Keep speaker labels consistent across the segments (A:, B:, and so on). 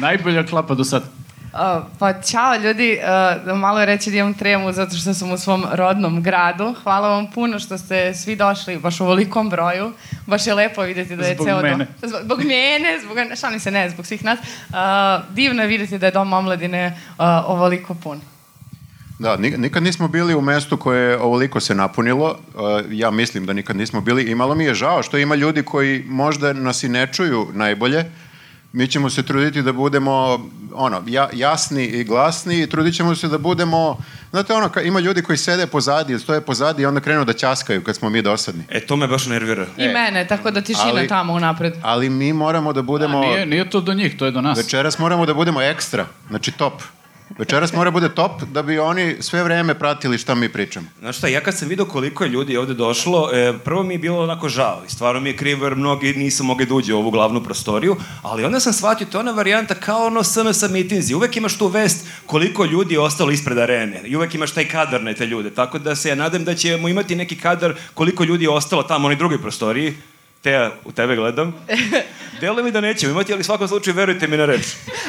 A: Najbolja klapa do sad.
B: Uh, pa čao ljudi, uh, malo je reći da imam tremu zato što sam u svom rodnom gradu. Hvala vam puno što ste svi došli baš u velikom broju. Baš je lepo videti da je
A: Zbog
B: ceo dom-
A: mene.
B: Zbog, zbog mene, zbog, šalim se, ne, zbog svih nas. Uh, divno je videti da je dom omladine uh, ovoliko pun.
C: Da, ni- nikad nismo bili u mestu koje je ovoliko se napunilo. E, ja mislim da nikad nismo bili i malo mi je žao što ima ljudi koji možda nas i ne čuju najbolje. Mi ćemo se truditi da budemo ono, ja- jasni i glasni i trudit ćemo se da budemo... Znate, ono, ka- ima ljudi koji sede pozadi, stoje pozadi i onda krenu da ćaskaju kad smo mi dosadni.
D: E, to me baš nervira.
B: I
A: E,
B: mene, tako da tišina
C: ali-
B: tamo unapred.
C: Ali mi moramo da budemo...
A: Nije, nije to do njih, to je do nas.
C: Večeras moramo da budemo ekstra, znači top. Večeras mora bude top da bi oni sve vreme pratili šta mi pričamo.
D: Znaš šta, ja kad sam vidio koliko je ljudi ovde došlo, e, prvo mi je bilo onako žao i stvarno mi je krivo jer mnogi nisu mogli da uđe u ovu glavnu prostoriju, ali onda sam shvatio, to je ona varijanta kao ono SNS mitinzi, uvek imaš tu vest koliko ljudi je ostalo ispred arene i uvek imaš taj kadar na te ljude, tako da se ja nadam da ćemo imati neki kadar koliko ljudi je ostalo tamo u onoj drugoj prostoriji, te ja u tebe gledam. Delo mi da nećemo imati, ali u svakom slučaju verujte mi na reč.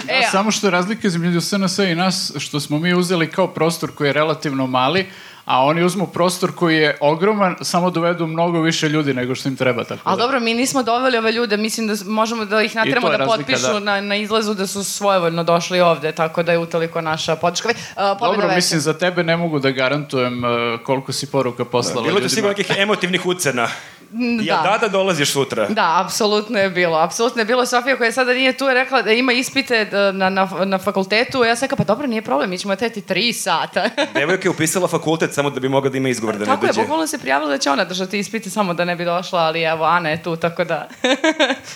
A: Da,
B: E,
A: samo što je razlika između SNS i nas, što smo mi uzeli kao prostor koji je relativno mali, a oni uzmu prostor koji je ogroman, samo dovedu mnogo više ljudi nego što im treba. Tako
B: Ali
A: da.
B: dobro, mi nismo doveli ove ljude, mislim da s- možemo da ih natremo
A: to je
B: da
A: razlika,
B: potpišu
A: da.
B: Na, na izlazu da su svojevoljno došli ovde, tako da je utoliko naša podrška. Uh, pobjeda
A: Dobro,
B: veća.
A: mislim, za tebe ne mogu da garantujem e, koliko si poruka poslala
D: Bilo je
A: ljudima.
D: tu sigurno nekih emotivnih ucena.
B: Mm,
D: Ja,
B: da.
D: da, da dolaziš sutra.
B: Da, apsolutno je bilo. Apsolutno je bilo. Sofija koja sada nije tu je rekla da ima ispite da, na, na, na fakultetu. Ja sam rekao, pa dobro, nije problem, mi ćemo teti tri sata.
A: Da
D: Devojka je upisala fakultet samo da bi mogla da ima izgovor da ne
B: tako je,
D: dođe.
B: bukvalno se prijavila da će ona držati ispite samo da ne bi došla, ali evo, Ana je tu, tako da...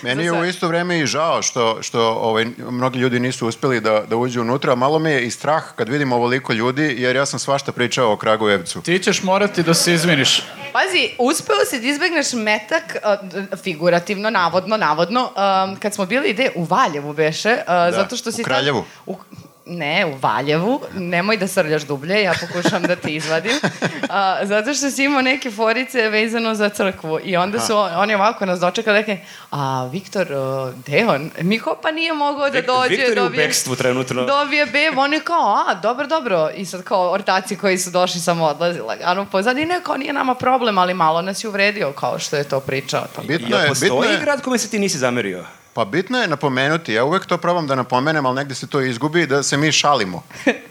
C: Meni je
B: Za
C: u
B: sve.
C: isto vreme i žao što, što ovaj, mnogi ljudi nisu uspeli da, da uđu unutra, a malo mi je i strah kad vidim ovoliko ljudi, jer ja sam svašta pričao o Kragujevcu.
A: Ti ćeš morati da se izviniš.
B: Pazi, uspeo si da izbegneš metak, uh, d- figurativno, navodno, navodno, um, kad smo bili ide u Valjevu beše, uh,
D: Da,
B: zato što
C: u
B: si... tad-
C: Kraljevu.
B: U, ne, u Valjevu, nemoj da srljaš dublje, ja pokušam da te izvadim, uh, zato što si imao neke forice vezano za crkvu i onda su on- oni ovako nas dočekali, rekli, a Viktor, uh, gde je on? Mi kao, pa nije mogao da
D: Vik-
B: dođe,
D: Viktor je u
B: dobije-
D: bekstvu trenutno.
B: dobije bebu, oni kao, a, dobro, dobro. I sad kao ortaci koji su došli samo odlazi lagano pozad i ne, kao nije nama problem, ali malo nas je uvredio kao što je to pričao. Tako.
C: Bitno
D: Jel
C: je, bitno
D: postoji
C: je,
D: grad kome se ti nisi zamerio?
C: pa bitno je napomenuti, ja uvek to probam da napomenem, ali negde se to izgubi, da se mi šalimo.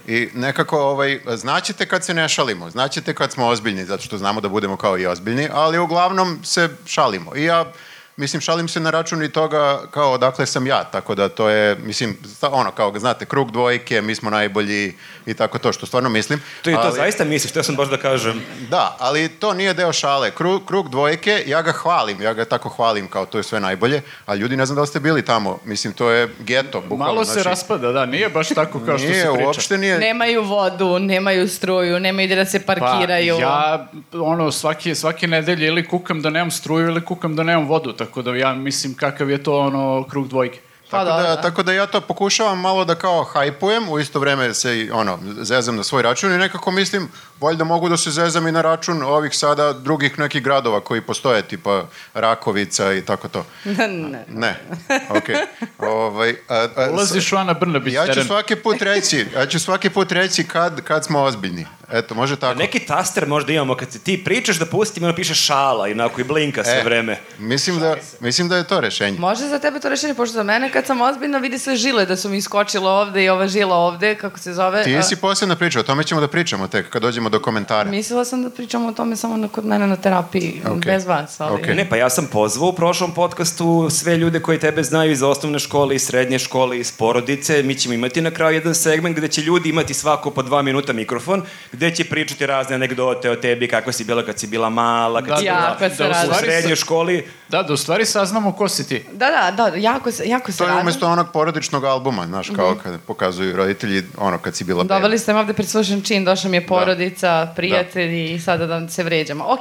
C: I nekako, ovaj, znaćete kad se ne šalimo, znaćete kad smo ozbiljni, zato što znamo da budemo kao i ozbiljni, ali uglavnom se šalimo. I ja Mislim, šalim se na račun i toga kao odakle sam ja, tako da to je, mislim, sta- ono, kao ga znate, krug dvojke, mi smo najbolji i tako to, što stvarno mislim.
D: To je to
C: ali,
D: zaista misliš, to sam baš da kažem.
C: Da, ali to nije deo šale. Krug, krug dvojke, ja ga hvalim, ja ga tako hvalim, kao to je sve najbolje, a ljudi ne znam da li ste bili tamo, mislim, to je geto, bukvalno.
A: Malo se
C: znači,
A: raspada, da, nije baš tako kao što se
C: Nije,
A: priča.
C: uopšte nije,
B: Nemaju vodu, nemaju struju, nemaju gde da se parkiraju.
A: Pa, ja, ono, svake, svake nedelje ili kukam da nemam struju ili kukam da nemam vodu, tako da ja mislim kakav je to, ono, krug dvojke.
B: Pa
C: tako,
B: dobro.
C: da, tako da ja to pokušavam malo da kao hajpujem, u isto vreme se i, ono, zezam na svoj račun i nekako mislim, valjda mogu da se zezam i na račun ovih sada drugih nekih gradova koji postoje, tipa Rakovica i tako to.
B: ne.
C: Ne, okej. Ovaj, a- a-
A: Ulaziš u Ana Brnabić
C: Ja ću
A: teren.
C: svaki put reći, ja ću svaki put reći kad, kad smo ozbiljni. Eto, može tako.
D: Neki taster možda imamo kad se ti pričaš da pustim i ono piše šala i onako i blinka sve
C: E,
D: vreme.
C: Mislim da, mislim da je to rešenje.
B: Može za tebe to rešenje, pošto za mene kad sam ozbiljna vidi sve žile da su mi skočile ovde i ova žila ovde, kako se zove.
C: Ti
B: a-
C: si posebna priča, o tome ćemo da pričamo tek kad dođemo do komentara.
B: Mislila sam da pričamo o tome samo na, kod mene na terapiji,
C: Okej.
B: bez vas. Ali...
C: Okej.
D: Ne, pa ja sam pozvao u prošlom podcastu sve ljude koji tebe znaju iz osnovne škole, iz srednje škole, iz porodice. Mi ćemo imati na kraju jedan segment gde će ljudi imati svako po dva minuta mikrofon, gde će pričati razne anegdote o tebi, kako si bila kad si bila mala, kad
A: Da,
D: si
A: da,
B: Jako
D: bila
B: se
A: da, u
B: radim.
D: u
A: stvari
D: srednjoj
A: sa-
D: školi.
A: da, da u stvari saznamo ko si ti.
B: Da, da, da, jako se, jako se
C: To je
B: radim.
C: umesto onog porodičnog albuma, znaš, kao kad pokazuju roditelji ono kad si bila
A: Pa da.
C: beba.
B: Mhm. Doveli ste me ovde pred slušan čin, došla mi je porodica, prijatelji i sada da se vređamo. Ok,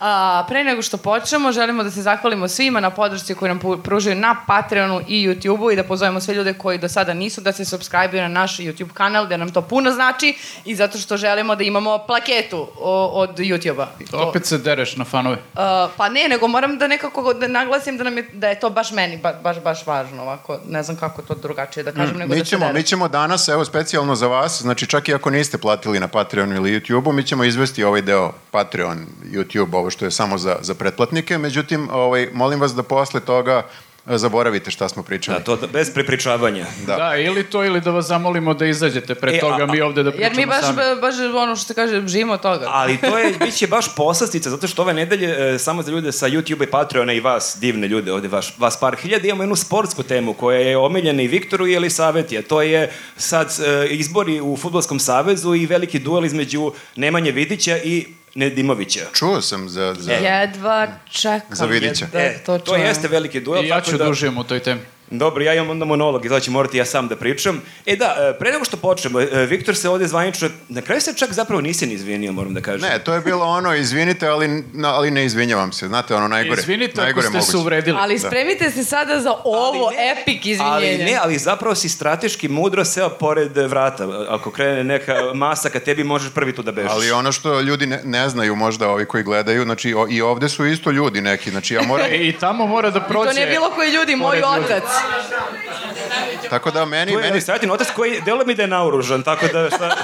B: a, pre nego što počnemo, želimo da se zahvalimo svima na podršci koju nam pu- pružaju na Patreonu i YouTubeu i da pozovemo sve ljude koji do sada nisu da se subscribe na naš YouTube kanal, da nam to puno znači i zato što želimo da imamo plaketu o, od YouTube-a.
A: Opet se dereš na fanove.
B: Uh, pa ne, nego moram da nekako da naglasim da, nam je, da je to baš meni ba, baš, baš važno ovako. kako, ne znam kako to drugačije da
A: Mm,
B: kažem, nego
C: mi
B: da se
C: ćemo,
B: dere.
C: mi ćemo danas, evo specijalno za vas, znači čak i ako niste platili na Patreonu ili YouTubeu, mi ćemo izvesti ovaj deo Patreon, YouTube, ovo što je samo za, za pretplatnike, međutim, ovaj, molim vas da posle toga e, zaboravite šta smo pričali.
D: Da, to da- bez prepričavanja.
A: Da.
C: Da.
A: ili to, ili da vas zamolimo da izađete pre
D: E, a-
A: toga, mi ovde da pričamo
B: Jer mi baš,
A: sami.
B: baš ono što se kaže, živimo od toga.
D: Ali to je, bit će baš poslastica, zato što ove nedelje, e, samo za ljude sa YouTube-a i Patreona i vas, divne ljude ovde, vaš, vas par hiljada, imamo jednu sportsku temu koja je omiljena i Viktoru i Elisaveti, a to je sad e, izbori u Futbolskom savezu i veliki duel između Nemanje Vidića i Nedimovića.
C: Čuo sam za... za...
B: Jedva
C: E.
B: čekam.
C: Za Vidića.
B: je Da,
D: e, to, to
B: čujem.
D: jeste veliki duel.
A: I ja
D: tako
A: ću da uživam u toj temi.
D: Dobro, ja imam onda monolog i zato ću morati ja sam da pričam. E da, e, pre nego što počnemo, e, Viktor se ovde zvanično, na kraju se čak zapravo nisi ni izvinio, moram da kažem.
C: Ne, to je bilo ono, izvinite, ali, na- ali ne izvinjavam se, znate, ono najgore.
A: Izvinite ako
C: najgore
A: ste se uvredili.
B: Ali spremite se sada za ovo
D: da. Ali ne,
B: epik izvinjenje.
D: Ali ne, ali zapravo si strateški mudro seo pored vrata. Ako krene neka masa ka tebi, možeš prvi tu da bežiš.
C: Ali ono što ljudi ne, ne znaju možda ovi koji gledaju, znači o, i ovde su isto ljudi neki, znači ja moram,
A: E, I tamo mora da prođe...
B: To ne bilo koji ljudi, moj
A: Pored ljudi.
B: otac.
C: tako da meni,
D: Tu je
C: meni,
D: administrativni otac koji delo mi da je naoružan, tako da šta,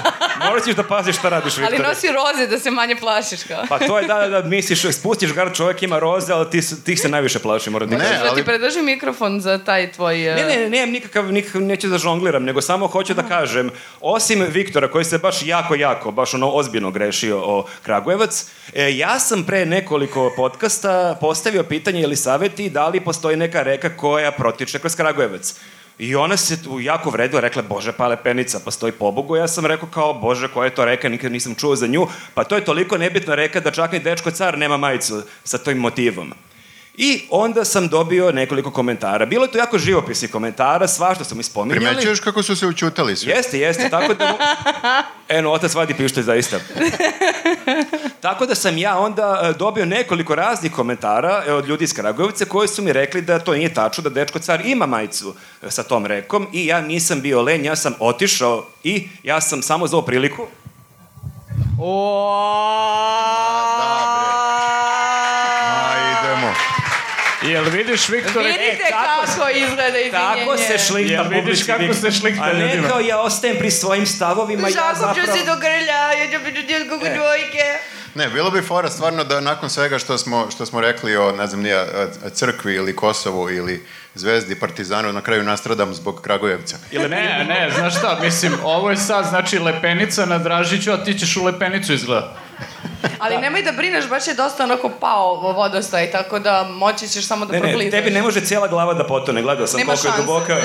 D: morat ćeš da paziš šta radiš,
B: Ali
D: Viktore.
B: nosi roze da se manje plašiš kao.
D: Pa to je da, da, da misliš, spustiš gar, čovjek ima roze, ali ti, se- tih se najviše plaši, moram da
C: Ne,
D: kažem.
B: Što ti
C: ali-
B: predrži mikrofon za taj tvoj... e,
D: Ne, ne, ne, nemam nikakav, nikakav, neću da žongliram, nego samo hoću da kažem, osim Viktora koji se baš jako, jako, baš ono ozbiljno grešio o Kragujevac, e, ja sam pre nekoliko podcasta postavio pitanje ili saveti da li postoji neka reka koja protiče kroz Kragujevac. I ona se tu jako vredila, rekla, bože, pale penica, postoji pobogu. Ja sam rekao kao, bože, koja je to reka, nikad nisam čuo za nju. Pa to je toliko nebitna reka da čak ni dečko car nema majicu sa tim motivom. I onda sam dobio nekoliko komentara. Bilo je to jako živopisnih komentara, svašta su mi spominjali.
C: primećuješ kako su se učutali svi.
D: Jeste, jeste, tako da... Eno, otac vadi pištolj zaista. tako da sam ja onda e, dobio nekoliko raznih komentara e, od ljudi iz Kragujevca koji su mi rekli da to nije tačno, da Dečko car ima majicu e, sa tom rekom i ja nisam bio len, ja sam otišao i ja sam samo za ovu priliku
C: Da, A idemo.
A: Jel vidiš, Viktore?
B: Vidite
D: E, tako
B: kako izgleda izvinjenje.
D: Tako se šlikta
A: Jel vidiš
D: publici,
A: kako
D: Viktor?
A: se šlikta
D: A ne
A: ljudima?
D: kao ja ostajem pri svojim stavovima, ja
B: Žakom ću
D: da zapravo...
B: se do grlja, ja ću biti djel kako
D: E.
B: dvojke.
C: Ne, bilo bi fora stvarno da nakon svega što smo, što smo rekli o, ne znam, nije, a- a crkvi ili Kosovu ili Zvezdi, Partizanu, na kraju nastradam zbog Kragujevca.
A: Ili ne, ne, znaš šta, mislim, ovo je sad, znači, lepenica na Dražiću, a ti ćeš u lepenicu izgleda.
B: Ali nemoj da brineš, baš je dosta onako pao vodostaj, tako da moći ćeš samo da
D: Ne, ne,
B: proglizaš.
D: tebi ne može cijela glava da potone, gledao sam
B: Nema
D: koliko je
B: šanse.
D: duboka.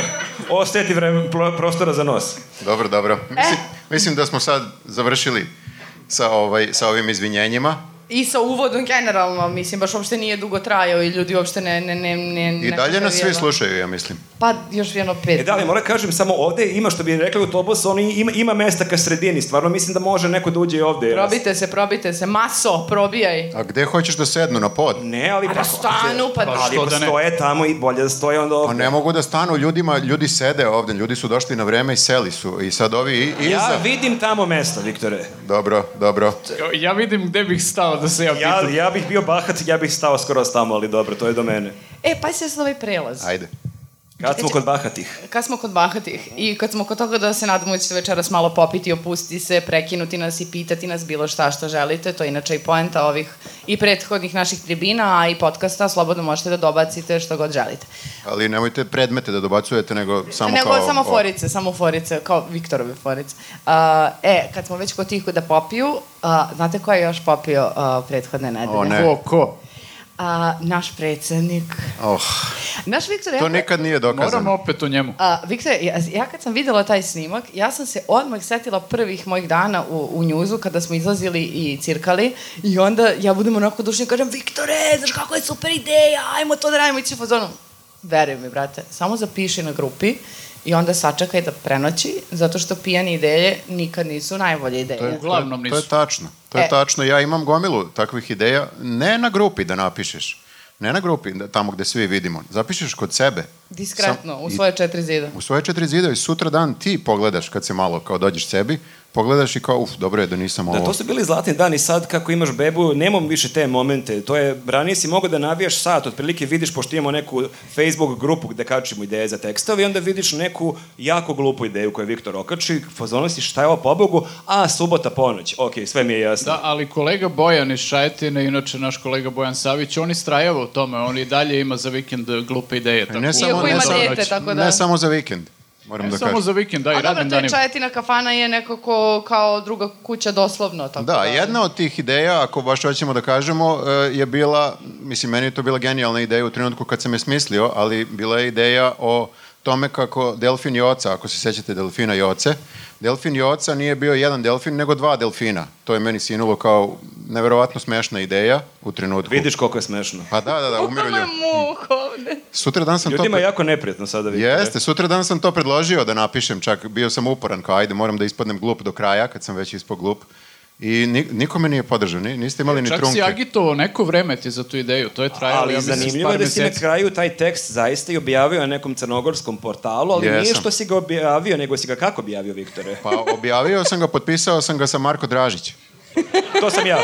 D: Ostaje ti vreme, pro, prostora za nos.
C: Dobro, dobro.
B: E.
C: Mislim, mislim da smo sad završili sa, ovaj, sa ovim izvinjenjima.
B: I sa uvodom generalno, mislim, baš uopšte nije dugo trajao i ljudi uopšte ne... ne, ne, ne
C: I
B: ne
C: dalje nas svi
B: kapiraju.
C: slušaju, ja mislim.
B: Pa još jedno pet.
D: E da, ali moram kažem, samo ovde ima što bi rekli u Tobosu, ono ima, ima mesta ka sredini, stvarno mislim da može neko da uđe i ovde.
B: Probite se, probite se. Maso, probijaj.
C: A gde hoćeš da sednu na pod?
D: Ne, ali
B: A da stanu, pa...
A: Pa
D: Ali
A: što
D: ako
A: da ne?
D: stoje tamo i bolje da stoje onda
C: Pa
D: ovde.
C: ne mogu da stanu ljudima, ljudi sede ovde, ljudi su došli na vreme i seli su. I sad ovi i, iza.
D: Ja vidim tamo mesta, Viktore.
C: Dobro, dobro.
A: Ja vidim gde bih stao da se ja
D: Ja,
A: pitam.
D: ja bih bio bahat, ja bih stao skoro tamo, ali dobro, to je do mene.
B: E, pa se sad ovaj prelaz.
C: Ajde.
D: Kad smo kod bahatih?
B: Kad smo kod bahatih i kad smo kod toga da se nadamo da ćete večeras malo popiti, opustiti se, prekinuti nas i pitati nas bilo šta što želite, to je inače i poenta ovih i prethodnih naših tribina, a i podcasta, slobodno možete da dobacite što god želite.
C: Ali nemojte predmete da dobacujete, nego samo
B: Nego
C: kao...
B: samo
C: o-
B: forice, samo forice, kao Viktorove forice. A, e, kad smo već kod tih da popiju, a, znate ko je još popio a, prethodne nedelje?
C: O, ne.
A: Ko, ko?
B: A, naš predsednik.
C: Oh,
B: Naš Viktor je...
C: to nikad nije dokazano.
A: Moramo opet o njemu.
B: A, Viktor, ja, ja kad sam videla taj snimak, ja sam se odmah setila prvih mojih dana u, u njuzu kada smo izlazili i cirkali i onda ja budem onako dušnja i kažem Viktore, znaš kako je super ideja, ajmo to da radimo ići u fazonu. Veruj mi, brate, samo zapiši na grupi i onda sačekaj da prenoći, zato što pijane ideje nikad nisu najbolje ideje.
A: Uglavnom
C: To
A: nisu.
C: je tačno. To je
B: E.
C: tačno. Ja imam gomilu takvih ideja. Ne na grupi da napišeš. Ne na grupi, da- tamo gde svi vidimo. Zapišeš kod sebe.
B: Diskretno,
C: Sam-
B: u
C: i-
B: svoje četiri zida.
C: U svoje četiri zida i sutra dan ti pogledaš kad se malo kao dođeš sebi, pogledaš i kao, uf, dobro je da nisam ovo.
D: Da, to su bili zlatni dani, sad kako imaš bebu, nemam više te momente. To je, ranije si mogao da navijaš sat, otprilike vidiš, pošto imamo neku Facebook grupu gde kačimo ideje za tekstove i onda vidiš neku jako glupu ideju koju je Viktor okači, fazono si šta je ovo pobogu, a subota ponoć, ok, sve mi je jasno.
A: Da, ali kolega Bojan iz Šajetine, inače naš kolega Bojan Savić, on istrajava u tome, on i dalje ima za vikend e, glupe ideje. Tako.
C: Ne samo,
B: Iako
C: ne,
B: ima
C: samo,
B: dete, tako da.
C: ne samo za vikend, moram
A: Ne
C: da
A: samo
C: kažem.
A: za vikend, da, i
B: A dobro,
A: radnim
B: to je
A: danima.
B: čajetina kafana je nekako kao druga kuća doslovno. Tako
D: Pa-
C: Da, jedna od tih ideja, ako baš hoćemo da kažemo, e, je bila, mislim, meni je to bila genijalna ideja u trenutku kad sam je smislio, ali bila je ideja o tome kako delfin i oca, ako se sećate delfina i oce, delfin i oca nije bio jedan delfin, nego dva delfina. To je meni sinulo kao neverovatno smešna ideja u trenutku.
D: Vidiš koliko je smešno.
C: Pa da, da, da, umiru
B: Kako je
C: ljudi.
B: muk ovde?
C: Sutra dan sam to...
D: Ljudima
C: pre-
D: je jako neprijatno sada vidite.
C: Jeste, sutra dan sam to predložio da napišem, čak bio sam uporan kao ajde, moram da ispadnem glup do kraja, kad sam već ispao glup. I ni, niko me nije podržao, ni, niste imali ni
A: Čak si
C: trunke.
A: agitovao neko vreme ti za tu ideju, to je trajalo,
D: Ali
A: ja mislim,
D: zanimljivo je
A: par
D: da si na
A: meseci.
D: kraju taj tekst zaista i objavio na nekom crnogorskom portalu, ali nije
C: Jesam.
D: što si ga objavio, nego si ga kako objavio, Viktore?
C: Pa objavio sam ga, potpisao sam ga sa Marko Dražić.
D: To sam ja.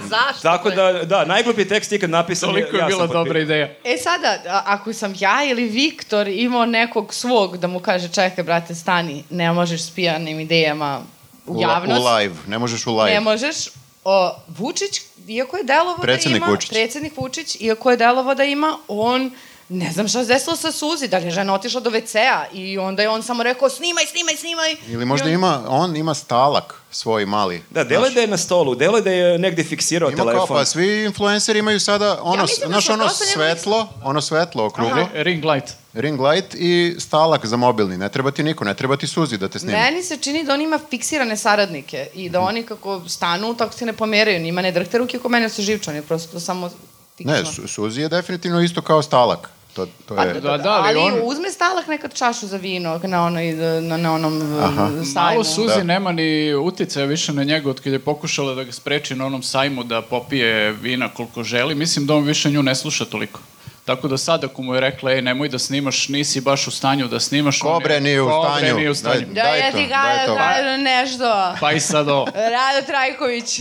B: Zašto?
D: Tako da, da, najgluplji tekst ikad napisan.
A: Toliko je
D: ja sam
A: bila
D: pa potpi-
A: dobra ideja.
B: E sada, a- ako sam ja ili Viktor imao nekog svog da mu kaže čekaj brate stani, ne možeš s pijanim idejama u javnost.
C: U live, ne možeš u live.
B: ne možeš. O, Vučić, iako je delovo
C: Predsednik
B: da ima,
C: Vučić.
B: predsednik Vučić, iako je delovo da ima, on ne znam šta se desilo sa Suzi, da li je žena otišla do WC-a i onda je on samo rekao snimaj, snimaj, snimaj.
C: Ili možda ima, on ima stalak svoj mali.
D: Da, delo je
C: Znaš,
D: da je na stolu, delo je da je negde fiksirao
C: Ima kao,
D: telefon.
C: pa svi influenceri imaju sada ono,
B: Ja mislim da
C: znaš,
B: smo
C: ono
B: dosta njemu-
C: svetlo, ono svetlo okruglo,
A: E, Ring light.
C: ring light i stalak za mobilni. Ne treba ti niko, ne treba ti suzi da te snimi.
B: Meni se čini da on ima fiksirane saradnike i
C: Mhm.
B: da oni kako stanu, tako se ne pomeraju, njima ne drhte ruke ko meni su živčani, prosto samo fiksno.
C: Ne, su, suzi je definitivno isto kao stalak. To, to
B: Pa,
C: je...
A: da, da, ali
B: ali
A: on-
B: uzme stalak nekad čašu za vino na, onoj, na, na onom eh, sajmu.
A: Malo Suzi
C: Da.
A: nema ni uticaja više na njega od kad je pokušala da ga spreči na onom sajmu da popije vina koliko želi. Mislim da on više nju ne sluša toliko. Tako da sad ako mu je rekla, ej, nemoj da snimaš, nisi baš u stanju da snimaš. on je-
C: Kobre nije u stanju.
A: Kobre nije u stanju.
C: Daj.
B: Da,
C: Daj
B: ja
C: to,
B: ti
C: daj to.
B: ga, kažem nešto.
A: Pa i sad ovo.
B: Rado Trajković.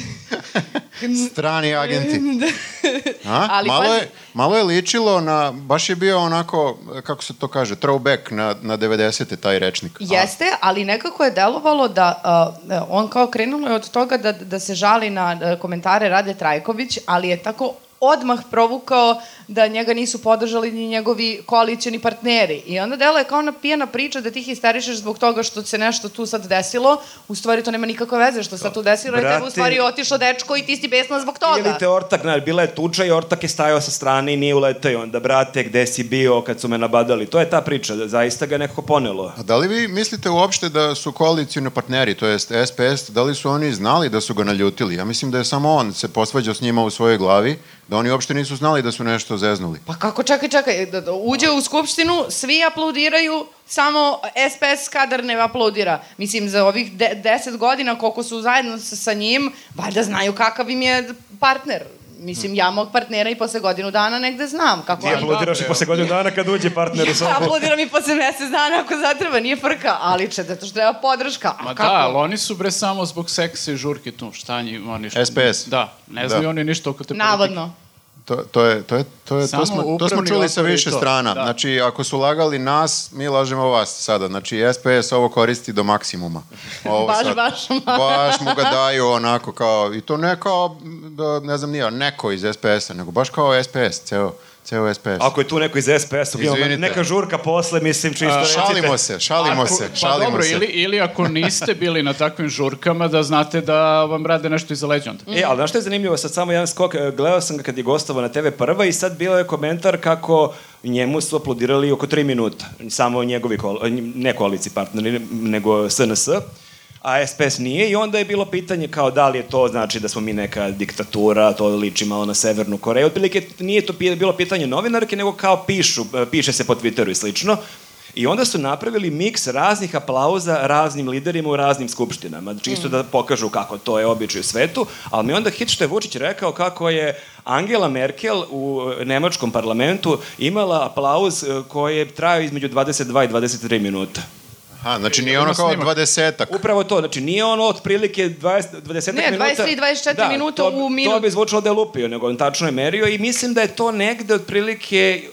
C: Strani agenti.
B: Da.
C: A?
B: Ali
C: malo,
B: pazi-
C: je, malo je ličilo na, baš je bio onako, kako se to kaže, throwback na, na 90. taj rečnik. A-
B: Jeste, ali nekako je delovalo da uh, on kao krenulo je od toga da, da se žali na uh, komentare Rade Trajković, ali je tako odmah provukao da njega nisu podržali ni njegovi koalicijani partneri. I onda delo je kao ona pijena priča da ti histerišeš zbog toga što se nešto tu sad desilo. U stvari to nema nikakve veze što se sad tu desilo. Brate... Tebe u
D: Brate-
B: stvari otišao dečko i ti si besna zbog
C: Da,
D: Ili
B: toga.
D: te ortak, znaš, bila je tuča i ortak je stajao sa strane i nije uletao i onda, brate, gde si bio kad su me nabadali? To je ta priča, da zaista ga nekako ponelo.
C: A da li vi mislite uopšte da su koalicijni partneri, to jest SPS, da li su oni znali da su ga naljutili? Ja mislim da je samo on se posvađao s njima u svojoj glavi, da oni uopšte nisu znali da su nešto zeznuli.
B: Pa kako, čekaj, čekaj, da- da uđe u skupštinu, svi aplaudiraju, samo SPS kadar ne aplaudira. Mislim, za ovih de deset godina koliko su zajedno sa, sa njim, valjda znaju kakav im je partner. Mislim, ja mog partnera i posle godinu dana negde znam
C: pa
B: kako
C: da,
D: Ti
B: je.
D: aplaudiraš i posle godinu dana kad uđe partner u sobu.
B: Aplaudiram i posle mesec dana ako zatreba, nije frka, ali će, zato što treba podrška. A
A: Ma
B: kako?
A: da, ali oni su bre samo zbog seksa i žurke tu. Šta njima oni...
C: SPS.
A: Da, ne
C: Da.
A: znaju oni ništa oko te politike.
B: Navodno.
C: To, to, je, to, je, to, je,
A: Samo
C: to, smo, to smo
A: upravni
C: čuli sa
A: odbor i
C: više
A: to,
C: strana.
A: da.
C: Znači, ako su lagali nas, mi lažemo vas sada. Znači, SPS ovo koristi do maksimuma. Ovo
B: Baš, baš.
C: baš mu ga daju onako kao, i to ne kao, da, ne znam nije, neko iz SPS-a, nego baš kao SPS, ceo, ceo SPS.
D: Ako je tu neko iz SPS-a, bio
C: Izvinite.
D: neka žurka posle, mislim, čisto recite.
C: šalimo se, šalimo se,
A: Pa
C: šalimo
A: dobro,
C: se.
A: ili, ili ako niste bili na takvim žurkama, da znate da vam rade nešto iza leđa onda.
D: E, ali znaš što je zanimljivo, sad samo jedan skok, e, gledao sam ga kad je gostovao na TV prva i sad bilo je komentar kako njemu su aplodirali oko 3 minuta, samo njegovi, kol, e, ne koalici partneri, nego SNS, a SPS nije i onda je bilo pitanje kao da li je to znači da smo mi neka diktatura, to liči malo na Severnu Koreju, otprilike nije to pi- bilo pitanje novinarke, nego kao pišu, e, piše se po Twitteru i slično, I onda su napravili miks raznih aplauza raznim liderima u raznim skupštinama, čisto da pokažu kako to je običaj u svetu, ali mi je onda hit što je Vučić rekao kako je Angela Merkel u e, nemačkom parlamentu imala aplauz e, koji je trajao između 22 i 23 minuta.
C: Aha, znači nije ono kao
A: snimak.
C: dvadesetak.
D: Upravo to, znači nije ono otprilike 20, 20
B: Ne,
D: minuta.
B: 23, 24
D: da,
B: minuta
D: to,
B: u
D: To
B: minut.
D: bi zvučalo da je lupio, nego on tačno je merio i mislim da je to negde otprilike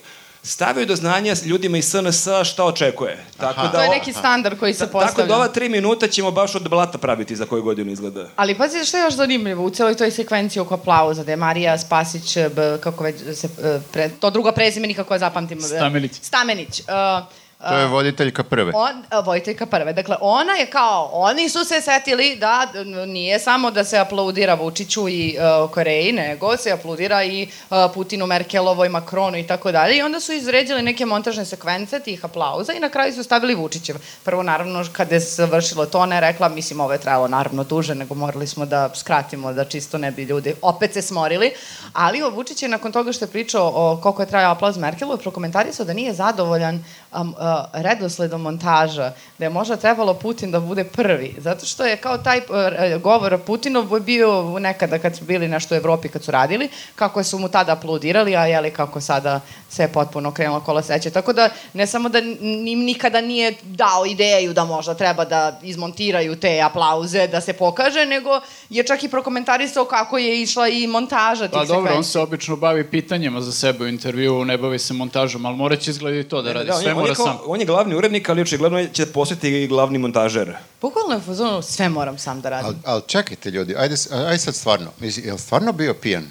D: stavio do znanja ljudima iz SNS šta očekuje. Tako da,
B: To je
D: o-
B: neki standard koji se postavlja.
D: Tako da ova tri minuta ćemo baš od blata praviti za koju godinu izgleda.
B: Ali pazi, što je još zanimljivo, u celoj toj sekvenciji oko aplauza, da je Marija Spasić, b, kako već se, e, pre, to drugo prezime nikako ja zapamtim. e,
A: Stamenić.
B: Stamenić. Uh,
C: To je voditeljka prve.
B: on, a, Vojteljka prve. Dakle, ona je kao, oni su se setili da n- nije samo da se aplaudira Vučiću i uh, Koreji, nego se aplaudira i uh, Putinu, Merkelovoj, Makronu i tako dalje. I onda su izređili neke montažne sekvence tih aplauza i na kraju su stavili Vučićev. Prvo, naravno, kada je završilo to, ona je rekla, mislim, ovo je trajalo naravno duže, nego morali smo da skratimo, da čisto ne bi ljudi opet se smorili. Ali o, Vučić je nakon toga što je pričao o koliko je trajao aplauz Merkelu, prokomentarisao da nije zadovoljan um, uh, redosledom montaža, da je možda trebalo Putin da bude prvi, zato što je kao taj uh, r- govor Putinov je bio nekada kad su bili nešto u Evropi kad su radili, kako su mu tada aplaudirali, a jeli kako sada se je potpuno krenulo kola sreće. Tako da ne samo da n- im nikada nije dao ideju da možda treba da izmontiraju te aplauze, da se pokaže, nego je čak i prokomentarisao kako je išla i montaža tih
A: Pa dobro, on
B: sekvenci.
A: se obično bavi pitanjima za sebe u intervju, ne bavi se montažom, ali mora će izgledati to da radi,
D: Da, on,
A: sve
D: je, on, je
A: mora
D: kao,
A: sam.
D: on je glavni urednik, ali očigledno će postati i glavni montažer.
B: Bukvalno je u fazonu, sve moram sam da radim.
C: Ali al čekajte ljudi, ajde, s- ajde sad stvarno, mislim, je li stvarno bio pijan?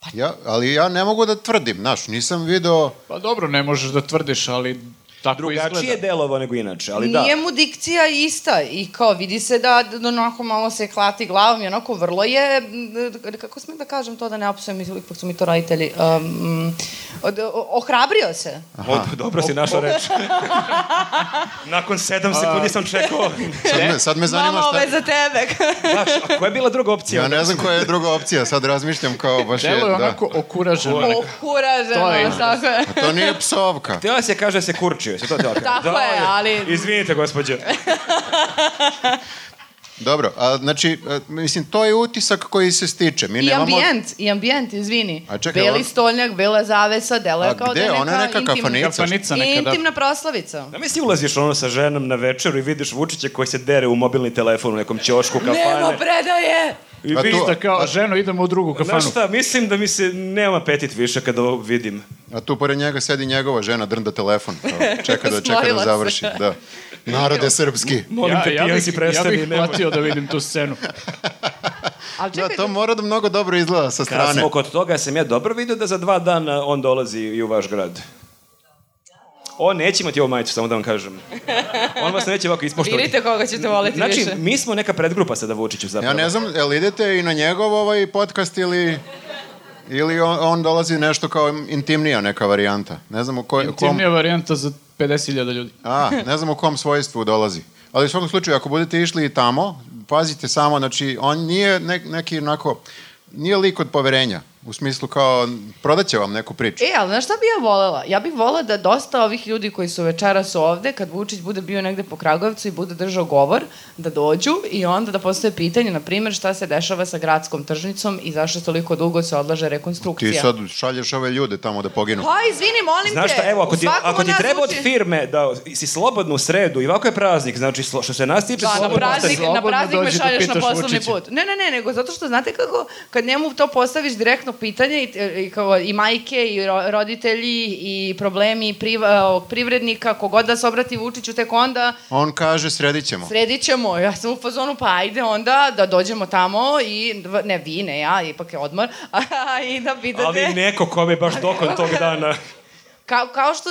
B: Pa-
C: Ja, ali ja ne mogu da tvrdim, znaš, nisam video...
A: Pa dobro, ne možeš da tvrdiš, ali tako
D: Drugačije je
A: izgleda.
D: delovo nego inače, ali da.
B: Nije mu dikcija ista i kao vidi se da, da onako malo se klati glavom i onako vrlo je, m, kako smem da kažem to da ne opsujem, ipak su mi to roditelji, um, od, o- ohrabrio se.
D: Od, dobro si našla reč. Nakon sedam sekundi sam čekao.
C: Sad me, sad me zanima
B: Mama, ovo je
C: šta...
B: za tebe.
D: Znaš, a koja je bila druga opcija?
C: Ja ne znam koja je druga opcija, sad razmišljam kao baš je...
A: Delo je
C: Da.
A: onako okuraženo. To je
B: Okuraženo,
A: ista.
B: tako je.
C: A Pa to nije psovka.
D: Htjela se kaže da se kurčio, se to htjela kaže.
B: Tako je, ali-
D: Izvinite, gospođo.
C: Dobro, a, znači, a, mislim, to je utisak koji se stiče. Mi
B: I
C: nemamo...
B: ambijent, i ambijent, izvini.
C: A čekaj,
B: Beli
C: on-
B: stoljnjak, bela zavesa, delo
C: A
B: je kao da
C: gde?
B: je neka,
C: Ona je neka
B: intimna-
C: kafanica.
A: Kafanica nekada.
B: Intimna proslavica.
D: Da misli ulaziš ono sa ženom na večeru i vidiš Vučića koji se dere u mobilni telefon u nekom ćošku, kafane.
B: Nemo predaje!
D: I
C: A
D: vidiš
C: to-
A: Da kao, ženo, idemo u drugu kafanu.
D: Pa Znaš šta, mislim da mi se nema apetit više kada ovo vidim.
C: A tu pored njega sedi njegova žena, drnda telefon. kao, Čeka da, čeka
B: Smorila
C: da
B: se.
C: završi. Da. Narode srpski.
D: Molim te, pijan si prestani.
A: Ja bih
D: nemoj.
A: platio da vidim tu scenu.
B: Ali
C: Da,
B: čekaj,
C: to mora da mnogo dobro izgleda sa
D: Kad
C: strane.
D: smo kod toga, sam ja dobro vidio da za dva dana on dolazi i u vaš grad. On neće imati ovu majicu, samo da vam kažem. On vas neće ovako ispoštovati.
B: vidite koga ćete voleti
D: Znači,
B: više.
D: mi smo neka predgrupa sada Vučiću
C: Ja
D: zapravo.
C: ne znam, jel idete i na njegov ovaj podcast ili... Ili on, on dolazi nešto kao intimnija neka varijanta. Ne znam u koj, kom...
A: Intimnija varijanta za 50.000 ljudi.
C: A, ne znam u kom svojstvu dolazi. Ali u svakom slučaju, ako budete išli i tamo, pazite samo, znači, on nije ne, neki onako, nije lik od poverenja. U smislu kao, prodaće vam neku priču.
B: E, ali znaš šta bi ja volela? Ja bih volela da dosta ovih ljudi koji su večeras ovde, kad Vučić bude bio negde po Kragovcu i bude držao govor, da dođu i onda da postoje pitanje, na primjer, šta se dešava sa gradskom tržnicom i zašto toliko dugo se odlaže rekonstrukcija.
C: Ti sad šalješ ove ljude tamo da poginu.
B: Pa, izvini, molim
D: Znaš
B: te.
D: šta, evo, ako
B: u
D: ti,
B: svakom
D: ako ti
B: nas
D: treba od
B: uči-
D: firme da si slobodno u sredu, i ovako je praznik, znači slo- što se nas tiče,
B: Da, na
D: slobodno
B: praznik,
D: ostaje.
A: slobodno
B: na praznik me
A: dođi da
B: šalješ na
A: pitaš
B: poslovni
A: Vučića.
B: put. Ne, ne, ne, nego zato što znate kako, kad njemu to postaviš direktno pitanje i, e, i, kao, i majke i ro, roditelji i problemi priv, e, ovog privrednika, kogod da se obrati Vučiću, tek onda
C: On kaže, sredit ćemo.
B: sredit ćemo. Ja sam u fazonu, pa ajde onda da dođemo tamo i, ne vi, ne ja, ipak je odmor, i da pitate...
D: Ali neko kome baš dokon tog dana.
B: Kao, kao što,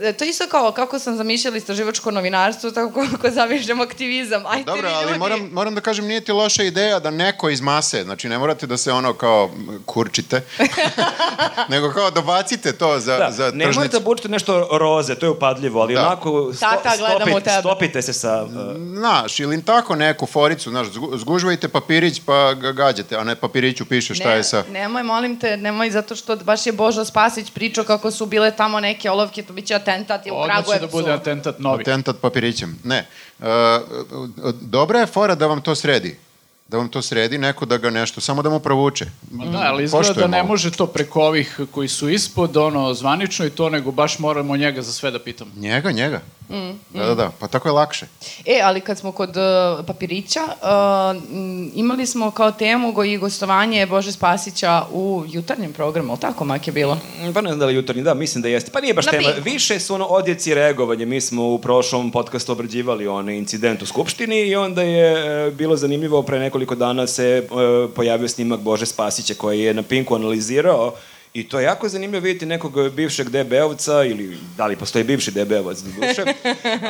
B: e, to je isto kao kako sam zamišljala istraživačko novinarstvo, tako kako zamišljam aktivizam. Ajde,
C: Dobro,
B: vi
C: ali
B: ljudi.
C: moram, moram da kažem, nije ti loša ideja da neko iz mase, znači ne morate da se ono kao m, kurčite, nego kao dobacite to za,
D: Da,
C: za
D: ne
C: tržnicu.
D: možete da bučite nešto roze, to je upadljivo, ali
C: Da.
D: onako sto,
B: Tata, gledam u
D: stopit,
B: tebe.
D: stopite se sa... uh,
C: Znaš, ili tako neku foricu, znaš, zgu- zgužvajte papirić pa ga gađate, a ne papiriću piše šta
B: ne,
C: je sa...
B: Nemoj, molim te, nemoj, zato što baš je Božo Spasić pričao kako su bile tamo neke olovke, to biće atentat je u
A: Odmah će
B: Kragujevcu.
A: da bude atentat novi.
C: Atentat papirićem. Ne. E, dobra je fora da vam to sredi. Da vam to sredi, neko da ga nešto, samo da mu provuče.
A: Ma Da, ali izgleda da
C: Poštujemo
A: ne
C: ovo.
A: može to preko ovih koji su ispod, ono, zvanično i to, nego baš moramo njega za sve da pitamo.
C: Njega, njega.
B: Mm,
C: Da, da, da. Pa tako je lakše.
B: E, ali kad smo kod uh, papirića, uh, m, imali smo kao temu go i gostovanje Bože Spasića u jutarnjem programu, ali tako mak je bilo?
D: Pa ne znam da li jutarnji, da, mislim da jeste. Pa nije baš
B: Na
D: tema.
B: pinku.
D: Više su ono odjeci i reagovanje. Mi smo u prošlom podcastu obrađivali onaj incident u Skupštini i onda je e, bilo zanimljivo, pre nekoliko dana se e, pojavio snimak Bože Spasića koji je na Pinku analizirao I to je jako zanimljivo vidjeti nekog e, bivšeg DB-ovca, ili da li postoji bivši DB-ovac duše,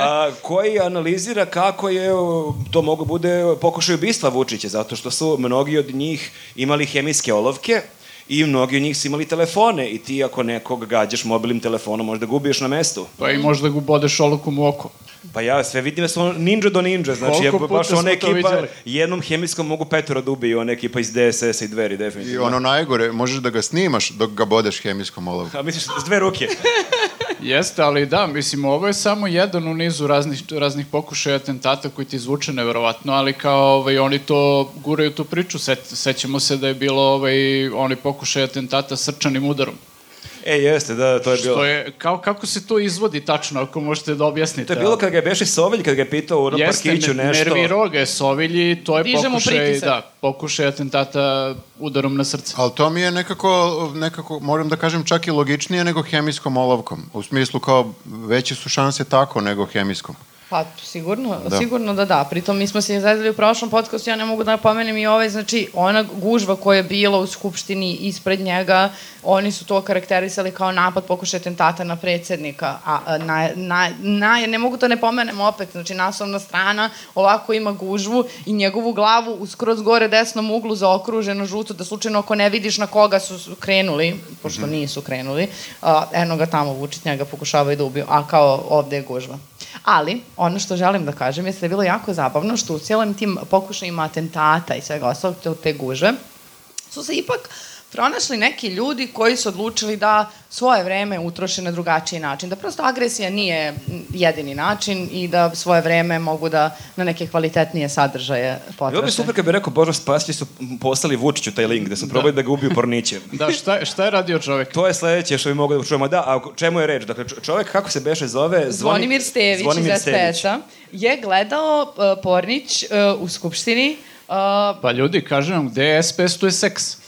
D: a, koji analizira kako je o, to mogo bude pokušaj ubistva Vučića, zato što su mnogi od njih imali hemijske olovke, i mnogi od njih su imali telefone i ti ako nekog gađaš mobilnim telefonom možda ga ubiješ na mestu.
A: Pa
B: Mm.
A: i možda ga bodeš olukom u oko.
D: Pa ja sve vidim da su ono ninja do ninja, znači je
A: Koliko puta
D: baš
A: smo
D: ona
A: to
D: ekipa
A: viđali?
D: jednom hemijskom mogu petoro da ubiju, ona ekipa iz DSS-a i dveri
C: I
D: definitivno.
C: ono najgore, možeš da ga snimaš dok ga bodeš hemijskom olovkom.
D: A misliš s dve ruke?
A: Jeste, ali da, mislim, ovo je samo jedan u nizu raznih, raznih pokušaja atentata koji ti zvuče neverovatno, ali kao ovaj, oni to guraju tu priču. Se, sećamo se da je bilo ovaj, oni pokušaj atentata srčanim udarom.
D: E, jeste, da, to je bilo.
A: Što je, kao, kako se to izvodi tačno, ako možete da objasnite?
D: To je bilo kad ga je Beše Sovelj, kad ga je pitao u onom parkiću
A: ne-
D: nešto.
A: nervirao ga je Sovilji, to je
B: Diže mu
A: pokušaj,
B: pritisak.
A: da, pokušaj atentata udarom na srce.
C: Ali to mi je nekako, nekako, moram da kažem, čak i logičnije nego hemijskom olovkom. U smislu kao veće su šanse tako nego hemijskom.
B: Pa, sigurno, da.
C: Da.
B: sigurno da da. Pritom, mi smo se izazvali u prošlom podcastu, ja ne mogu da pomenem i ovaj, znači, ona gužva koja je bila u Skupštini ispred njega, oni su to karakterisali kao napad pokušaj atentata na predsednika. A, a, na, na, na, ne mogu to ne pomenem opet, znači, naslovna strana ovako ima gužvu i njegovu glavu u skroz gore desnom uglu zaokruženo žuto, da slučajno ako ne vidiš na koga su su krenuli, pošto nisu krenuli, a, eno ga tamo Vučić njega pokušavaju da ubiju, a kao ovde je gužva. Ali, ono što želim da kažem je da je bilo jako zabavno što u cijelim tim pokušajima atentata i svega ostalog te, te guže, su se ipak pronašli neki ljudi koji su odlučili da svoje vreme utroše na drugačiji način, da prosto agresija nije m, jedini način i da svoje vreme mogu da na neke kvalitetnije sadržaje potroše.
A: da
D: Bilo bi super kad bi rekao Božo Spasići su poslali Vučiću taj link, da su probali da, ga ubiju pornićem.
A: Da, šta, je- šta je radio čovek?
D: To je sledeće što bi mogli da čujemo. Da, a o čemu je reč? Dakle, čo- čovek kako se beše zove? Zvoni-
B: Zvonimir Stević
D: Zvonimir
B: iz
D: Stević.
B: SPS-a je gledao uh, Pornić uh, u Skupštini uh,
A: Pa ljudi, kažem vam, gde je SPS, tu je seks.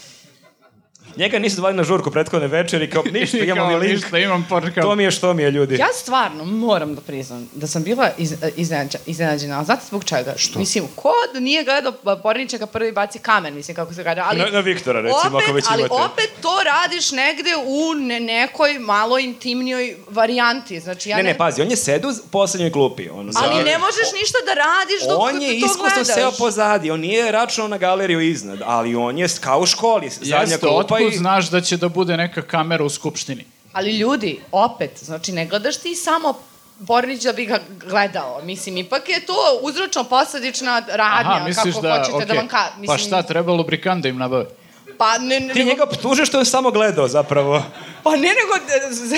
D: Njega nisu zvali na žurku prethodne večeri, kao ništa, imamo
A: Kao,
D: mi link.
A: Ništa, imam par kao...
D: To mi je što mi je, ljudi.
B: Ja stvarno moram da priznam da sam bila iz, iznenađa, iznenađena, ali znate zbog čega? Što? Mislim, ko da nije gledao pa, Porničaka prvi baci kamen, mislim kako se kaže, ali...
D: Na- na Viktora, recimo,
B: opet,
D: ako već
B: ali
D: imate.
B: opet to radiš negde u ne, nekoj malo intimnijoj varijanti, znači ja
D: ne, ne, pazi, on je sedao u poslednjoj klupi. On,
B: Ali ne možeš ništa da radiš dok
D: On je
B: to
D: iskusno
B: gledaš.
D: seo pozadi, on nije računao na galeriju iznad, ali on je kao u školi, zadnja
A: Jeste,
D: klupa
A: otkud
D: i...
A: znaš da će da bude neka kamera u skupštini?
B: Ali ljudi, opet, znači ne gledaš ti samo Bornić da bi ga gledao. Mislim, ipak je to uzročno-posledična radnja, kako hoćete da
A: okej.
B: vam ka... Mislim,
A: Pa šta, treba lubrikant da im nabave?
B: Pa ne, ne,
D: Ti njega optužeš što je samo gledao zapravo.
B: Pa ne, nego,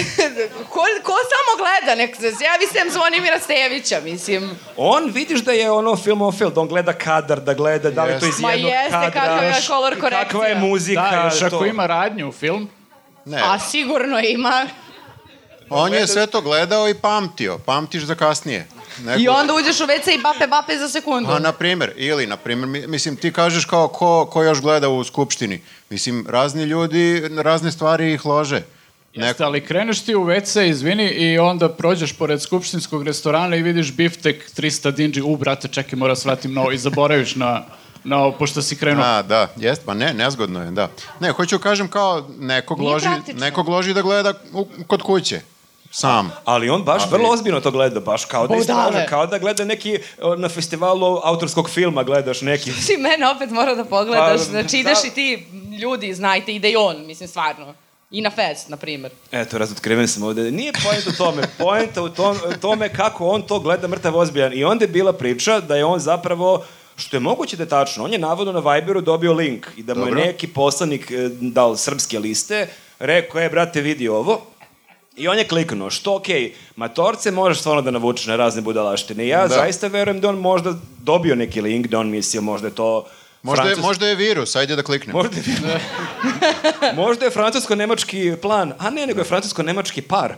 B: ko, ko samo gleda, nek se javi sem Zvonimira Stejevića, mislim.
D: On vidiš da je ono filmofil, da on gleda kadar, da gleda da li je to iz
B: Ma
D: jednog
B: jeste,
D: kadra.
B: kakva je
D: još-
B: color
D: Kakva je
B: korekcija.
D: muzika.
A: Da, još
D: to.
A: ako ima radnju u film,
C: Ne,
B: A sigurno ima.
C: on je sve to gledao i pamtio. Pamtiš za kasnije. Neku,
B: I onda uđeš u WC i bape, bape za sekundu.
C: Pa, na primer, ili, na primer, mi- mislim, ti kažeš kao ko, ko još gleda u skupštini. Mislim, razni ljudi, razne stvari ih lože.
A: Jeste, ali kreneš ti u WC, izvini, i onda prođeš pored skupštinskog restorana i vidiš biftek 300 dinđi, u, brate, čekaj, moram svratim na ovo, i zaboraviš na, na ovo, pošto si krenuo.
C: A, da, jest, pa ne, nezgodno je, da. Ne, hoću kažem kao nekog,
B: Nije
C: loži,
B: praktično.
C: nekog loži da gleda u, kod kuće, sam.
D: Ali on baš
C: Ali-
D: vrlo ozbiljno to gleda, baš kao da
B: Budale.
D: istraže, kao da gleda neki o, na festivalu autorskog filma gledaš neki.
B: Ti mene opet mora da pogledaš,
D: Pa,
B: znači ideš
D: da.
B: i ti, ljudi, znajte, ide i on, mislim, stvarno. I na fest, na primer.
D: Eto, razotkriven sam ovde. Nije poenta u tome, poenta u tom, tome kako on to gleda mrtav ozbiljan. I onda je bila priča da je on zapravo što je moguće da je tačno. On je navodno na Viberu dobio link i da mu
C: Dobro.
D: je neki poslanik e, dal srpske liste, rekao je, brate, vidi ovo, I on je kliknuo, što okej, okay, matorce možeš stvarno da navučeš na razne budalaštine. I Ja da.
C: Da.
D: zaista verujem da on možda dobio neki link, da on mislio možda je to
C: Možda je,
D: Francus-
C: možda je virus, ajde da kliknemo.
D: Možda je, možda je francusko-nemački plan, a ne, nego je francusko-nemački par.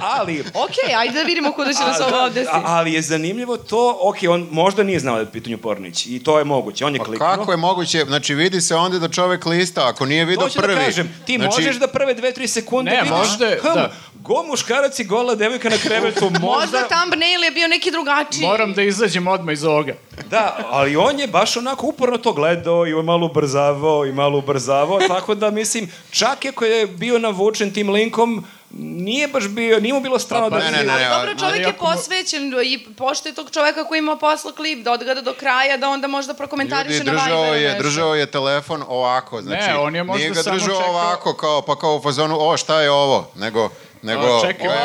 D: Ali,
B: Okej, ajde da vidimo kuda će nas
D: A,
B: ovo
D: da,
B: odvesti.
D: a- ali je zanimljivo to, ok, on možda nije znao da je u pitanju Pornić i to je moguće, on je
C: Pa
D: kliknuo.
C: kako je moguće? Znači, vidi se onda da čovek lista, ako nije video
D: To ću
C: prvi.
D: da kažem, ti
C: znači,
D: možeš da prve dve, tri sekunde
A: Ne,
D: vidiš,
A: možda je-
D: hm,
A: da.
D: go muškarac i gola devojka na krevetu, možda,
B: Možda thumbnail je bio neki drugačiji.
A: Moram da izađem odmah iz ovoga.
D: da, ali on je baš onako uporno to gledao i on malo ubrzavao i malo ubrzavao, tako da mislim, čak i ako je bio navučen tim linkom, nije baš bio, nije mu bilo strano
A: Pa, pa,
D: da...
C: Ne, ne, ne.
B: Ali
C: a-
B: dobro, čovjek
A: ali
B: je
A: ako mo-
B: posvećen i poštuje tog čovjeka koji ima posla klip, da odgleda do kraja, da onda možda prokomentariše
C: Ljudi,
B: na Viberu
C: držao je,
B: nešto.
C: držao je telefon ovako, znači,
A: on je možda
C: nije ga
A: samo
C: držao
A: čekao-
C: ovako, kao, pa kao u fazonu, o, šta je ovo, nego, nego,
A: O, čekaj,
C: ovo je-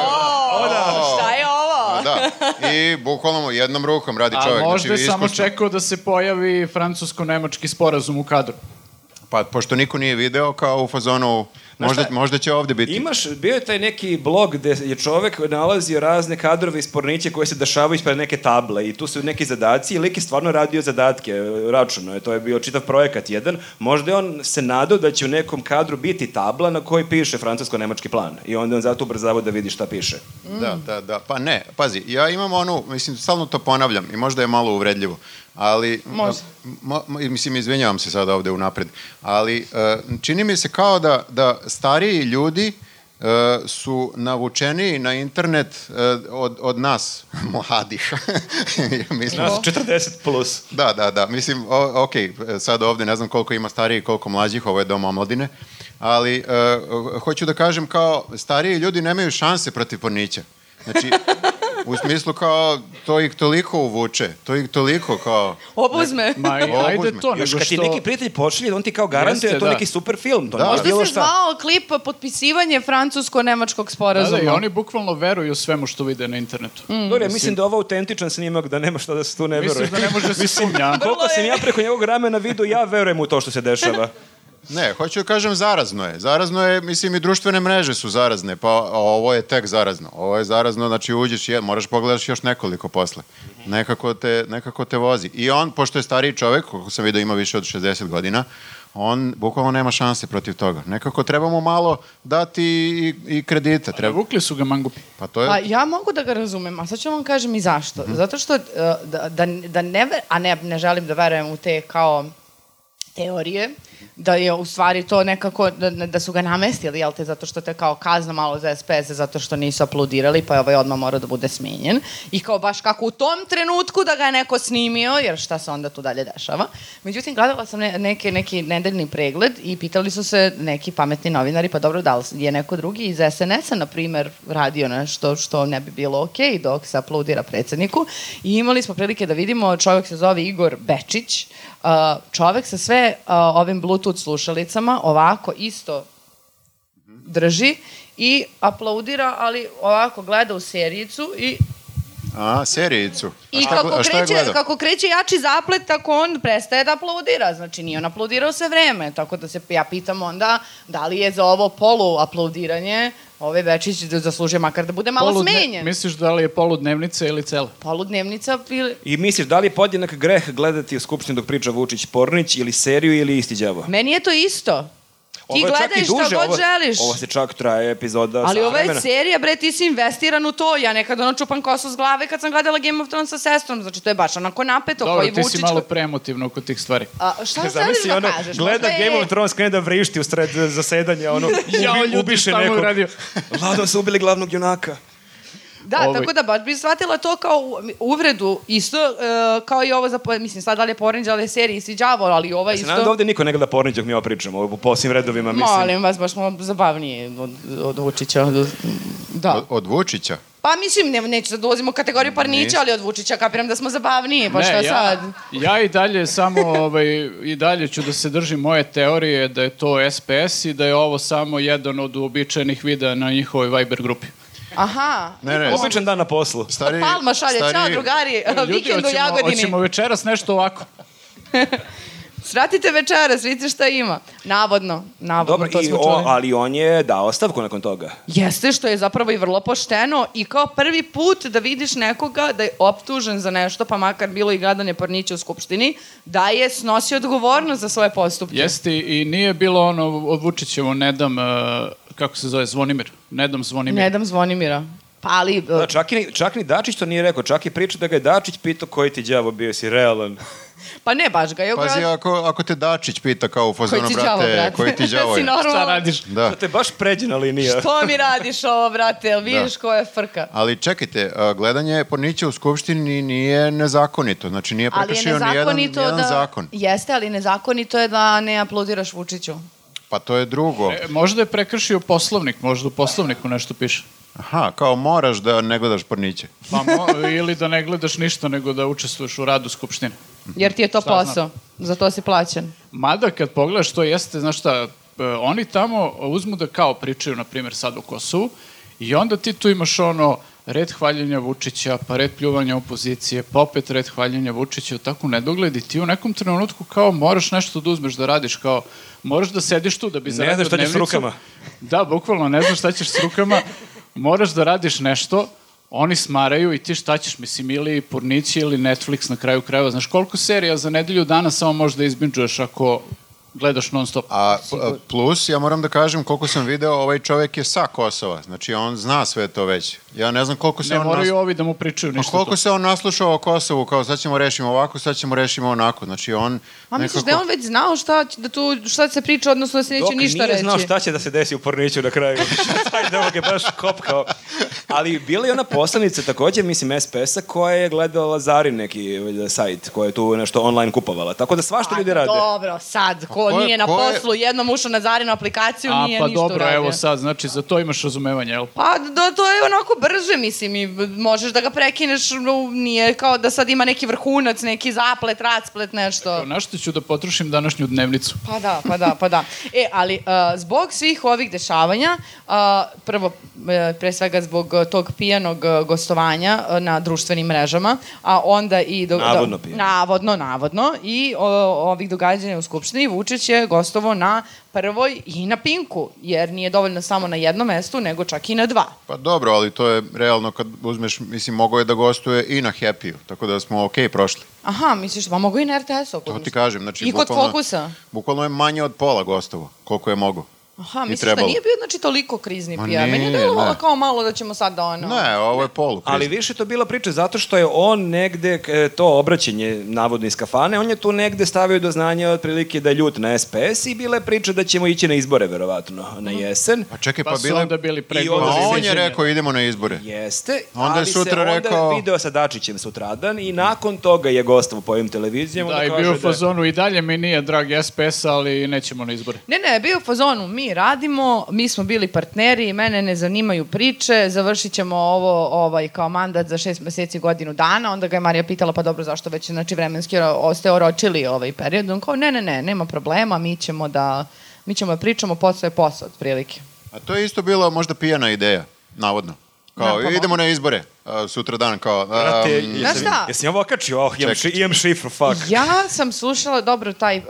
B: O,
A: da.
B: šta je ovo?
C: da, i bukvalno mu jednom rukom radi
A: A
C: čovjek,
A: možda je
C: znači,
A: samo
C: iskusno.
A: čekao da se pojavi francusko-nemački sporazum u kadru.
C: Pa, pošto niko nije video, kao u fazonu, možda,
D: šta?
C: možda će ovde biti.
D: Imaš, bio je taj neki blog gde je čovek nalazio razne kadrove iz pornića koje se dešavaju ispred neke table i tu su neki zadaci i lik je stvarno radio zadatke, e, računao je, to je bio čitav projekat jedan. Možda je on se nadao da će u nekom kadru biti tabla na kojoj piše francusko-nemački plan i onda je on zato ubrzavao da vidi šta piše.
C: Da, da, da. Pa ne, pazi, ja imam onu, mislim, stalno to ponavljam i možda je malo uvredljivo, ali... eh,
B: Može.
C: Mo, mo- mislim, izvinjavam se sada ovde unapred, ali e, čini mi se kao da, da stariji ljudi e, su navučeni na internet e, od, od nas, mladih. Ja mislim,
D: Nas 40 plus.
C: Da, da, da. Mislim, o, ok, sad ovde ne znam koliko ima stariji, koliko mlađih, ovo je dom omladine, ali e, hoću da kažem kao stariji ljudi nemaju šanse protiv pornića. Znači, u smislu kao to ih toliko uvuče, to ih toliko kao...
B: Obuzme.
A: Ma, i-
C: Ovo
A: ajde
C: uzmi.
A: to,
D: Još
A: nego
D: kad ti
A: što...
D: neki prijatelj pošalje, on ti kao garantuje
A: Jeste,
D: da je to
A: da.
D: neki super film. To
C: Da.
D: da.
B: Možda
C: Možda
D: bilo
B: se
D: šta.
B: zvao klip potpisivanje francusko-nemačkog
A: Da,
B: sporazuma.
A: da, i oni bukvalno veruju svemu što vide na internetu.
B: Mm.
D: Dobro, ja mislim da je ovo autentičan snimak, da nema šta da se tu ne veruje.
A: Misliš da ne može da se sumnja?
D: Koliko
B: Vrlo je-
D: sam ja preko njegovog ramena vidio, ja verujem u to što se dešava.
C: Ne, hoću da kažem zarazno je. Zarazno je, mislim, i društvene mreže su zarazne, pa ovo je tek zarazno. Ovo je zarazno, znači uđeš i moraš pogledaš još nekoliko posle. Nekako te, nekako te vozi. I on, pošto je stariji čovek, kako sam vidio ima više od 60 godina, on bukvalno nema šanse protiv toga. Nekako treba mu malo dati i, i kredita. Treba,
A: Prevukli su ga mangupi.
C: pa to je...
B: Pa ja mogu da ga razumem, a sad ću vam kažem i zašto.
A: Mhm.
B: Zato što, e, da, da, da ne, ver, a ne, ne želim da verujem u te kao teorije, da je u stvari to nekako, da, da su ga namestili, jel te, zato što te kao kazna malo za SPS, zato što nisu aplodirali, pa je ovaj odmah morao da bude smenjen. I kao baš kako u tom trenutku da ga je neko snimio, jer šta se onda tu dalje dešava. Međutim, gledala sam ne, neke, neki nedeljni pregled i pitali su se neki pametni novinari, pa dobro, da li je neko drugi iz SNS-a, na primer, radio nešto što ne bi bilo okej dok se aplaudira predsedniku. I imali smo prilike da vidimo, čovjek se zove Igor Bečić, uh, čovjek sa sve uh, ovim Bluetooth slušalicama, ovako isto drži i aplaudira, ali ovako gleda u serijicu i
C: A, serijicu. A
B: I
C: šta gle-
B: kako
C: a šta je
B: kreće,
C: gledao?
B: kako kreće jači zaplet, tako on prestaje da aplaudira. Znači, nije on aplaudirao sve vreme. Tako da se ja pitam onda da li je za ovo polu aplaudiranje ovaj Bečić da zaslužio makar da bude malo
A: Poludne-
B: smenjen.
A: Misliš da li je poludnevnica ili cela?
B: Poludnevnica ili...
D: I misliš, da li je podjednak greh gledati u skupštini dok priča Vučić Pornić ili seriju ili isti đavo?
B: Meni je to isto. Ti
D: Ovo je čak i
B: gledaš šta god
D: ovo,
B: želiš.
D: Ovo se čak traje epizoda
B: Ali
D: sat
B: ovo je
D: Pa vremena.
B: serija, bre, ti si investiran u to. Ja nekad ono čupam kosu s glave kad sam gledala Game of Thrones sa sestrom. Znači, to je baš onako napeto.
A: Dobro,
B: koji
A: ti si
B: Vučić-
A: malo preemotivno oko tih stvari.
B: A, šta želiš
D: Zamisli
B: da
D: ono,
B: kažeš?
D: gleda
B: Možda je-
D: Game of Thrones, krene da vrišti u sred zasedanja, ono,
A: Ja,
D: ubi-
A: ljudi,
D: ubiše
A: šta mu je
D: nekog.
A: uradio?
D: Vladom su ubili glavnog junaka.
B: Da,
A: Ovaj-
B: tako da baš bi shvatila to kao u- uvredu, isto e, kao i ovo za, po- mislim, sad da li je Poranđa, ali je serija isti đavo, ali ova
D: Se
B: E, isto...
D: nadam da ovde niko ne gleda Pornić dok mi ovo pričamo, u posljednjim redovima, mislim.
B: Molim vas, baš smo zabavniji od, od Vučića. Od, da.
C: Od, od Vučića?
B: Pa mislim, ne, neću sad da ulazim u kategoriju Parnića,
C: Nis-
B: ali od Vučića kapiram da smo zabavniji, pa šta sad?
A: ja i dalje samo, ovaj, i dalje ću da se držim moje teorije da je to SPS i da je ovo samo jedan od uobičajenih videa na njihovoj Viber grupi.
B: Aha.
C: Ne, ne,
D: Običan dan na poslu.
C: stari...
B: Palma šalje,
C: stari-
B: čao drugari, E, vikend u
A: hoćemo,
B: Jagodini.
A: hoćemo večeras nešto ovako.
B: Sratite večeras, vidite šta ima. Navodno, navodno,
D: Dobro,
B: to
D: i
B: smo
D: o,
B: čuli.
D: ali on je dao ostavku nakon toga.
B: Jeste što je zapravo i vrlo pošteno i kao prvi put da vidiš nekoga da je optužen za nešto, pa makar bilo i gadanje porniće u skupštini, da je snosio odgovornost za svoje postupke.
A: Jeste i nije bilo ono od Vučićevo ne dam, e, kako se zove, Zvonimir. Ne dam Zvonimir.
B: Ne dam Zvonimira. Pa ali...
D: Da, čak, i, čak ni Dačić to nije rekao, čak i priča da ga je Dačić pitao koji ti đavo bio si realan.
B: Pa ne, baš ga je
C: Pazi,
B: ogra-
C: ako, ako te Dačić pita kao u
B: Koji
C: fazonu,
B: ti đavo,
C: brate,
B: brate?
C: koji ti đavo
B: Si
C: je.
B: normalan?
A: Šta radiš?
C: Da.
D: To je baš pređena linija.
B: To mi radiš ovo, brate, jel vidiš
C: Da.
B: koja je frka?
C: Ali čekajte, a, gledanje pornića u skupštini nije nezakonito, znači nije
B: Ali je
C: prekršio ni jedan,
B: nezakonito
C: jedan
B: da...
C: zakon.
B: Jeste, ali nezakonito je da ne aplaudiraš Vučiću.
C: Pa to je drugo.
A: E, možda je prekršio poslovnik, možda u poslovniku nešto piše.
C: Aha, kao moraš da ne gledaš porniće.
A: Pa mo, ili da ne gledaš ništa nego da učestvuješ u radu skupštine.
B: Jer ti je to
A: znam?
B: posao. Za to si plaćen.
A: Mada kad pogledaš to jeste, znaš šta, e, oni tamo uzmu da kao pričaju, na primjer, sad o Kosovu, i onda ti tu imaš ono red hvaljenja Vučića, pa red pljuvanja opozicije, pa opet red hvaljenja Vučića, tako u nedogled i ti u nekom trenutku kao moraš nešto da uzmeš da radiš, kao moraš da sediš tu da bi
D: znaš
A: zaradio
D: šta ćeš s
A: dnevnicu.
D: rukama.
A: Da, bukvalno ne znaš šta ćeš s rukama, moraš da radiš nešto, oni smaraju i ti šta ćeš, mislim, ili pornići ili Netflix na kraju krajeva. Znaš, koliko serija za nedelju dana samo možeš da izbinđuješ ako gledaš non stop.
C: A p- a, plus, ja moram da kažem koliko sam video, ovaj čovek je sa Kosova, znači on zna sve to već. Ja ne znam koliko se
A: ne
C: on... nas-
A: moraju ovi da mu pričaju
C: A
A: ništa.
C: koliko
A: to.
C: se on naslušao o Kosovu, kao sad ćemo rešimo ovako, sad ćemo rešimo onako. Znači on
B: A misliš da je on već znao šta, će- da tu, šta se priča, odnosno da se neće
D: Dok
B: ništa
D: nije
B: reći?
D: znao šta će da se desi u Porniću na kraju. Taj devog je baš kopkao. Ali bila je ona poslanica takođe, mislim, SPS-a koja je gledala Zarin neki valjda, sajt koja je tu nešto online kupovala. Tako da svašta
B: Pa
D: ljudi rade.
B: Dobro, sad, ko,
C: ko je-
B: nije na
C: ko je-
B: poslu, jednom ušao na Zarinu aplikaciju,
A: A
B: nije
A: pa
B: ništa
A: dobro,
B: uradio.
A: evo sad, znači za to imaš razumevanje, jel?
B: Pa da, to je onako brže, mislim, i b- možeš da ga prekineš, no, nije kao da sad ima neki vrhunac, neki zaplet, rasplet, nešto.
A: Na što ću da potrošim današnju dnevnicu?
B: Pa da, pa da, pa da. E, ali uh, zbog svih ovih dešavanja, uh, prvo, e, pre svega zbog uh, tog pijanog uh, gostovanja uh, na društvenim mrežama, a onda i... Do,
D: Navodno
B: do,
D: pijan.
B: Navodno, navodno. I o, ovih događanja u Skupštini Vučić je gostovo na prvoj i na pinku, jer nije dovoljno samo na jednom mestu, nego čak i na dva.
C: Pa dobro, ali to je realno kad uzmeš, mislim, mogao je da gostuje i na Happy-u, tako da smo okej prošli.
B: Aha, misliš, pa mogu i na RTS-u.
C: To ti kažem, znači
B: I kod
C: bukvalno-
B: Fokusa?
C: Bukvalno je manje od pola gostovo, koliko je mogo.
B: Aha,
C: I
B: misliš da
C: trebalo.
B: nije bio znači, toliko krizni
C: Ma
B: PR? Meni je
C: nije,
B: delo
C: ne.
B: kao malo da ćemo sad da ono...
C: Ne, ovo je polu.
D: Ali više je to bila priča zato što je on negde, e, to obraćanje navodno iz kafane, on je tu negde stavio do znanja otprilike da je ljut na SPS i bila je priča da ćemo ići na izbore verovatno na jesen.
C: Pa čekaj,
A: Pa,
C: pa,
A: su
C: bila...
A: onda bili
D: onda
A: pregovori.
C: Pa on je
A: izviđenja.
C: rekao idemo na izbore.
D: Jeste,
C: Onda je
D: ali
C: sutra
D: se onda
C: rekao-
D: video sa Dačićem sutradan i nakon toga je gostavo po ovim televizijama.
A: Da, i
D: kaže
A: bio u fazonu i dalje mi nije drag SPS, ali nećemo na izbore.
B: Ne, ne, bio je u fazonu, mi radimo, mi smo bili partneri, mene ne zanimaju priče, završit ćemo ovo ovaj, kao mandat za šest meseci godinu dana, onda ga je Marija pitala, pa dobro, zašto već, znači vremenski ro- o- ste oročili ovaj period, on kao, ne, ne, ne, nema problema, mi ćemo da, mi ćemo da pričamo, posao je posao, otprilike.
C: A to je isto bila možda pijana ideja, navodno. Kao,
B: Da, pa
C: idemo na izbore, a, sutra dan, kao...
D: Brate,
C: am,
D: jesam-
B: Znaš šta?
D: Jesam ja ovo okačio? Oh, imam, ši,
C: Čekaj.
D: imam šifru, fuck.
B: Ja sam slušala dobro taj uh,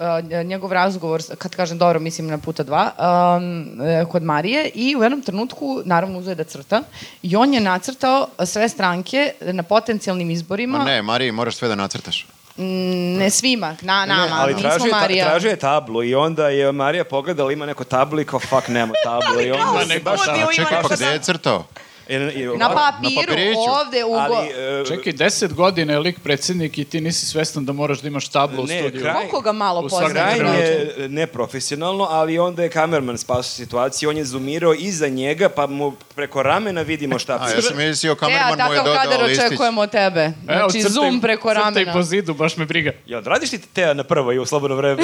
B: njegov razgovor, s- kad kažem dobro, mislim na puta dva, um, e, kod Marije i u jednom trenutku, naravno, uzeo je da crta i on je nacrtao sve stranke na potencijalnim izborima,
C: Ma ne, Mariji, moraš sve da nacrtaš.
B: Mm, ne svima, na nama,
D: ali
B: mi
D: tražio,
B: smo
D: je ta-
B: Marija.
D: tražio je tablu i onda je Marija pogledala ima neko tablu i kao fuck nema tablu i onda
A: se baš-
B: sudi,
A: A
B: on ima
C: Čekaj,
B: nešto
C: pa gde je crtao?
D: I- i-
B: Na
C: Na
B: papiru,
C: papiriću.
B: ovde, u...
D: ali,
B: go-
D: e,
A: Čekaj, deset godina je lik predsednik i ti nisi svestan da moraš da imaš tablu u
D: Ne,
A: studiju.
D: kraj-
B: Koliko ga malo
A: U
B: poznaje? znači?
A: svakom
D: Kraj
A: trenutku.
D: je neprofesionalno, ali onda je kamerman spasao situaciju, on je zoomirao iza njega, pa mu preko ramena vidimo šta
C: A, ja
D: piše.
C: sam
B: E,
C: mislio,
B: a
C: kamerman mu je
B: takav kader
C: dodao listić.
B: očekujemo od tebe.
A: Evo,
B: Znači,
A: crtaj-
B: zoom preko
A: Crtaj
B: ramena.
A: po zidu, baš me briga.
D: Jel, radiš ti Teja na prvo i u slobodno vreme?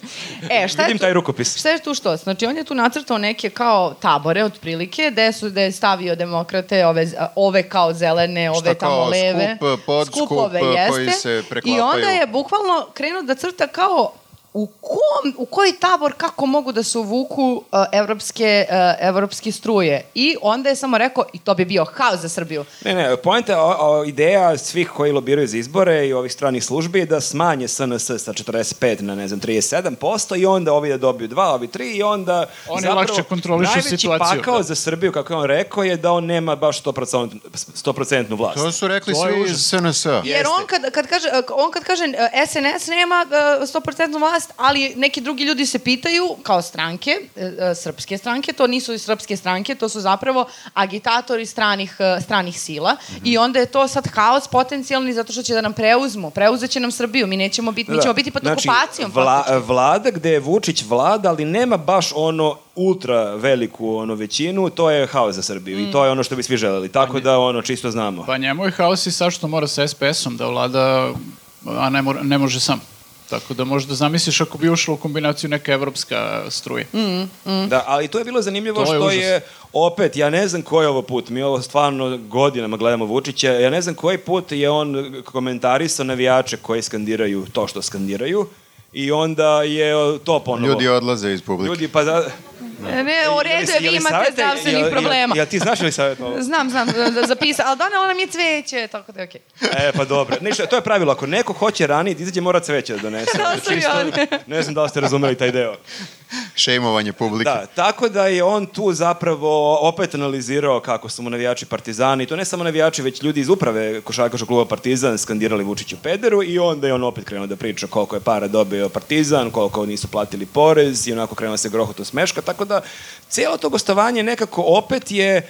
B: E, šta je
D: Vidim
B: tu,
D: taj rukopis.
B: šta je tu što? Znači, on je tu nacrtao neke kao tabore, otprilike, gde su, gde je stavio demokrate, ove, z- ove kao zelene, ove
C: Šta kao
B: tamo leve.
C: skup, podskup,
B: Skupove,
C: koji
B: jeste.
C: se
B: I
C: preklapaju.
B: onda je bukvalno krenuo da crta kao u, kom, u koji tabor kako mogu da se uvuku uh, evropske, uh, evropske struje. I onda je samo rekao, i to bi bio haos za Srbiju.
D: Ne, ne, pojenta, o, o, ideja svih koji lobiraju za izbore i ovih stranih službi je da smanje SNS sa 45 na, ne znam, 37% i onda ovi da dobiju 2, ovi 3 i onda...
A: Oni lakše kontrolišu situaciju,
D: Najveći pakao
A: da.
D: za Srbiju, kako je on rekao, je da on nema baš 100%, 100% vlast.
C: To su rekli
A: To je
C: svi
A: užas.
C: iz SNS-a.
B: Jer on kad, kad kaže, uh, on kad kaže uh, SNS nema uh, 100% vlast, ali neki drugi ljudi se pitaju, kao stranke, uh, uh, srpske stranke, to nisu i srpske stranke, to su zapravo agitatori stranih, uh, stranih sila
D: Mhm.
B: i onda je to sad haos potencijalni zato što će da nam preuzmu, preuzeće nam Srbiju, mi nećemo biti, mi ćemo biti pod okupacijom. faktički.
D: Da. Znači, Vla, vlada gde je Vučić vlada, ali nema baš ono ultra veliku ono većinu, to je haos za Srbiju
B: Mm.
D: i to je ono što bi svi želeli. Tako da ono čisto znamo.
A: Pa njemu je haos i sad što mora sa SPS-om da vlada, a ne, mora, ne može sam. Tako da možda zamisliš ako bi ušlo u kombinaciju neka evropska struja.
B: Mm.
D: Da, ali to je bilo zanimljivo
A: To je
D: što
A: užas.
D: je opet, ja ne znam koji je ovo put, mi ovo stvarno godinama gledamo Vučića, ja ne znam koji put je on komentarisao navijače koji skandiraju to što skandiraju i onda je to ponovo.
C: Ljudi odlaze iz publike.
D: Ljudi, pa da...
B: E, Ne, u
D: Jel-
B: redu je,
D: jel-
B: vi
D: jel-
B: imate
D: savete-
B: zdravstvenih
D: jel- jel-
B: problema.
D: Jel ti znaš li savjet ovo?
B: Znam, znam, da- da zapisa, ali donela nam je cveće, tako da je okej.
D: E, pa dobro. Ništa, to je pravilo. Ako neko hoće ranije, da izađe, mora cveće da donese.
B: Da, sam ja.
D: ne znam da li ste razumeli taj deo.
C: Šejmovanje publike.
D: Da, tako da je on tu zapravo opet analizirao kako su mu navijači Partizani, to ne samo navijači, već ljudi iz uprave košarkaškog kluba Partizan skandirali Vučiću pederu i onda je on opet krenuo da priča koliko je para dobio Partizan, koliko nisu platili porez i onako krenuo se grohot u smeška, tako da cijelo to gostovanje nekako opet je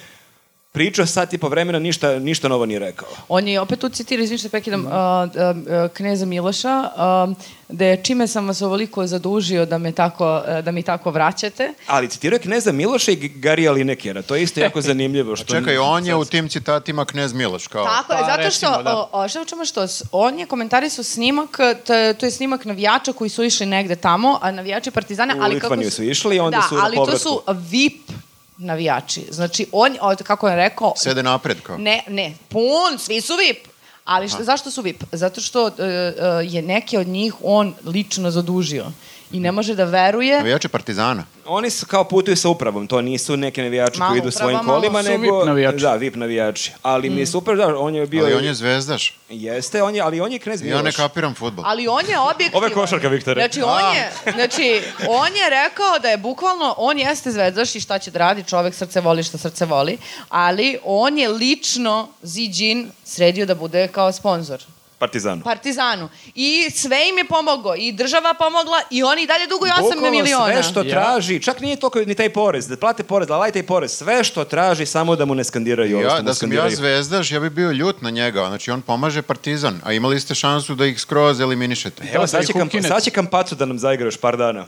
D: pričao sat i po vremena, ništa, ništa novo nije rekao.
B: On je opet tu citirao, izvinite, prekidam, a, a, a, kneza Miloša, a, da je čime sam vas ovoliko zadužio da, me tako, a, da mi tako vraćate.
D: Ali citirao je Kneza Miloša i Garija Linekera. To je isto jako zanimljivo. Što
C: Čekaj, on je u tim citatima knez Miloš, kao...
B: tako je,
A: pa,
B: zato što,
A: recimo, da.
B: o, o, šta u čemu što, s- on je komentarisao snimak, to, to je snimak navijača koji su išli negde tamo, a navijači Partizana,
D: U
B: ali
D: Litvaniju
B: kako
D: su išli, onda
B: da,
D: su na
B: ali to
D: povratku.
B: su VIP navijači. Znači, on, o, kako je rekao,
C: Sede napred, kao.
B: Ne, ne, pun, svi su VIP. Ali šta, zašto su VIP? Zato što e, e, je neke od njih on lično zadužio i ne može da veruje.
C: Navijače Partizana.
D: Oni su kao putuju sa upravom, to nisu neki navijači
B: Malo
D: koji idu
B: uprava,
D: svojim
B: malo
D: kolima,
A: su
D: nego...
A: VIP navijači.
D: Da, VIP navijači. Ali mi je super, da, on je bio...
C: Ali on je zvezdaš.
D: Jeste, on je, ali on je knez
C: Ja
D: Miloš.
C: ne kapiram futbol.
B: Ali on je objektivan.
D: Ove košarke, Viktore.
B: Znači, on je, znači, on je rekao da je bukvalno, on jeste zvezdaš i šta će da radi, čovek srce voli što srce voli, ali on je lično Ziđin sredio da bude kao sponsor.
D: Partizanu.
B: Pa, Partizanu. I sve im je pomogao. I država pomogla i oni i dalje duguju 8
D: Bukvalno
B: miliona.
D: sve što
A: Ja.
D: traži, čak nije toliko ni taj porez, da plate porez, da laj taj porez, sve što traži samo da mu ne skandiraju ovo što
C: Ja,
D: mu
C: da sam ja
D: skandiraju.
C: zvezdaš, ja bi bio ljut na njega. Znači, on pomaže Partizan, a imali ste šansu da ih skroz eliminišete.
D: Evo,
A: Da, da
D: sad
A: ih
D: će, kam,
A: ukinete.
D: sad će Kampacu da nam zaigra još par dana.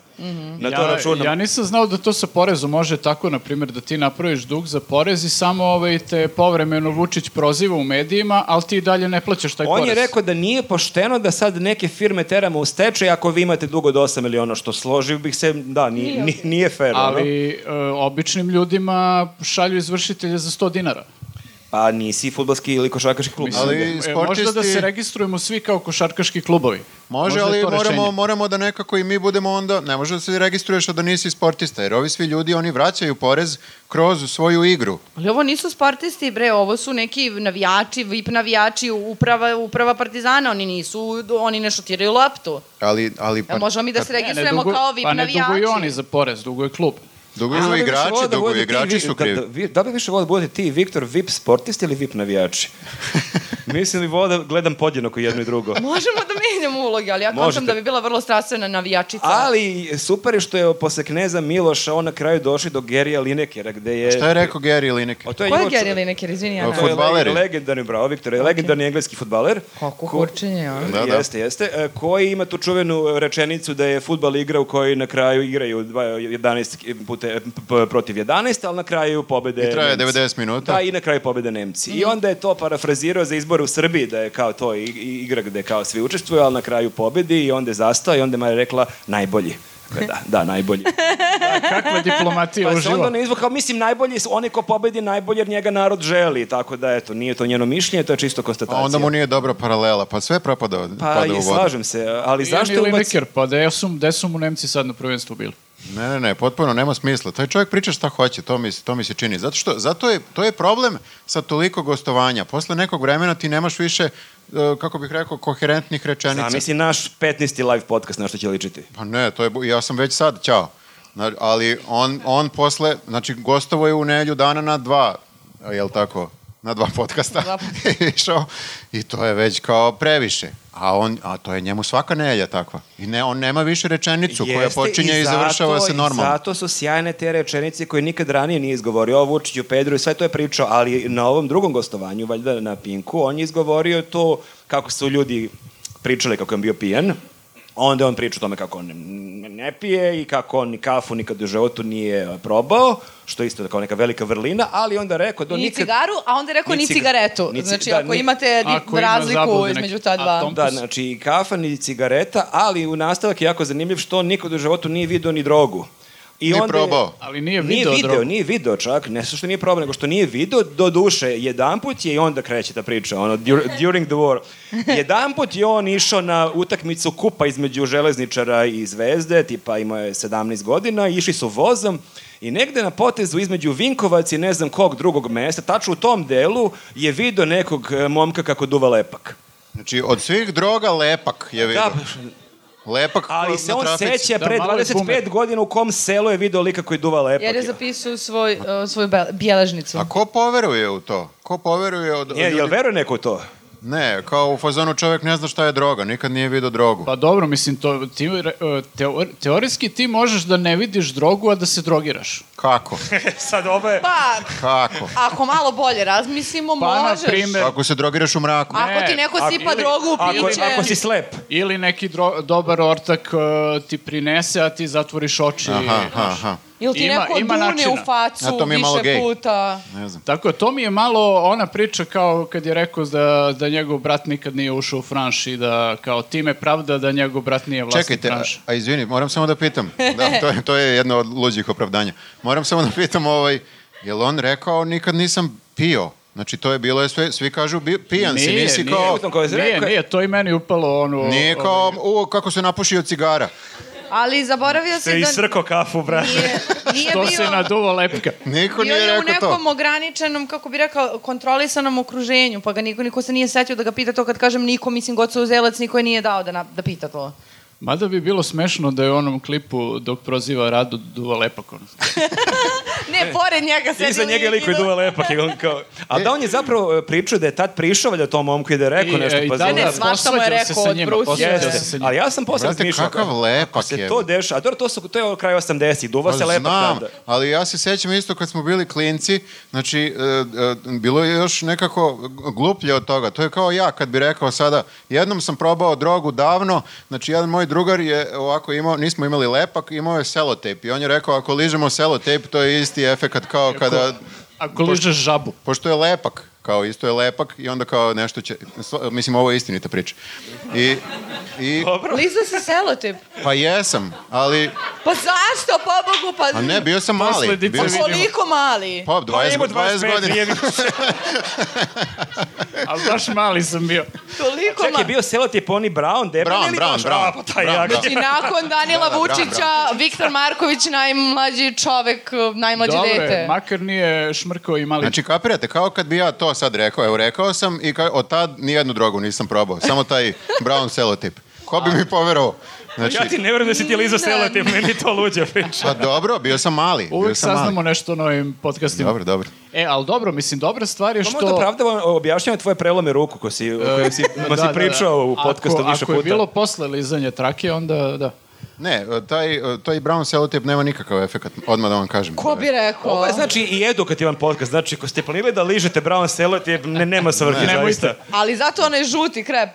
D: Na to računam.
A: Ja nisam znao da to sa porezom može tako, na primjer, da ti napraviš dug za porez i samo ovaj, te povremeno Vučić proziva u medijima, ali ti dalje ne plaćaš taj
D: On
A: porez.
D: je rekao da nije pošteno da sad neke firme teramo u stečaj ako vi imate dugo od 8 miliona, što složio bih se, da, nije, nije, nije, fair. ono.
A: Ali e, običnim ljudima šalju izvršitelje za 100 dinara.
D: Pa nisi futbalski ili košarkaški klub.
A: Mislim,
C: Ali
A: da- e, Možda da
C: sportisti-
A: se registrujemo svi kao košarkaški klubovi.
C: Može,
A: Možda je
C: ali
A: to
C: moramo,
A: rešenje.
C: moramo da nekako i mi budemo onda, ne može da se registruješ a da nisi sportista, jer ovi svi ljudi, oni vraćaju porez kroz svoju igru.
B: Ali ovo nisu sportisti, bre, ovo su neki navijači, VIP navijači, uprava, uprava Partizana, oni nisu, oni ne šutiraju loptu.
C: Ali, ali
B: Jel možemo mi da se
A: Pa, Ne, ne
B: registrujemo
A: dugu-
B: kao VIP
A: Pa ne
B: navijači?
A: duguju oni za porez, duguje klub.
D: A, da
C: duguju
D: bi više volao
C: igrači,
D: da
C: duguju
D: budete ti
C: igrači
D: vi-
C: su
D: da-
C: krivi.
D: Da, vi- da bi više volao da budete ti, Viktor, VIP sportisti ili VIP navijači? Mislim da bi volao da gledam podjednako jedno i drugo.
B: Možemo da menjamo uloge, ali ja kontam
D: Možete.
B: da bi bila vrlo strastvena navijačica.
D: Ali super je što je posle Kneza Miloša on na kraju došli do Gerija Linekera, gde je...
C: Šta je rekao Gary Lineker?
D: A
A: da,
D: to
B: Ko je
D: njegov čo-
B: Geri Lineker, izvini, Ana?
C: Fut-
D: To je
C: Fudbaleri.
D: le- Ovaj legendarni, bravo Viktor, je legendarni engleski futbaler.
B: Kako
D: Ko-
B: kurčenje, a?
C: Da, da.
D: Jeste, jeste. E, Koji ima tu čuvenu rečenicu da je futbal igra u kojoj na kraju igraju dva- 11 pute, p- p- protiv 11, ali na kraju pobede
C: I traje
D: Nemci.
C: 90 minuta.
D: Da, i na kraju pobede Nemci. I onda je to parafrazirao za izbor u Srbiji, da je kao to i- i- igra gde kao svi učestvuju, ali na kraju pobedi i onda je zastao i onda je Maja rekla najbolji. Tako je, Da, da, najbolji.
A: Pa Kakva diplomatija
D: Pa se onda
A: uživo.
D: ne izvukao, mislim, najbolji, su oni ko pobedi najbolje, jer njega narod želi. Tako da, eto, nije to njeno mišljenje, to je čisto
C: Pa
D: konstatacija.
C: onda mu nije dobra paralela, pa sve propada,
D: Pa,
C: pada u
D: i
C: vodu.
D: slažem se, ali
A: Zašto
D: zašto
A: je
D: je ubac...
A: Lineker? Pa gde su, gde su mu Nemci sad na prvenstvu bili?
C: Ne, ne, ne, potpuno nema smisla. Taj čovjek priča šta hoće, to mi, se- to mi se čini. Zato što, zato je, to je problem sa toliko gostovanja. Posle nekog vremena ti nemaš više, e, kako bih rekao, koherentnih rečenica.
D: Zamisli naš 15. live podcast, na što će ličiti.
C: Pa ne, to je, bu- ja sam već sad, ćao. Na- Ali on, on posle, znači gostovo je u nelju dana na dva, jel tako? Na dva podcasta
B: Dva
C: išao i to je već kao previše. A, on, a to je njemu svaka nelja takva. I ne, on nema više rečenicu koja
D: Jeste,
C: počinje i,
D: zato-
C: završava se
D: i
C: normalno.
D: zato su sjajne te rečenice koje nikad ranije nije izgovorio. O Vučiću, Pedru i sve to je pričao, ali na ovom drugom gostovanju, valjda na Pinku, on je izgovorio to kako su ljudi pričali kako je on bio pijan. Onda je on priča o tome kako on ne- ne pije i kako on ni kafu nikad u životu nije e, probao, što je isto kao neka velika vrlina, ali onda rekao da
B: Ni
D: on nikad...
B: cigaru, a onda je rekao
D: Ni
B: ni
D: ciga-
B: cigaretu.
D: ni ci-
B: znači,
D: da,
B: ako
D: ni-
B: imate di-
A: Ako ima
B: razliku
A: zablude
B: između
A: neke.
B: ta dva.
A: A tom-
D: Da, znači i kafa ni cigareta, ali u nastavak je jako zanimljiv što on nikad u životu nije video ni drogu. I
C: Nije
D: onda je-
C: probao.
A: Ali nije
D: Nije
A: video,
D: video,
A: drogu.
D: nije video čak, ne što što nije problem, nego što nije video, do duše, jedan put je i onda kreće ta priča, ono, dur- during the war. Jedan put je on išao na utakmicu kupa između železničara i zvezde, tipa imao je 17 godina, išli su vozom i negde na potezu između Vinkovac i ne znam kog drugog mesta, tačno u tom delu je video nekog e, momka kako duva lepak.
C: Znači, od svih droga lepak je vidio.
D: Da,
C: Lepak
D: ali
C: ko-
D: se
C: na
D: on
C: trafici.
D: seća
A: Da,
D: pre
A: malo je
D: 25
A: boomer.
D: godina u kom selu je video lika koji duva lepak.
B: Jer je zapisao svoj, uh, svoju bel- bjeležnicu.
C: A ko poveruje u to? Ko poveruje od, od
D: Je, jel
C: ljudi?
D: veruje neko u to?
C: Ne, kao u fazonu čovjek ne zna šta je droga, nikad nije vidio drogu.
A: Pa dobro, mislim, to, ti, re- teor, teorijski ti možeš da ne vidiš drogu, a da se drogiraš.
C: Kako?
D: Sad ovo je...
B: Pa,
C: Kako?
B: ako malo bolje razmislimo,
A: Pa, na
B: možeš.
A: primer-
C: Ako se drogiraš u mraku.
A: A-
B: Ako ti
A: Ne,
B: neko
D: Ako-
B: sipa
D: ili-
B: drogu u
D: ako-
B: piće...
D: Ako si slep.
A: Ili neki dro, dobar ortak e, ti prinese, a ti zatvoriš oči.
C: Aha,
A: znaš.
C: aha, aha.
B: Ili ti
A: Ima-
B: neko
A: ima
B: dune
A: načina.
B: u facu
C: A to mi je malo
B: više
C: gej.
B: puta.
C: Ne znam.
A: Tako je, to mi je malo ona priča kao kad je rekao da, da njegov brat nikad nije ušao u Franš i da kao time pravda da njegov brat nije vlasnik
C: Čekajte, a,
A: Franša.
C: a izvini, moram samo da pitam. Da, to je, to je jedno od luđih opravdanja. Moram samo da pitam ovaj, je li on rekao nikad nisam pio? Znači to je bilo, je sve, svi kažu bi, pijan si,
A: Nije,
C: nisi
A: nije.
C: kao...
D: Utom koji se
A: Nije,
D: rekao-
A: nije, to i meni upalo ono...
C: Nije kao,
A: ovaj.
C: u, kako se napušio cigara.
B: Ali zaboravio
D: Te
B: si da
D: isrko kafu, brate.
B: nije, nije
A: To
B: bio...
A: se naduva lepka.
C: Niko
B: Bio
C: nije
B: je u
C: rekao
B: nekom
C: to.
B: ograničenom, kako bi rekao, kontrolisanom okruženju, pa ga niko, niko se nije setio da ga pita to kad kažem niko, mislim Goca Uzelac, niko je nije dao da, na, da pita to.
A: Mada bi bilo smešno da je u onom klipu dok proziva Radu duva lepak. ono. E.
B: Ne, pored njega se...
D: Iza njega liko je duva lepak. I on kao... A da on je zapravo e, pričao da je tad prišao valjda tom momku i da je rekao
A: I,
D: nešto.
A: e, i
D: Pa
B: Ne,
A: tada
B: ne,
D: znam.
B: svašta mu je
A: posvađao se
B: rekao
A: sa
B: od
A: njima,
B: Bruce.
A: posvađao se
D: Jeste,
A: sa njima.
D: ali ja sam posle
C: Brate,
D: razmišljao.
C: kakav
D: kao, Ako
C: lepak
D: se
C: je.
D: to deša, a dobro, to, su, to je kraj 80-ih, duva se
C: Pa
D: lepak
C: znam,
D: tada.
C: ali ja se sjećam isto kad smo bili klinci, znači, e, e, bilo je još nekako gluplje od toga. To je kao ja kad bi rekao sada, jednom sam probao drogu davno, znači jedan moj drugar je ovako imao, nismo imali lepak, imao je selotejp i on je rekao ako ližemo selotejp to je isti efekat kao
D: E,
C: kada,
D: pa.
A: Ako ližeš žabu.
C: pošto je lepak, kao isto je lepak i onda kao nešto će, sva- mislim ovo je istinita priča. I, i
B: Liza se selotip.
C: pa jesam, ali,
B: Pa zašto, pobogu, pa...
C: a ne, bio sam mali.
A: Posledice
C: Bio sam,
A: vidimo.
B: Koliko mali?
C: pa, 20,
D: Ima
C: 20 godina.
D: nije bio-
A: Ali baš mali sam bio.
B: Toliko
D: Čak
B: mali.
D: je bio selotip oni Brown, Debra
C: Brown,
D: ili
C: Brown,
D: baš-
C: Brown.
D: A, pa taj
C: Brown,
D: jak.
C: da.
B: I nakon Danila
C: Da, da, bravo,
B: Vučića, Viktor Marković, najmlađi čovek, najmlađe
A: Dobro je,
B: dete.
A: makar nije šmrkao i mali.
C: Znači, kapirate, kao kad bi ja to sad rekao, evo rekao sam i ka, od tad nijednu drogu nisam probao, samo taj brown selotip. Ko bi mi poverovao? Znači,
D: Ja ti ne vjerujem da si ti Liza selotip, meni je to luđa priča.
C: pa dobro, bio sam mali. bio
A: Uvijek
C: sam mali.
A: saznamo nešto o novim podcastima.
C: Dobro, da. dobro.
A: E, ali dobro, mislim, dobra stvar je
D: To
A: što...
D: Pa možda opravdava objašnjavanje tvoje prelome ruku ko si, ko si, ko si
A: Da, da,
D: pričao u
A: da.
D: podcastu
A: Ako-
D: više
A: Ako
D: puta.
A: je bilo posle lizanje trake, onda da.
C: Ne, taj, taj brown selotip nema nikakav efekt, odmah da vam kažem.
B: Ko bi rekao?
D: Ovo je znači i edukativan podcast, znači ako ste planirali da ližete brown selotip, ne, nema svrhe
A: Ne,
D: zaista.
A: nemojte.
B: Ali zato onaj žuti krep.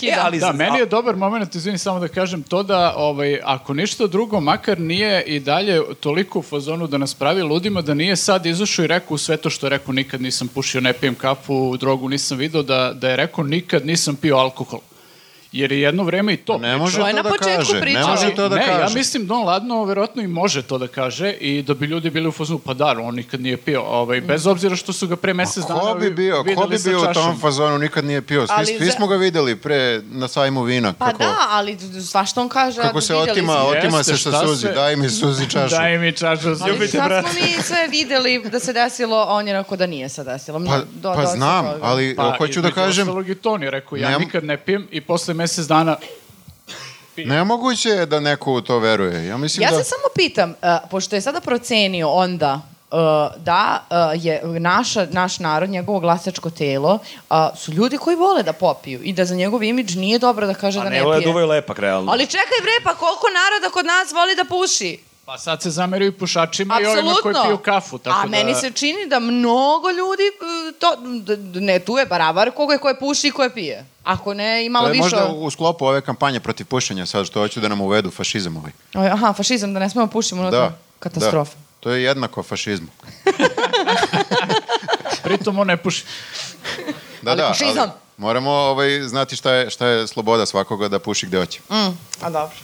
B: Kida.
D: E, ali
A: Da,
D: za-
A: meni je
D: a-
A: dobar moment, izvini samo da kažem, to da ovaj, ako ništa drugo, makar nije i dalje toliko u fazonu da nas pravi ludima, da nije sad izašao i rekao sve to što je rekao, nikad nisam pušio, ne pijem kafu, drogu nisam video, da, da je rekao nikad nisam pio alkohol. Jer je jedno vreme i to.
C: Ne može
B: To
C: to,
B: je na
C: da
B: početku
C: kaže.
B: priče.
C: Ne može
B: Ali
C: to da
A: Znači, ne,
C: kaže.
A: ja mislim da on ladno verovatno i može to da kaže i da bi ljudi bili u fazonu, pa da, on nikad nije pio, ovaj,
B: Mm.
A: bez obzira što su ga pre mesec dana
C: Ko bi
A: vi-
C: bio, ko
A: videli
C: bi
A: sa
C: bio u tom
A: čašom.
C: fazonu, nikad nije pio. Svi,
B: Ali
C: svi
B: za-
C: smo ga videli pre na sajmu vina.
B: Pa
C: kako,
B: da, ali svašta on kaže. a
C: Kako se
B: videli
C: otima, ovaj
B: smo.
A: Jeste,
C: otima se
A: šta
C: sa suzi.
A: se-
C: Daj mi suzi čašu.
A: Daj mi čašu.
B: Ali
A: Ljubite,
B: šta
A: brate.
B: smo mi sve videli da se desilo, a on je rekao da nije se desilo.
C: Pa,
B: Mno- do-
C: pa
B: dosta
C: znam,
B: toga.
C: ali hoću da
A: Pa, između
C: kažem,
A: ostalog i to on je rekao, ja
C: Nemam-
A: nikad ne pijem i posle mesec dana
C: nemoguće je da neko u to veruje. Ja mislim
B: Ja
C: da...
B: se samo pitam, uh, pošto je sada procenio onda uh, da uh, je naša, naš narod, njegovo glasačko telo, uh, su ljudi koji vole da popiju i da za njegov imidž nije dobro da kaže
C: Pa
D: A
B: da
D: ne,
B: ne
D: ovo je
B: pije.
D: duvaju lepak, realno.
B: Ali čekaj bre, pa koliko naroda kod nas voli da puši?
A: Pa sad se zameraju i pušačima i ovima koji
B: Apsolutno.
A: piju kafu. Tako
B: A
A: da...
B: meni se čini da mnogo ljudi, uh, to, d- d- ne, tu je barabar koga je koje puši i koje pije. Ako ne, i malo
C: To je
B: više...
C: možda u sklopu ove kampanje protiv pušenja sad što hoću da nam uvedu fašizam ovaj.
B: Oj, Aha, fašizam, da ne smemo pušimo unutra.
C: Da.
B: Katastrofa.
C: Da. To je jednako fašizmu.
A: Pritom on ne puši.
C: Da,
B: Ali
C: da,
B: fašizam.
C: moramo ovaj, znati šta je, šta je sloboda svakoga da puši gde hoće.
B: Mm, a dobro.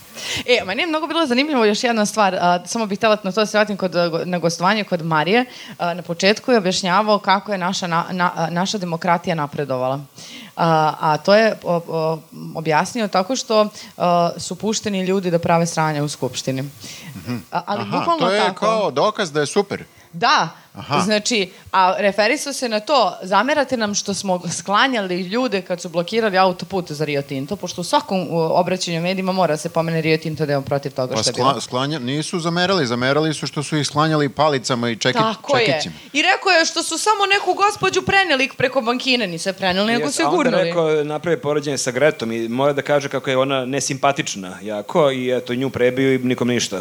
B: E, meni je mnogo bilo zanimljivo još jedna stvar, a, samo bih htjela na to da se vratim kod, a, go- na gostovanje kod Marije. A, na početku je objašnjavao kako je naša, na, na- a, naša demokratija napredovala. A, a to je o- o, objasnio tako što a, su pušteni ljudi da prave sranja u skupštini. A, ali
C: Mhm. Aha,
B: bukvalno
C: to je
B: tako.
C: kao dokaz da je super.
B: Da,
C: Aha.
B: znači, a referisao se na to, zamerate nam što smo sklanjali ljude kad su blokirali autoput za Rio Tinto, pošto u svakom u, obraćanju medijima mora da se pomene Rio Tinto da je on protiv toga
C: Pa
B: što je bilo.
C: skla, sklanja, nisu zamerali, zamerali su što su ih sklanjali palicama i čeki,
B: Tako je.
C: čekićima.
B: I rekao je što su samo neku gospođu preneli preko bankine, nisu je preneli, nego su je gurnuli.
D: A onda rekao, napravi poređenje sa Gretom i mora da kaže kako je ona nesimpatična jako i eto, nju prebiju i nikom ništa.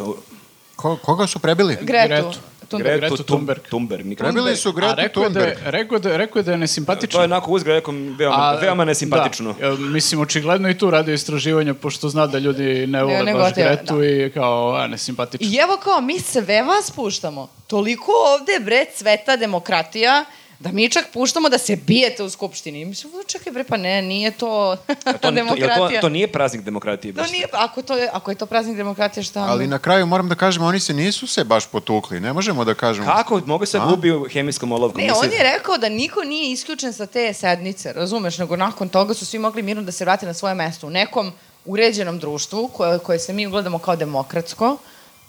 C: Ko, koga su prebili?
B: Gretu.
A: Gretu.
B: Tundberg.
A: Gretu
D: Tum-
A: Thunberg.
D: Thunberg, nikad.
C: Prebili su
A: A
C: Gretu
A: rekao je, da je,
C: Thunberg.
A: rekao, da, rekao je da je nesimpatično.
D: To je onako uzgled, rekao, veoma,
A: A,
D: veoma nesimpatično.
A: Da, E, mislim, očigledno i tu radio istraživanja, pošto zna da ljudi ne vole
B: ne
A: baš
B: gotive,
A: Gretu
B: da.
A: i kao, a, nesimpatično.
B: I evo kao, mi sve vas puštamo. Toliko ovde, bre, cveta demokratija, da mi čak puštamo da se bijete u skupštini. I Mislim, "U, čekaj bre, pa ne, nije to,
D: A Pa to, to, jel to,
B: demokratija.
D: to nije praznik demokratije.
B: To
D: baš?
B: nije, ako, to je, ako je to praznik demokratije, šta? onda?
C: Ali na kraju moram da kažem, oni se nisu se baš potukli. Ne možemo da kažemo.
D: Kako? Mogu se
C: A?
D: gubi u hemijskom olovkom.
B: Ne,
D: mislim.
B: on je rekao da niko nije isključen sa te sednice, razumeš, nego nakon toga su svi mogli mirno da se vrate na svoje mesto u nekom uređenom društvu koje, koje se mi ugledamo kao demokratsko,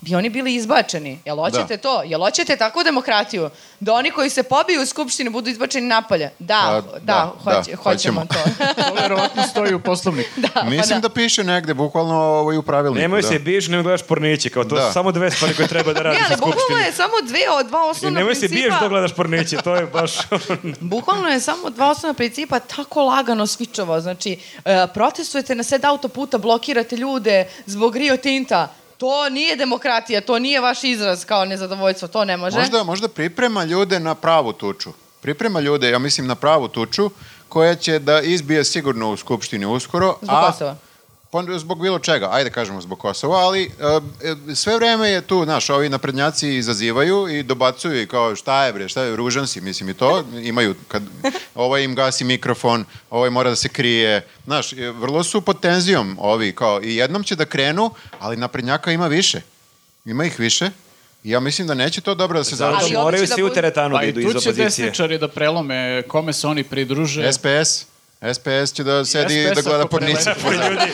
B: bi oni bili izbačeni. Jel hoćete
C: Da.
B: to? Jel hoćete takvu demokratiju? Da oni koji se pobiju u skupštini budu izbačeni napolje? Da,
C: A,
B: da,
C: da,
B: hoće,
C: da,
B: hoćemo
C: hoćemo.
B: to.
A: To verovatno stoji u poslovniku.
B: da,
C: Mislim da. piše negde, bukvalno ovaj, u pravilniku.
D: Nemoj
C: da.
D: se biš, nemoj gledaš porniće, kao to
C: Da.
D: su samo dve stvari koje treba da
B: Ne,
D: radiš u
B: ali bukvalno
D: skupštini.
B: je samo dve od dva
D: I
B: osnovna
D: nemoj se
B: principa.
D: biješ da gledaš porniće, to je baš...
B: Bukvalno je samo dva osnovna principa tako lagano svičovao. Znači, e, protestujete na sed autoputa, blokirate ljude zbog Rio Tinta. To nije demokratija, to nije vaš izraz kao nezadovoljstvo, to ne može.
C: Možda, možda priprema ljude na pravu tuču. Priprema ljude, ja mislim, na pravu tuču, koja će da izbije sigurno u Skupštini uskoro.
B: Zbog
C: a-
B: Kosova.
C: Pa, zbog bilo čega, ajde kažemo zbog Kosova, ali e, e, sve vreme je tu, znaš, ovi naprednjaci izazivaju i dobacuju i kao šta je bre, šta je, ružan si, mislim i to, imaju, kad ovaj im gasi mikrofon, ovaj mora da se krije, znaš, e, vrlo su pod tenzijom ovi, kao i jednom će da krenu, ali naprednjaka ima više, ima ih više i ja mislim da neće to dobro da se
D: Zato
B: Ali
C: završi.
D: što
B: onda
D: moraju
B: će da
D: svi u
B: bude-
D: teretanu
A: Pa
D: da
A: i
D: idu iz
A: tu će
D: opozicije.
A: desničari da prelome kome se oni pridruže.
C: SPS, SPS će da sedi i da
A: SPS -a
C: gleda
A: ako
C: pornice.
A: preleti.
D: Oj, Pa ljudi,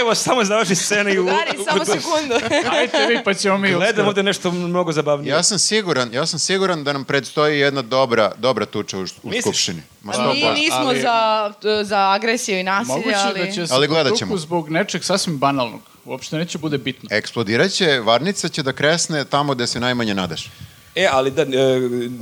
D: Evo, samo završi scena i... u-
B: Drugari,
D: u-
B: samo
D: u-
B: sekundu.
A: Ajte vi pa ćemo mi
D: Gledam
A: uskoro.
D: ovde nešto mnogo zabavnije.
C: Ja sam siguran, ja sam siguran da nam predstoji jedna dobra, dobra tuča u, u
D: Misliš?
C: skupštini. Ma sto
B: Mi
C: posto.
B: nismo
A: ali-
B: za, za agresiju i nasilje,
A: Moguće
B: ali...
A: da će se
C: Ali gledat
A: potuku
C: ćemo. E,
A: zbog nečeg sasvim banalnog. Uopšte neće bude bitno.
C: Eksplodirat će, varnica će da kresne tamo gde se najmanje nadaš.
D: E, ali da, e,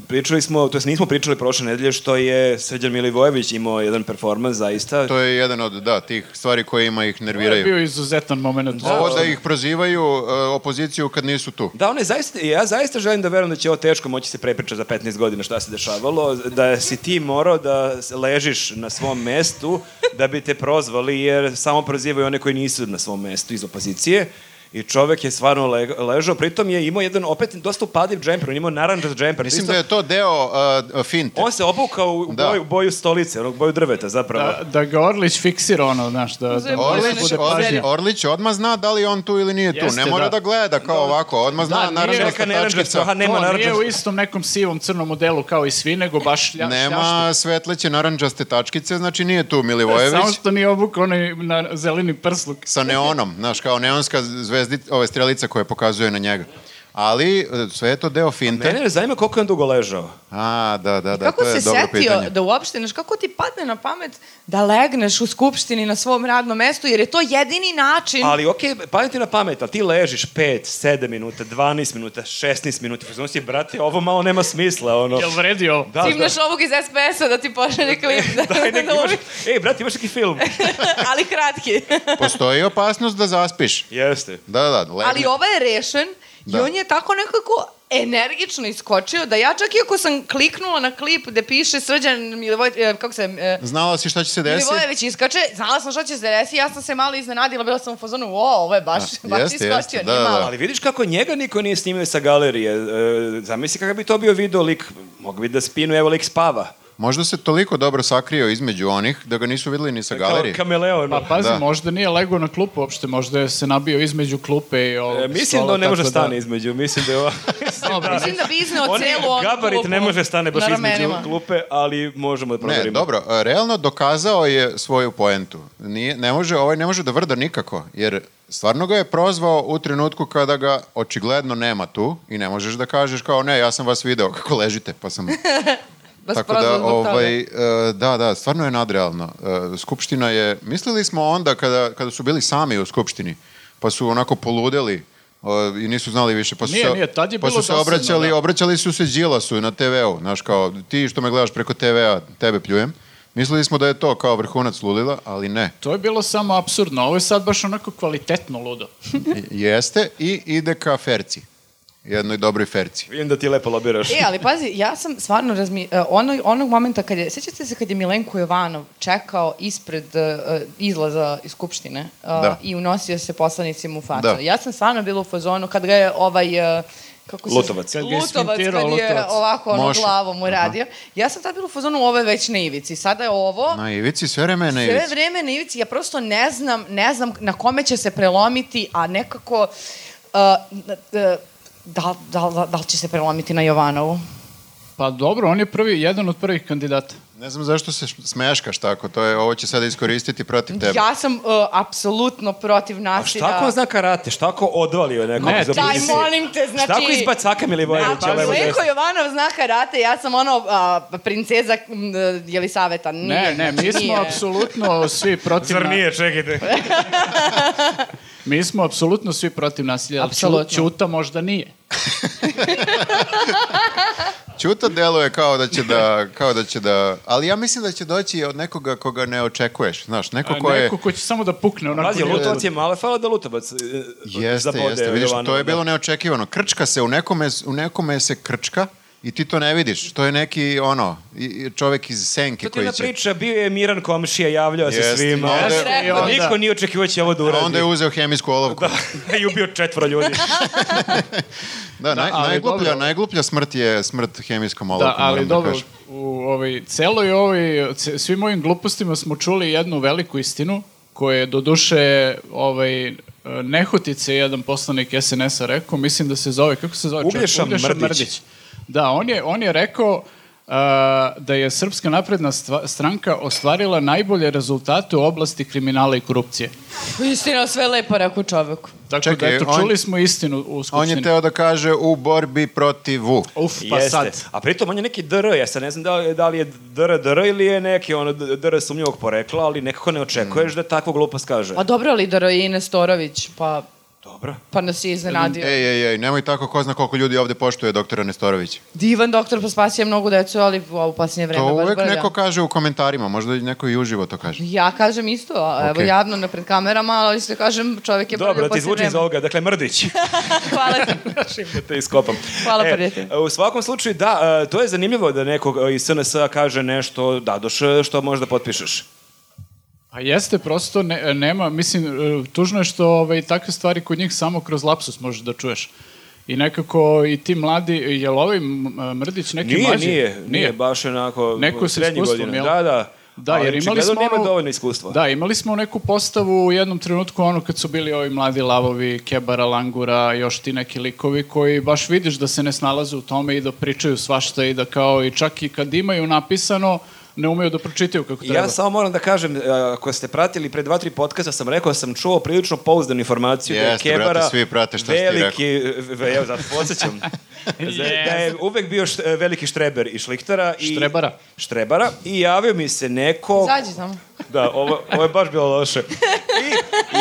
D: pričali smo, to jest nismo pričali prošle nedelje što je Srđan Milivojević imao jedan performans zaista.
C: To je jedan od, da, tih stvari koje ima ih
A: To je
C: nerviraju.
A: bio izuzetan moment.
C: Ovo da ih prozivaju e, opoziciju kad nisu tu.
D: Da, on je zaista, ja zaista želim da verujem da će ovo teško moći se prepričati za 15 godina šta se dešavalo, da si ti morao da s- ležiš na svom mestu da bi te prozvali jer samo prozivaju one koji nisu na svom mestu iz opozicije I čovek je stvarno le, ležao, pritom je imao jedan opet dosta upadljiv džemper, on je imao naranđast džemper.
C: Mislim
D: Isto-
C: da je to deo uh, finte.
D: On se obukao u, u
C: Da.
D: boju, boju stolice, onog boju drveta zapravo.
A: Da, da ga Orlić fiksira ono, znaš, da, da
B: Uzeo
A: mora da
C: Orlić,
B: Orlić-
A: bude
C: Orlić-
A: pažnja.
C: Orlić odmah zna da li je on tu ili nije tu.
A: Jeste,
C: ne mora
A: da.
C: da, gleda kao ovako, odmah zna
A: Da,
C: da,
A: nije
C: naravno
A: neka
D: naranđasta, aha, nema
A: to nije
D: naranđasta.
A: u istom nekom sivom crnom modelu kao i svi, nego baš lja,
C: Nema
A: šljašta.
C: svetleće naranđaste tačkice, znači nije tu Milivojević.
A: Da, Samo što nije obuka onaj na zeleni prsluk.
C: sa neonom, znaš, kao neonska zvezdi, ove strelica koja pokazuje na njega. Ali e, sve je to deo finte.
D: Mene ne zanima koliko je on dugo ležao.
C: A, da, da, da,
B: kako
C: to je
B: si
C: dobro
B: setio
C: pitanje.
B: da uopšte, znaš, kako ti padne na pamet da legneš u skupštini na svom radnom mestu, jer je to jedini način...
D: Ali okej, okay, padim ti na pamet, ali ti ležiš 5, 7 minuta, 12 minuta, 16 minuta. Fuzon si, brate, ovo malo nema smisla, ono.
A: Jel vredi ovo?
D: Da,
B: Cimneš ovog iz SPS-a da ti pošalje klip. Da,
D: Daj, nek,
B: da
D: imaš,
B: uži-
D: ej, brate, imaš neki film.
B: ali kratki.
C: Postoji opasnost da zaspiš.
D: Jeste.
C: Da, da, da.
B: ali
C: legne.
B: ovo je rešen i
C: Da.
B: on je tako nekako energično iskočio da ja čak i ako sam kliknula na klip gde piše Srđan Milivoj, e, kako se... e,
C: Znala si šta će se desiti?
B: Milivojević iskače, znala sam šta će se desiti, ja sam se malo iznenadila, bila sam u fazonu, o, ovo je baš,
C: Da,
B: baš
C: jeste,
B: iskočio,
C: jeste,
B: nije
C: da, da, da.
B: malo.
D: Ali vidiš kako njega niko nije snimio sa galerije. E, zamisli kakav bi to bio video lik. Mogu biti da spinu, evo lik spava.
C: Možda se toliko dobro sakrio između onih da ga nisu videli ni sa galerije.
D: Kao kameleon.
A: Pa pazi,
C: Da.
A: možda nije legao na klupu uopšte, možda je se nabio između klupe i ovog
D: E, mislim da
A: stola,
D: on ne može
A: pa, tako
D: stane između, mislim da je ovo...
A: Dobro,
B: Mislim da bi izneo
D: On je-
B: celu onu
D: gabarit
B: klupu
D: ne može stane baš
B: na
D: između
B: ramenima.
D: klupe, ali možemo da proverimo.
C: Ne, dobro, e, realno dokazao je svoju poentu. Nije, ne može, ovaj ne može da vrda nikako, jer stvarno ga je prozvao u trenutku kada ga očigledno nema tu i ne možeš da kažeš kao ne, ja sam vas video kako ležite, pa sam...
B: Baš
C: Tako
B: prozvan
C: da,
B: zbog toga.
C: ovaj, e, da, da, stvarno je nadrealno. E, Skupština je, mislili smo onda kada, kada su bili sami u Skupštini, pa su onako poludeli e, i nisu znali više, pa su
A: Nije,
C: se,
A: nije, tad je
C: pa
A: bilo
C: su se
A: dosadno,
C: obraćali,
A: da.
C: obraćali su se Đilasu na TV-u, znaš kao, ti što me gledaš preko TV-a, tebe pljujem. Mislili smo da je to kao vrhunac ludila, ali ne.
A: To je bilo samo absurdno, ovo je sad baš onako kvalitetno ludo.
C: I- Jeste i ide ka ferci. Jednoj dobroj ferci.
D: Vidim da ti lepo lobiraš.
B: E, ali pazi, ja sam stvarno razmi... e, Ono, onog momenta kad je... Sjećate se kad je Milenko Jovanov čekao ispred e, e, izlaza iz Skupštine e,
C: Da.
B: i unosio se poslanicima u facu.
C: Da.
B: Ja sam stvarno bila u fazonu kad ga je ovaj... e, kako se...
D: Lutovac.
A: Kad ga je
B: Lutovac, kad je
A: isfintirao Lutovac.
B: ovako ono
C: Moša.
B: glavom uradio. Ja sam tad bila u fazonu, ovo je već na ivici. Sada je ovo...
C: Na ivici, sve vreme je na
B: Sve
C: ivici.
B: vreme na ivici, ja prosto ne znam, ne znam na kome će se prelomiti, a nekako... Uh, uh, da, da, da, da li će se prelomiti na Jovanovu?
A: Pa dobro, on je prvi, jedan od prvih kandidata.
C: Ne znam zašto se š- smeškaš tako, to je, ovo će sada iskoristiti protiv tebe.
B: Ja sam uh, apsolutno protiv
D: A
C: Znači
B: nasilja.
D: šta
C: da-
D: ako on zna karate? Šta ako odvalio nekog
A: Ne,
D: za
A: daj,
D: poziciju?
B: molim te, znači- Da, pa
D: Šta ako izbacaka Milivojevića?
B: Ako
D: levo,
B: Milenko
D: desno?
B: Jovanov zna karate, ja sam ono a, princeza m, Jelisaveta. Nije,
A: Ne, ne, mi
B: znači,
A: smo
B: nije.
A: apsolutno svi protiv...
D: Zar
A: na-
D: nije, čekajte.
A: Mi smo apsolutno svi protiv nasilja, ali
B: Apsolutno.
A: Ću- Ćuta možda nije.
C: Ćuta deluje kao da će da, kao da će da, ali ja mislim da će doći od nekoga koga ne očekuješ, znaš,
D: E,
C: neko ko je...
A: Neko ko će samo da pukne onako...
D: Pazi,
A: nije-
D: Lutovac je malo, fala da Lutovac e,
C: Jeste,
D: zabode
C: jeste, vidiš, to
D: Jovanova,
C: je bilo neočekivano. Krčka se, u nekome, u nekome se krčka i ti to ne vidiš. To je neki, ono, i- i čovek iz senke
D: To ti je
C: koji
D: ona
C: će...
D: priča, bio je miran komšija, javljao se
C: Jeste,
D: svima.
C: a onda-
A: Jeste, i onda-
D: Niko nije očekivao će ovo da uradi.
C: A onda je uzeo hemijsku olovku. Da,
D: I ubio četvora ljudi.
C: Da, naj,
A: Da, ali
C: najgluplja,
A: dobro.
C: najgluplja smrt je smrt hemijskom olovkom,
A: Da, ali
C: moram da
A: dobro,
C: kažem.
A: u ovaj, celoj ovoj, c- svim ovim glupostima smo čuli jednu veliku istinu, koja je doduše ovaj, e, Nehotice, jedan poslanik SNS-a rekao, mislim da se zove, kako se zove? čovjek?
D: Uglješa Mrdić.
A: Da, on je, on je rekao a, da je Srpska napredna stva- stranka ostvarila najbolje rezultate u oblasti kriminala i korupcije.
B: Pa Istina, sve lepo rekao čoveku.
A: Tako
C: Čekaj,
A: da, eto,
C: on-
A: čuli smo istinu u
C: On
A: Skupštini.
C: je teo da kaže u borbi protiv V.
A: Uf, pa
D: Jeste.
A: sad.
D: A pritom on je neki DR, ja sad ne znam da li, da li je DR DR ili je neki ono DR sumnjivog porekla, ali nekako ne
C: Mm.
D: očekuješ da takvu glupost kaže.
B: Pa dobro, ali da je i Nestorović, pa,
D: Dobro.
B: pa nas je iznenadio.
C: Ej, ej, ej, nemoj tako, ko zna koliko ljudi ovde poštuje doktora Nestorovića.
B: Divan doktor, pa spasio je mnogo decu, ali u ovo posljednje vreme
C: To
B: baš
C: uvek
B: brlja.
C: neko kaže u komentarima, možda i neko i uživo to kaže.
B: Ja kažem isto, a evo
C: Ok.
B: javno na pred kamerama, ali isto kažem čovjek je
D: Dobro,
B: brlja
D: da ti
B: poslije
D: zvuči iz
B: vremena.
D: ovoga. Dakle, Mrdić.
B: Hvala ti.
D: Da te iskopam.
B: Hvala, prijatelj.
D: e, U svakom slučaju, da, e, to je zanimljivo da nekog e, iz SNS-a kaže nešto, da, doš, što možeš da potpišeš.
A: Pa jeste, prosto ne, nema, mislim, e, tužno je što ovaj, takve stvari kod njih samo kroz lapsus možeš da čuješ. I nekako i ti mladi, je li ovaj m- m- Mrdić neki
D: Nije,
A: mlađi?
D: nije, nije, nije, baš onako
A: Neko sa
D: srednjih
A: iskustvom,
D: godina.
A: jel?
D: Da, da.
A: Da,
D: Ali
A: jer imali
D: očigledno
A: smo
D: nema
A: ono-
D: dovoljno iskustva.
A: Da, imali smo neku postavu u jednom trenutku, ono kad su bili ovi mladi lavovi, Kebara, Langura, još ti neki likovi koji baš vidiš da se ne snalaze u tome i da pričaju svašta i da kao i čak i kad imaju napisano, ne umeju da pročitaju kako treba.
D: Ja samo moram da kažem, e, ako ste pratili pre dva, tri podcasta, sam rekao da sam čuo prilično pouzdanu informaciju da je
C: Jeste, brate,
D: Kebara
C: svi prate šta si ti
D: veliki, e, e, evo, zato podsjećam, za- da je uvek bio št- e, veliki štreber i šliktara. I,
A: Štrebara.
D: Štrebara. I javio mi se neko...
B: Zađi samo.
D: Da, ovo, ovo je baš bilo loše.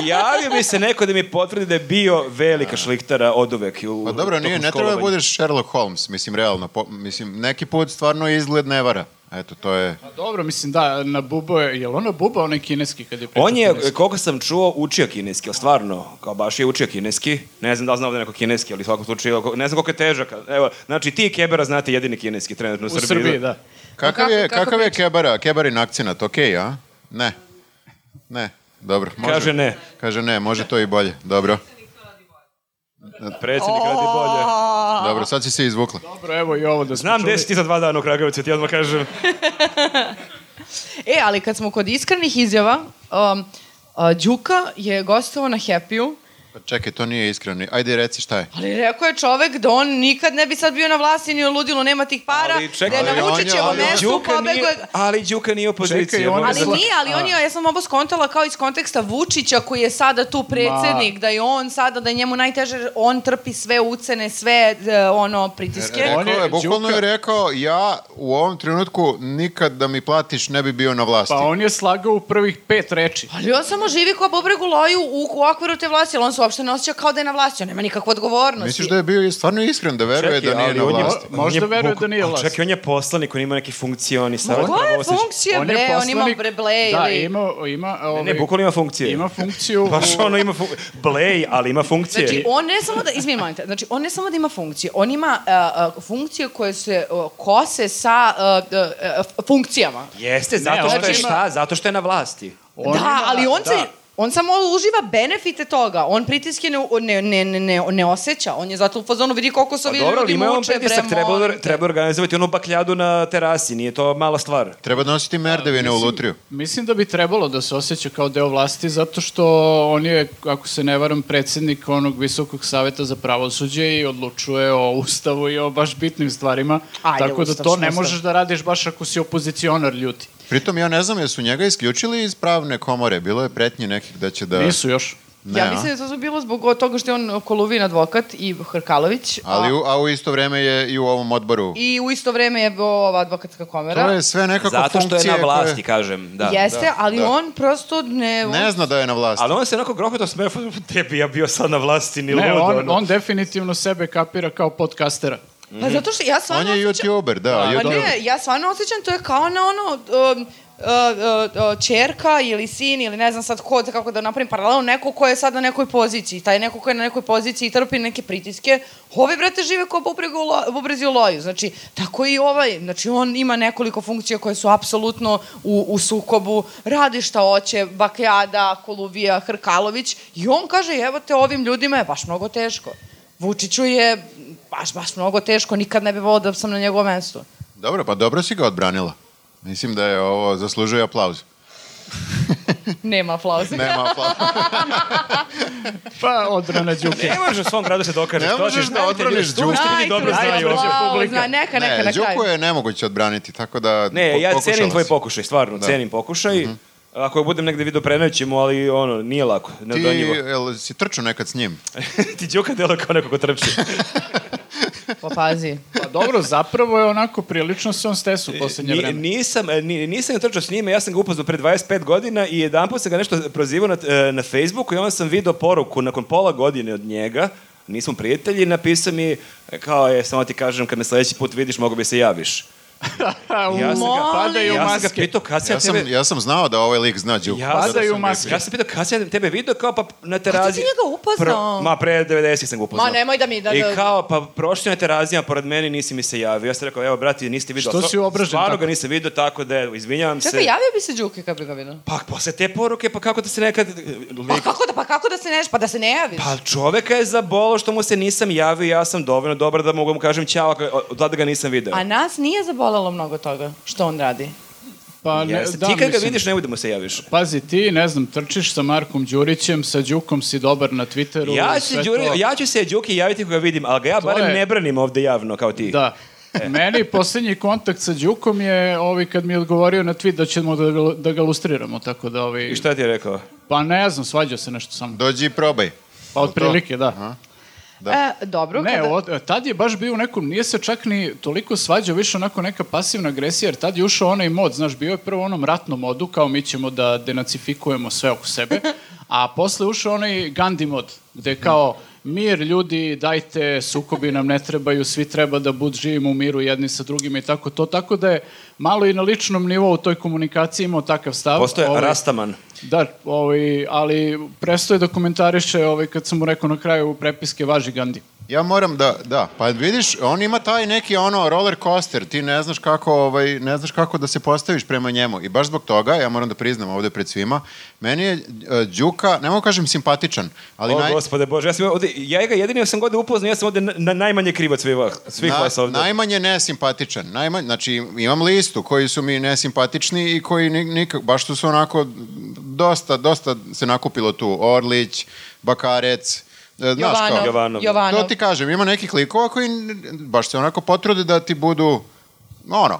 D: I javio mi se neko da mi potvrdi da je bio velika šliktara od uvek. U,
C: Pa dobro, nije,
D: tokom
C: ne treba da
D: školovanja.
C: budeš Sherlock Holmes, mislim, realno. Po, mislim, neki put stvarno izgled ne vara. Eto, to je...
A: A Dobro, mislim da, na Bubo je, je li ono Bubo onaj kineski kad je pričao
D: On je,
A: kineski?
D: koliko sam čuo, učio kineski, ali stvarno, kao baš je učio kineski. Ne znam da li zna ovde neko kineski, ali u svakom slučaju, ko- ne znam koliko je težak. Evo, znači ti i Kebera znate jedini kineski trenutno u
A: u
D: Srbiji.
A: Srbiji, da.
C: Kakav
B: kako-
C: je,
B: kako
C: kakav je Kebara? Kebarin akcenat, okej, a? Ne. Ne, dobro. Može.
D: Kaže ne.
C: Kaže ne, može to i bolje, dobro.
A: da.
D: Predsednik radi bolje.
C: Dobro, sad si se izvukla.
A: Dobro, evo i ovo da smo
D: Znam
A: čuli.
D: gde si ti za dva dana u Kragujevcu, ti odmah kažem.
B: E, ali kad smo kod iskrenih izjava, um, a, Đuka je gostovao na Happy-u,
C: Pa čekaj, to nije iskreno. Ajde, reci šta je.
B: ali rekao je čovek da on nikad ne bi sad bio na vlasti ni u ludilu, nema tih para,
D: Ali čekaj,
B: da je
C: ali
B: na
C: on je-
B: Vučićevom
C: ali
B: mestu
D: Đuka nije,
B: pobegao je...
D: ali Đuka nije
A: Čekaj,
D: opozicija.
A: on je
D: molim
B: Ali
D: vas.
A: Zla-
B: nije, ali on je, ja sam ovo skontala kao iz konteksta Vučića koji je sada tu predsednik, da je on sada, da je njemu najteže, on trpi sve ucene, sve e, ono, pritiske.
A: E,
C: Rekao
A: On je
C: je, bukvalno
A: Đuka-
C: je rekao, ja u ovom trenutku nikad da mi platiš ne bi bio na vlasti.
A: Pa on je slagao u prvih pet reči.
B: Ali on samo živi kao bobregu loju u, u okviru te vlasti, ali on se uopšte ne osjeća kao da je na vlasti, on nema nikakvu odgovornost.
C: Misliš da je bio i stvarno iskren da veruje
D: Čekaj,
C: da nije
D: ali
C: na
D: on je-
C: vlasti?
A: Mo- možda
D: on je
A: veruje
D: buk-
A: da nije
D: ali
A: vlast.
D: Čekaj, on je poslanik, on ima neki funkcioni. savjet
B: Koje
D: pravosuđa.
B: funkcije, bre, on ima
A: poslanik-
B: bre ble
A: Da,
B: ili...
A: ima, ima, ovaj,
D: Ne, bukvalno ima funkcije.
A: ima funkciju.
D: Baš
A: u-
D: ono ima fun... Blej, ali ima funkcije.
B: Znači, on ne samo da, izvini, molim te, znači, on ne samo da ima funkcije, on ima uh, uh, funkcije koje se uh, kose sa uh, uh, uh, funkcijama.
D: Jeste, zato što je
A: znači-
D: šta? Zato što je na vlasti.
A: on
B: da,
A: ima-
B: ali on se...
A: da.
B: On samo uživa benefite toga. On pritiske ne, ne, ne, ne, ne, ne osjeća. On je zato u fazonu vidi koliko se
D: Pa
B: ovi
D: dobro, ali
B: ljudi
D: ima on
B: muče,
D: pritisak,
B: bre,
D: treba, da-
B: molim te.
D: treba organizovati onu bakljadu na terasi, nije to mala stvar.
C: Treba donositi merdevine u
A: Mislim-
C: lutriju.
A: Mislim da bi trebalo da se osjeća kao deo vlasti zato što on je, ako se ne varam, predsednik onog visokog saveta za pravosuđe i odlučuje o ustavu i o baš bitnim stvarima.
B: Ajde,
A: tako da
B: ustav,
A: to
B: šta
A: ne
B: ustav?
A: možeš da radiš baš ako si opozicionar ljuti.
C: Pritom ja ne znam, jesu njega isključili iz pravne komore? Bilo je pretnje nekih da će da...
A: Nisu još.
C: Ne,
B: ja
C: a?
B: mislim da je to bilo zbog toga što je on Kolovin advokat i Hrkalović.
C: Ali u, a u isto vreme je i u ovom odboru.
B: I u isto vreme je ova advokatska komera.
C: To je sve nekako
D: Zato što je
C: funkcije
D: na vlasti,
C: koje-
D: kažem. Da.
B: Jeste, ali
C: da.
B: on prosto ne... on-
C: Ne zna da je na vlasti.
D: Ali on se onako grohoto smeje, tebi ja bio sad na vlasti, ni
A: Ne,
D: ludo.
A: on,
D: ono.
A: on definitivno sebe kapira kao podcastera.
B: Pa zato što ja
C: On
B: stvarno
C: je
B: osjećam...
C: youtuber, da.
B: Pa
A: Pa
C: youtuber.
B: ne, ja stvarno osjećam, to je kao na ono... Um, uh, uh, uh, čerka ili sin ili ne znam sad ko, da kako da napravim paralelu, neko ko je sad na nekoj poziciji, taj neko ko je na nekoj poziciji i trpi neke pritiske, ovi brate žive kao bubregu lo- bubrezi u loju, znači tako i ovaj, znači on ima nekoliko funkcija koje su apsolutno u, u sukobu, radi šta hoće, Bakljada, Koluvija, Hrkalović i on kaže evo te ovim ljudima je baš mnogo teško. Vučiću je baš, baš mnogo teško, nikad ne bi volao da sam na njegovom mestu.
C: Dobro, pa dobro si ga odbranila. Mislim da je ovo zaslužuje aplauz.
B: Nema aplauza.
C: Nema aplauz.
A: Pa odbrana Đuke.
D: Ne možeš u svom gradu se dokažeš.
C: Ne
D: to
C: možeš
D: ćeš-
C: da odbraniš
D: Skupštini
C: Đuku.
D: Skupštini dobro
B: da
A: Ajde,
D: znaju.
A: ajde.
B: aplauz,
A: publika.
B: na, neka, neka,
C: Ne,
B: na kraju.
C: Đuku je nemoguće odbraniti, tako da po-
D: Ne, ja
C: pokušala
D: cenim tvoj
C: si. Da. Mhm.
D: pokušaj, stvarno, cenim pokušaj. Ako budem negde video prenaćemo, ali ono, nije lako,
C: Ti,
D: neodoljivo.
C: jel, si trčao nekad s njim?
D: Ti Đuka delo kao neko ko trči.
B: Pa pazi.
A: Pa dobro, zapravo je onako prilično se on stesu u poslednje
D: Ni-
A: vreme.
D: Nisam, e, ni, nisam ga trčao s njime, ja sam ga upoznao pre 25 godina i jedan put sam ga nešto prozivao na, e, na Facebooku i onda sam video poruku nakon pola godine od njega, e, nismo prijatelji, napisao mi e, kao je, samo ti kažem, kad me sledeći put vidiš, mogu bi se javiš. Ja sam ga,
A: Padaju
D: ja sam ga
A: maske.
D: pitao kad sam
C: Ja
D: ja
C: sam,
D: tebe...
C: ja sam znao da ovaj lik zna Đuku.
D: Ja
C: Zato
A: Padaju
C: sam ga-
A: maske.
D: Ja sam pitao kad sam ja tebe video, kao pa na teraziji...
B: Kad si ti njega upoznao?
D: ma pre 90 sam ga upoznao.
B: Ma, nemoj da mi- da-
D: I
B: da-
D: kao pa prošli na terazijama pored mene nisi mi se javio. Ja sam rekao evo brati niste video.
A: Što
D: To-
A: si obražen
D: Stvarno
A: tako?
D: ga niste video tako da evo, izvinjavam se.
B: Čekaj, javio bi se Đuki kad bi ga vidio.
D: Pa posle te poruke pa kako da se nekad...
B: Pa kako da, pa kako da se neš, pa da se ne javiš?
D: Pa čoveka je zabolo što mu se nisam javio, ja sam dovoljno dobar da mogu mu kažem ćao, ako- od tada ga nisam video.
B: A nas nije zabolelo mnogo toga što on radi.
A: Pa, ne,
D: Jeste.
A: da,
D: Ti kad ga
A: mislim.
D: vidiš nemoj da mu se javiš.
A: Pazi, ti, ne znam, trčiš sa Markom Đurićem, sa Đukom si dobar na Twitteru.
D: Ja,
A: i
D: ću
A: sve
D: Đuri,
A: to.
D: ja ću se Đuki javiti ako ga vidim, ali ga ja barem
A: je-
D: ne branim ovde javno kao ti.
A: Da.
D: E.
A: Meni posljednji kontakt sa Đukom je ovi kad mi je odgovorio na tweet da ćemo da ga, da ga lustriramo, tako da ovi...
D: I šta ti je rekao?
A: Pa ne znam, svađao se nešto sam.
C: Dođi i probaj.
A: Pa otprilike, da.
C: Da.
B: E, dobro,
A: Ne,
B: kada...
A: od, tad je baš bio u nekom, nije se čak ni toliko svađao, više onako neka pasivna agresija, jer tad je ušao onaj mod, znaš, bio je prvo u onom ratnom modu, kao mi ćemo da denacifikujemo sve oko sebe, a posle ušao onaj Gandhi mod, gde je kao mir, ljudi, dajte, sukobi nam ne trebaju, svi treba da bud živimo u miru jedni sa drugima i tako to, tako da je malo i na ličnom nivou u toj komunikaciji imao takav stav.
D: Postoje
A: Ovaj,
D: rastaman.
A: Da, ovaj, ali prestao je da komentariše ovaj, kad sam mu rekao na kraju prepiske važi Gandhi.
C: Ja moram da, da, pa vidiš, on ima taj neki ono roller coaster, ti ne znaš kako, ovaj, ne znaš kako da se postaviš prema njemu i baš zbog toga, ja moram da priznam ovde pred svima, meni je e, Đuka, ne mogu kažem simpatičan, ali
D: o,
C: naj,
D: gospode Bože, ja, sam ovde, ja ga jedini sam ovde upoznao, ja sam ovde na, na- najmanje krivac svih, vas- svih vas
C: na,
D: ovde.
C: najmanje nesimpatičan, najmanje, znači imam listu koji su mi nesimpatični i koji ni, nikak, baš tu su onako dosta, dosta se nakupilo tu, Orlić, Bakarec, e, znaš kao.
B: Jovanov,
D: Jovanov.
B: Jovanov.
C: To ti kažem, ima nekih likova koji n- baš se onako potrude da ti budu, ono,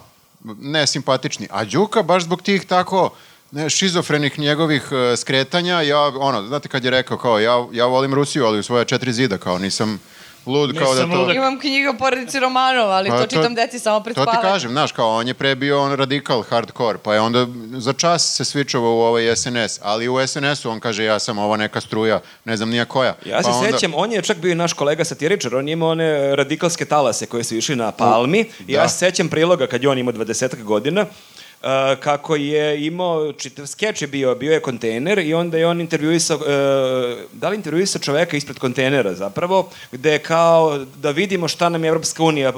C: nesimpatični. A Đuka baš zbog tih tako ne, šizofrenih njegovih e, skretanja, ja, ono, znate kad je rekao kao, ja, ja volim Rusiju, ali u svoja četiri zida, kao, nisam lud, kao da
A: Nisam
C: to...
A: ludak.
B: Imam knjiga o porodici Romanova, ali
C: Pa
B: to, čitam deci samo pred
C: To ti
B: spavanje.
C: kažem, znaš, kao on je pre bio on radikal, hardcore, pa je onda za čas se svičovao u ovaj SNS, ali u SNS-u on kaže ja sam ova neka struja, ne znam nija koja.
D: Ja se
C: pa onda-
D: sećam, on je čak bio i naš kolega satiričar, on je imao one e, radikalske talase koje su išli na Palmi. I
C: da.
D: Ja se sećam priloga kad je on imao 20 godina, e, kako je imao, čitav skeč je bio, bio je kontejner i onda je on intervjuisao, e, da li intervjuisao čoveka ispred kontejnera zapravo, gde je kao da vidimo šta nam je Evropska unija e,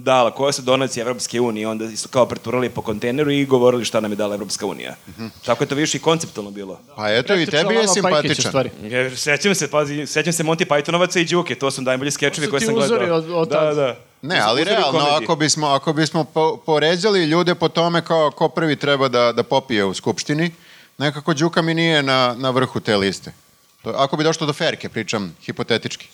D: dala, koja su donacije Evropske unije, onda su kao preturali po kontejneru i govorili šta nam je dala Evropska unija.
C: Mhm.
D: Tako je to više i konceptualno bilo.
C: Pa eto, i
A: Pretrčao
C: tebi je
A: Lava Pajkić, u
C: simpatičan.
A: stvari.
D: Ja, sećam se, pazi, sećam se Monty Pythonovaca i Đuke, to su najbolji skečevi
A: su
D: koje
A: ti
D: sam gledao.
A: uzori od- od
D: da,
A: tad.
D: da.
C: Ne,
D: To su
C: ali
D: uzori u
C: realno,
D: komediji.
C: ako bismo, ako bismo po, poređali ljude po tome kao ko prvi treba da, da popije u skupštini, nekako Đuka mi nije na, na vrhu te liste. To, ako bi došlo do ferke, pričam hipotetički.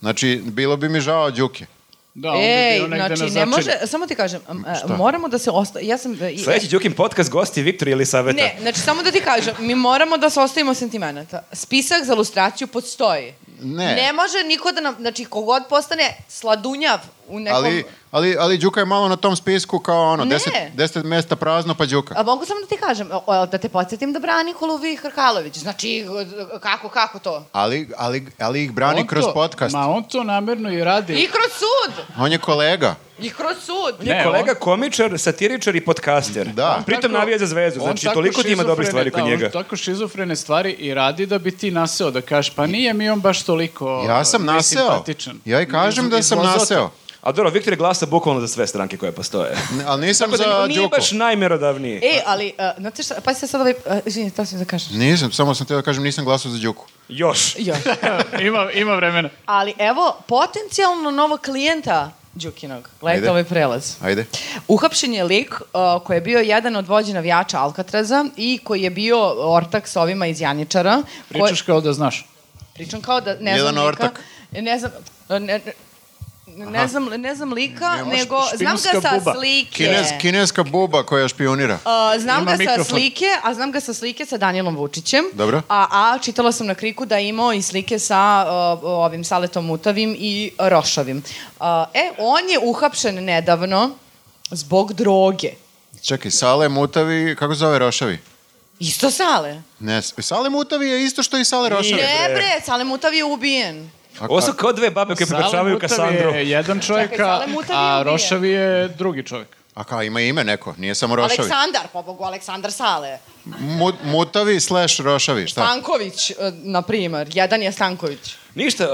C: Znači, bilo bi mi žao Đuke.
A: Da, on bi
B: Ej,
A: bio negde
B: znači,
A: na
B: ne može,
A: začelju.
B: samo ti kažem, m, e, moramo da se osta... Ja sam... e, i-
D: Sledeći Đukin podcast gosti Viktor ili Saveta.
B: Ne, znači samo da ti kažem, mi moramo da se ostavimo sentimenata. Spisak za lustraciju postoji.
C: Ne.
B: Ne može niko da nam, znači kogod postane sladunjav u nekom...
C: Ali, ali, ali Đuka je malo na tom spisku kao ono,
B: Ne.
C: deset, deset mesta prazno pa Đuka.
B: A mogu samo da ti kažem, o, o, da te podsjetim da brani Koluvi Hrkalović. Znači, g- kako, kako to?
C: Ali, ali, ali ih brani
A: On
C: kroz
A: to-
C: podcast.
A: Ma on to namerno i radi.
B: I kroz sud!
C: On je kolega.
B: I kroz sud!
A: Ne,
D: Kolega
A: on-
D: komičar, satiričar i podcaster.
C: Da.
D: On Pritom
A: tako-
D: navija za zvezdu,
A: on
D: znači
A: tako
D: toliko ti ima dobrih
A: šizofrene-
D: stvari kod
A: da,
D: njega.
A: On tako šizofrene stvari i radi da bi ti naseo, da kažeš, pa nije mi on baš toliko
C: Ja sam
A: uh,
C: naseo.
A: nesimpatičan.
C: Ja i kažem
A: Iz-
C: da sam
A: izvozao te.
C: naseo.
D: A dobro, Viktor je glasa bukvalno za sve stranke koje postoje.
C: Ne, Ali nisam
D: Tako da
C: za
D: nije
C: Đuku.
D: baš najmerodavniji.
B: E, ali, uh, znate šta, pa se sad ovaj... Uh, Izvini, to sam da kažem.
C: Nisam, samo sam teo da kažem nisam glasao za Đuku.
D: Još.
B: Još.
A: ima, ima vremena.
B: Ali evo, potencijalno novog klijenta Đukinog.
C: Ajde.
B: Gledajte ovaj prelaz.
C: Ajde.
B: Uhapšen je lik uh, koji je bio jedan od vođe navijača Alcatraza i koji je bio ortak s ovima iz Janjičara. koji-
A: Pričaš kao da znaš.
B: Pričam kao da ne
C: Jedan
B: znam lika.
C: ortak.
B: Ne znam... Ne, ne, ne znam, ne znam lika,
C: Nemaš
B: nego znam
A: špinska
B: ga sa
A: buba.
B: slike.
C: Kines, kineska buba koja špionira.
B: Uh, znam
A: Ima
B: ga sa
A: mikrofon.
B: slike, a znam ga sa slike sa Danielom Vučićem.
C: Dobro.
B: A, a čitala sam na kriku da je imao i slike sa uh, ovim Saletom Mutavim i Rošavim. Uh, e, on je uhapšen nedavno zbog droge.
C: Čekaj, Sale Mutavi, kako se zove Rošavi?
B: Isto Sale.
C: Ne, s- Sale Mutavi je isto što i Sale Rošavi.
D: Nije.
B: Ne bre, Sale Mutav je ubijen.
C: A-
D: Ovo su kao dve babe koje prepričavaju
A: Sale Mutavi
D: Kasandru.
A: je jedan čovjek,
B: Čekaj, Sale
A: a-
B: Mutavi je
A: a
B: ubije.
A: Rošavi je drugi čovjek.
C: A kao, ima ime neko, nije samo Rošavi.
B: Aleksandar, pobogu, Aleksandar Sale.
C: Mu- mutavi slash Rošavi, šta?
B: Stanković, e, na primer. Jedan je Stanković.
D: Ništa, e,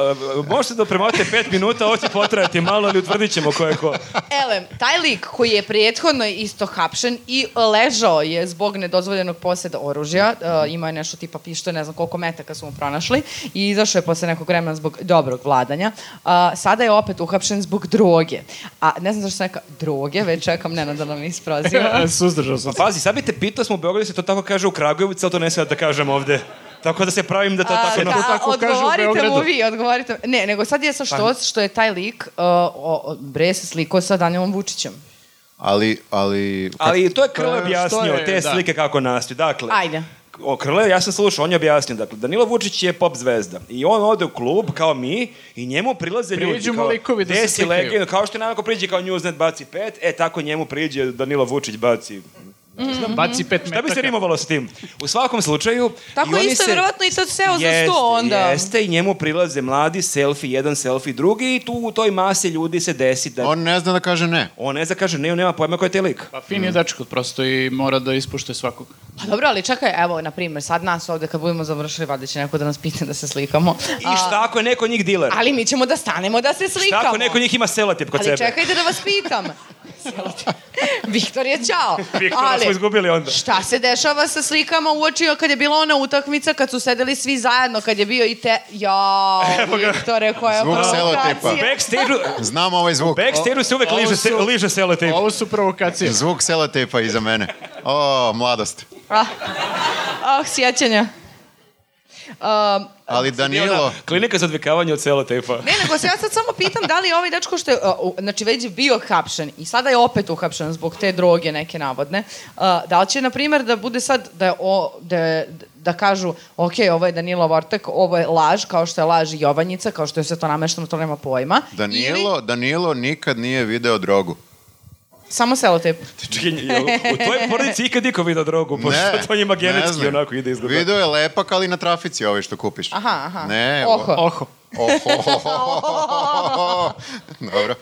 D: možete da premavate pet minuta, ovo će potrajati malo, ali utvrdit ćemo ko je ko.
B: Elem, taj lik koji je prethodno isto hapšen i ležao je zbog nedozvoljenog posjeda oružja, e, imao je nešto tipa pišta, ne znam koliko metaka su mu pronašli, i izašao je posle nekog vremena zbog dobrog vladanja. A, sada je opet uhapšen zbog droge. A ne znam zašto sam neka droge, već čekam Nena da nam isproziva.
A: Suzdržao sam.
D: Pazi, sad bi te pitao smo u Beogradu da se to tako kaže u Kragujevcu, ali to ne sad da kažem ovde. Tako da se pravim da to tako...
A: da. to tako kaže u
B: odgovorite mu
A: Beogradu.
B: vi, odgovorite. mu. Ne, nego sad je sa
D: Pa-
B: što, što je taj lik, uh, o, o, bre se slikao sa Danilom Vučićem.
C: Ali, ali...
D: Ali to je Krle
A: Pa,
D: objasnio,
A: što je,
D: te
A: da.
D: slike kako nastaju. Dakle,
B: Ajde.
D: O, Krle, ja sam slušao, on je objasnio. Dakle, Danilo Vučić je pop zvezda. I on ode u klub, kao mi, i njemu prilaze
A: Priđu
D: ljudi.
A: mu
D: Kao,
A: likovi da
D: "Gde
A: se
D: si
A: slikaju."
D: legend, kao što je navako priđe kao Newsnet baci pet, e, tako njemu priđe Danilo Vučić baci... Mhm.
A: Baci pet metaka.
D: Šta bi se rimovalo s tim? U svakom slučaju... i
B: Tako
D: oni
B: isto je
D: se-
B: verovatno i sad seo za
D: Jeste,
B: sto onda.
D: Jeste, i njemu prilaze mladi, selfie, jedan selfie, drugi, i tu u toj masi ljudi se desi da... On,
C: On ne zna da kaže ne.
D: ne zna kaže, ne, on nema pojma ko je te lik.
A: Pa fin
C: Mhm.
A: je dečko prosto i mora da ispušte svakog.
B: Pa dobro, ali čekaj, evo, na primjer, sad nas ovde kad budemo završili, valjda će neko da nas pita da se slikamo.
D: I šta ako je neko od njih diler?
B: Ali mi ćemo da stanemo da se
D: Šta
B: slikamo.
D: ako neko od njih ima selatip kod
B: Ali
D: sebe?
B: čekajte da vas pitam. Selotip. Viktor je čao.
D: Viktora da smo izgubili onda.
B: Šta se dešava sa slikama u oči kad je bila ona utakmica, kad su sedeli svi zajedno, kad je bio i te... Jao, Viktore, koja
C: Zvuk
B: provokacija.
C: selotipa.
D: Backstage-u,
C: Znam ovaj zvuk.
D: backstage se uvek
A: Ovo
D: liže, se,
A: su-
D: liže
C: Mhm.
D: selotip.
A: Ovo su provokacije.
C: O, zvuk selotepa iza mene. O, mladost.
B: Ah, ah sjećanja. Um,
C: Ali Danilo...
D: Klinika za odvikavanje od selotipa.
B: Ne, nego se ja sad samo pitam da li je ovaj dečko što je, uh, u- znači već je bio hapšen i sada je opet uhapšen zbog te droge neke navodne, uh, da li će, na primjer, da bude sad, da, je o, da, je- da kažu, ok, ovo je Danilo Vortek, ovo je laž, kao što je laž i Jovanjica, kao što je sve to namešteno, to nema pojma.
C: Danilo,
B: Ili
C: Danilo nikad nije video drogu.
B: samo selotip.
D: Čekaj, jel u tvojoj porodici ikad niko vidio drogu, pošto to njima
C: ne
D: genetski
C: znam.
D: onako ide izgleda.
C: Video je lepak, ali na trafici ovaj što kupiš.
B: Aha, aha.
C: Ne,
B: Oho.
C: o-
A: Oho.
C: Oho. Dobro.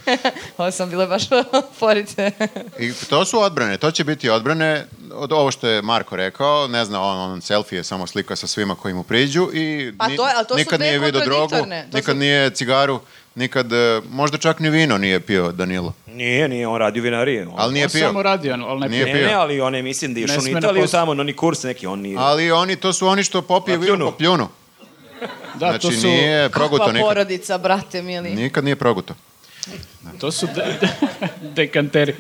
B: Ovo sam bila baš forice.
C: I to su odbrane, to će biti odbrane od ovo što je Marko rekao, ne znam, on, on selfie je samo slika sa svima koji mu priđu i
B: Pa to je- ali to su
C: nikad
B: dve
C: nije video drogu,
B: kontradiktorne, to
C: nikad
B: su-
C: nije cigaru, nikad, e, možda čak ni vino nije pio Danilo,
D: Nije, nije, on radi u vinariji. On-
C: ali nije
A: On
C: pio.
A: samo radi, ali ne
C: Nije
A: pije.
D: Ne, ne,
C: pio.
D: ali on je, mislim da je
A: Ne
D: išao
A: sme
D: u
A: na
D: Italiju
A: posao.
D: tamo, na oni kurs neki, on nije.
C: Ali oni, to su oni što popije
D: Pa
C: vino
D: pljunu.
C: po pljunu.
A: Da,
C: znači
A: to su,
C: nije proguto
B: Kakva
C: nikad.
B: porodica, brate mili.
C: Nikad nije proguto.
A: to su de- de- dekanteri.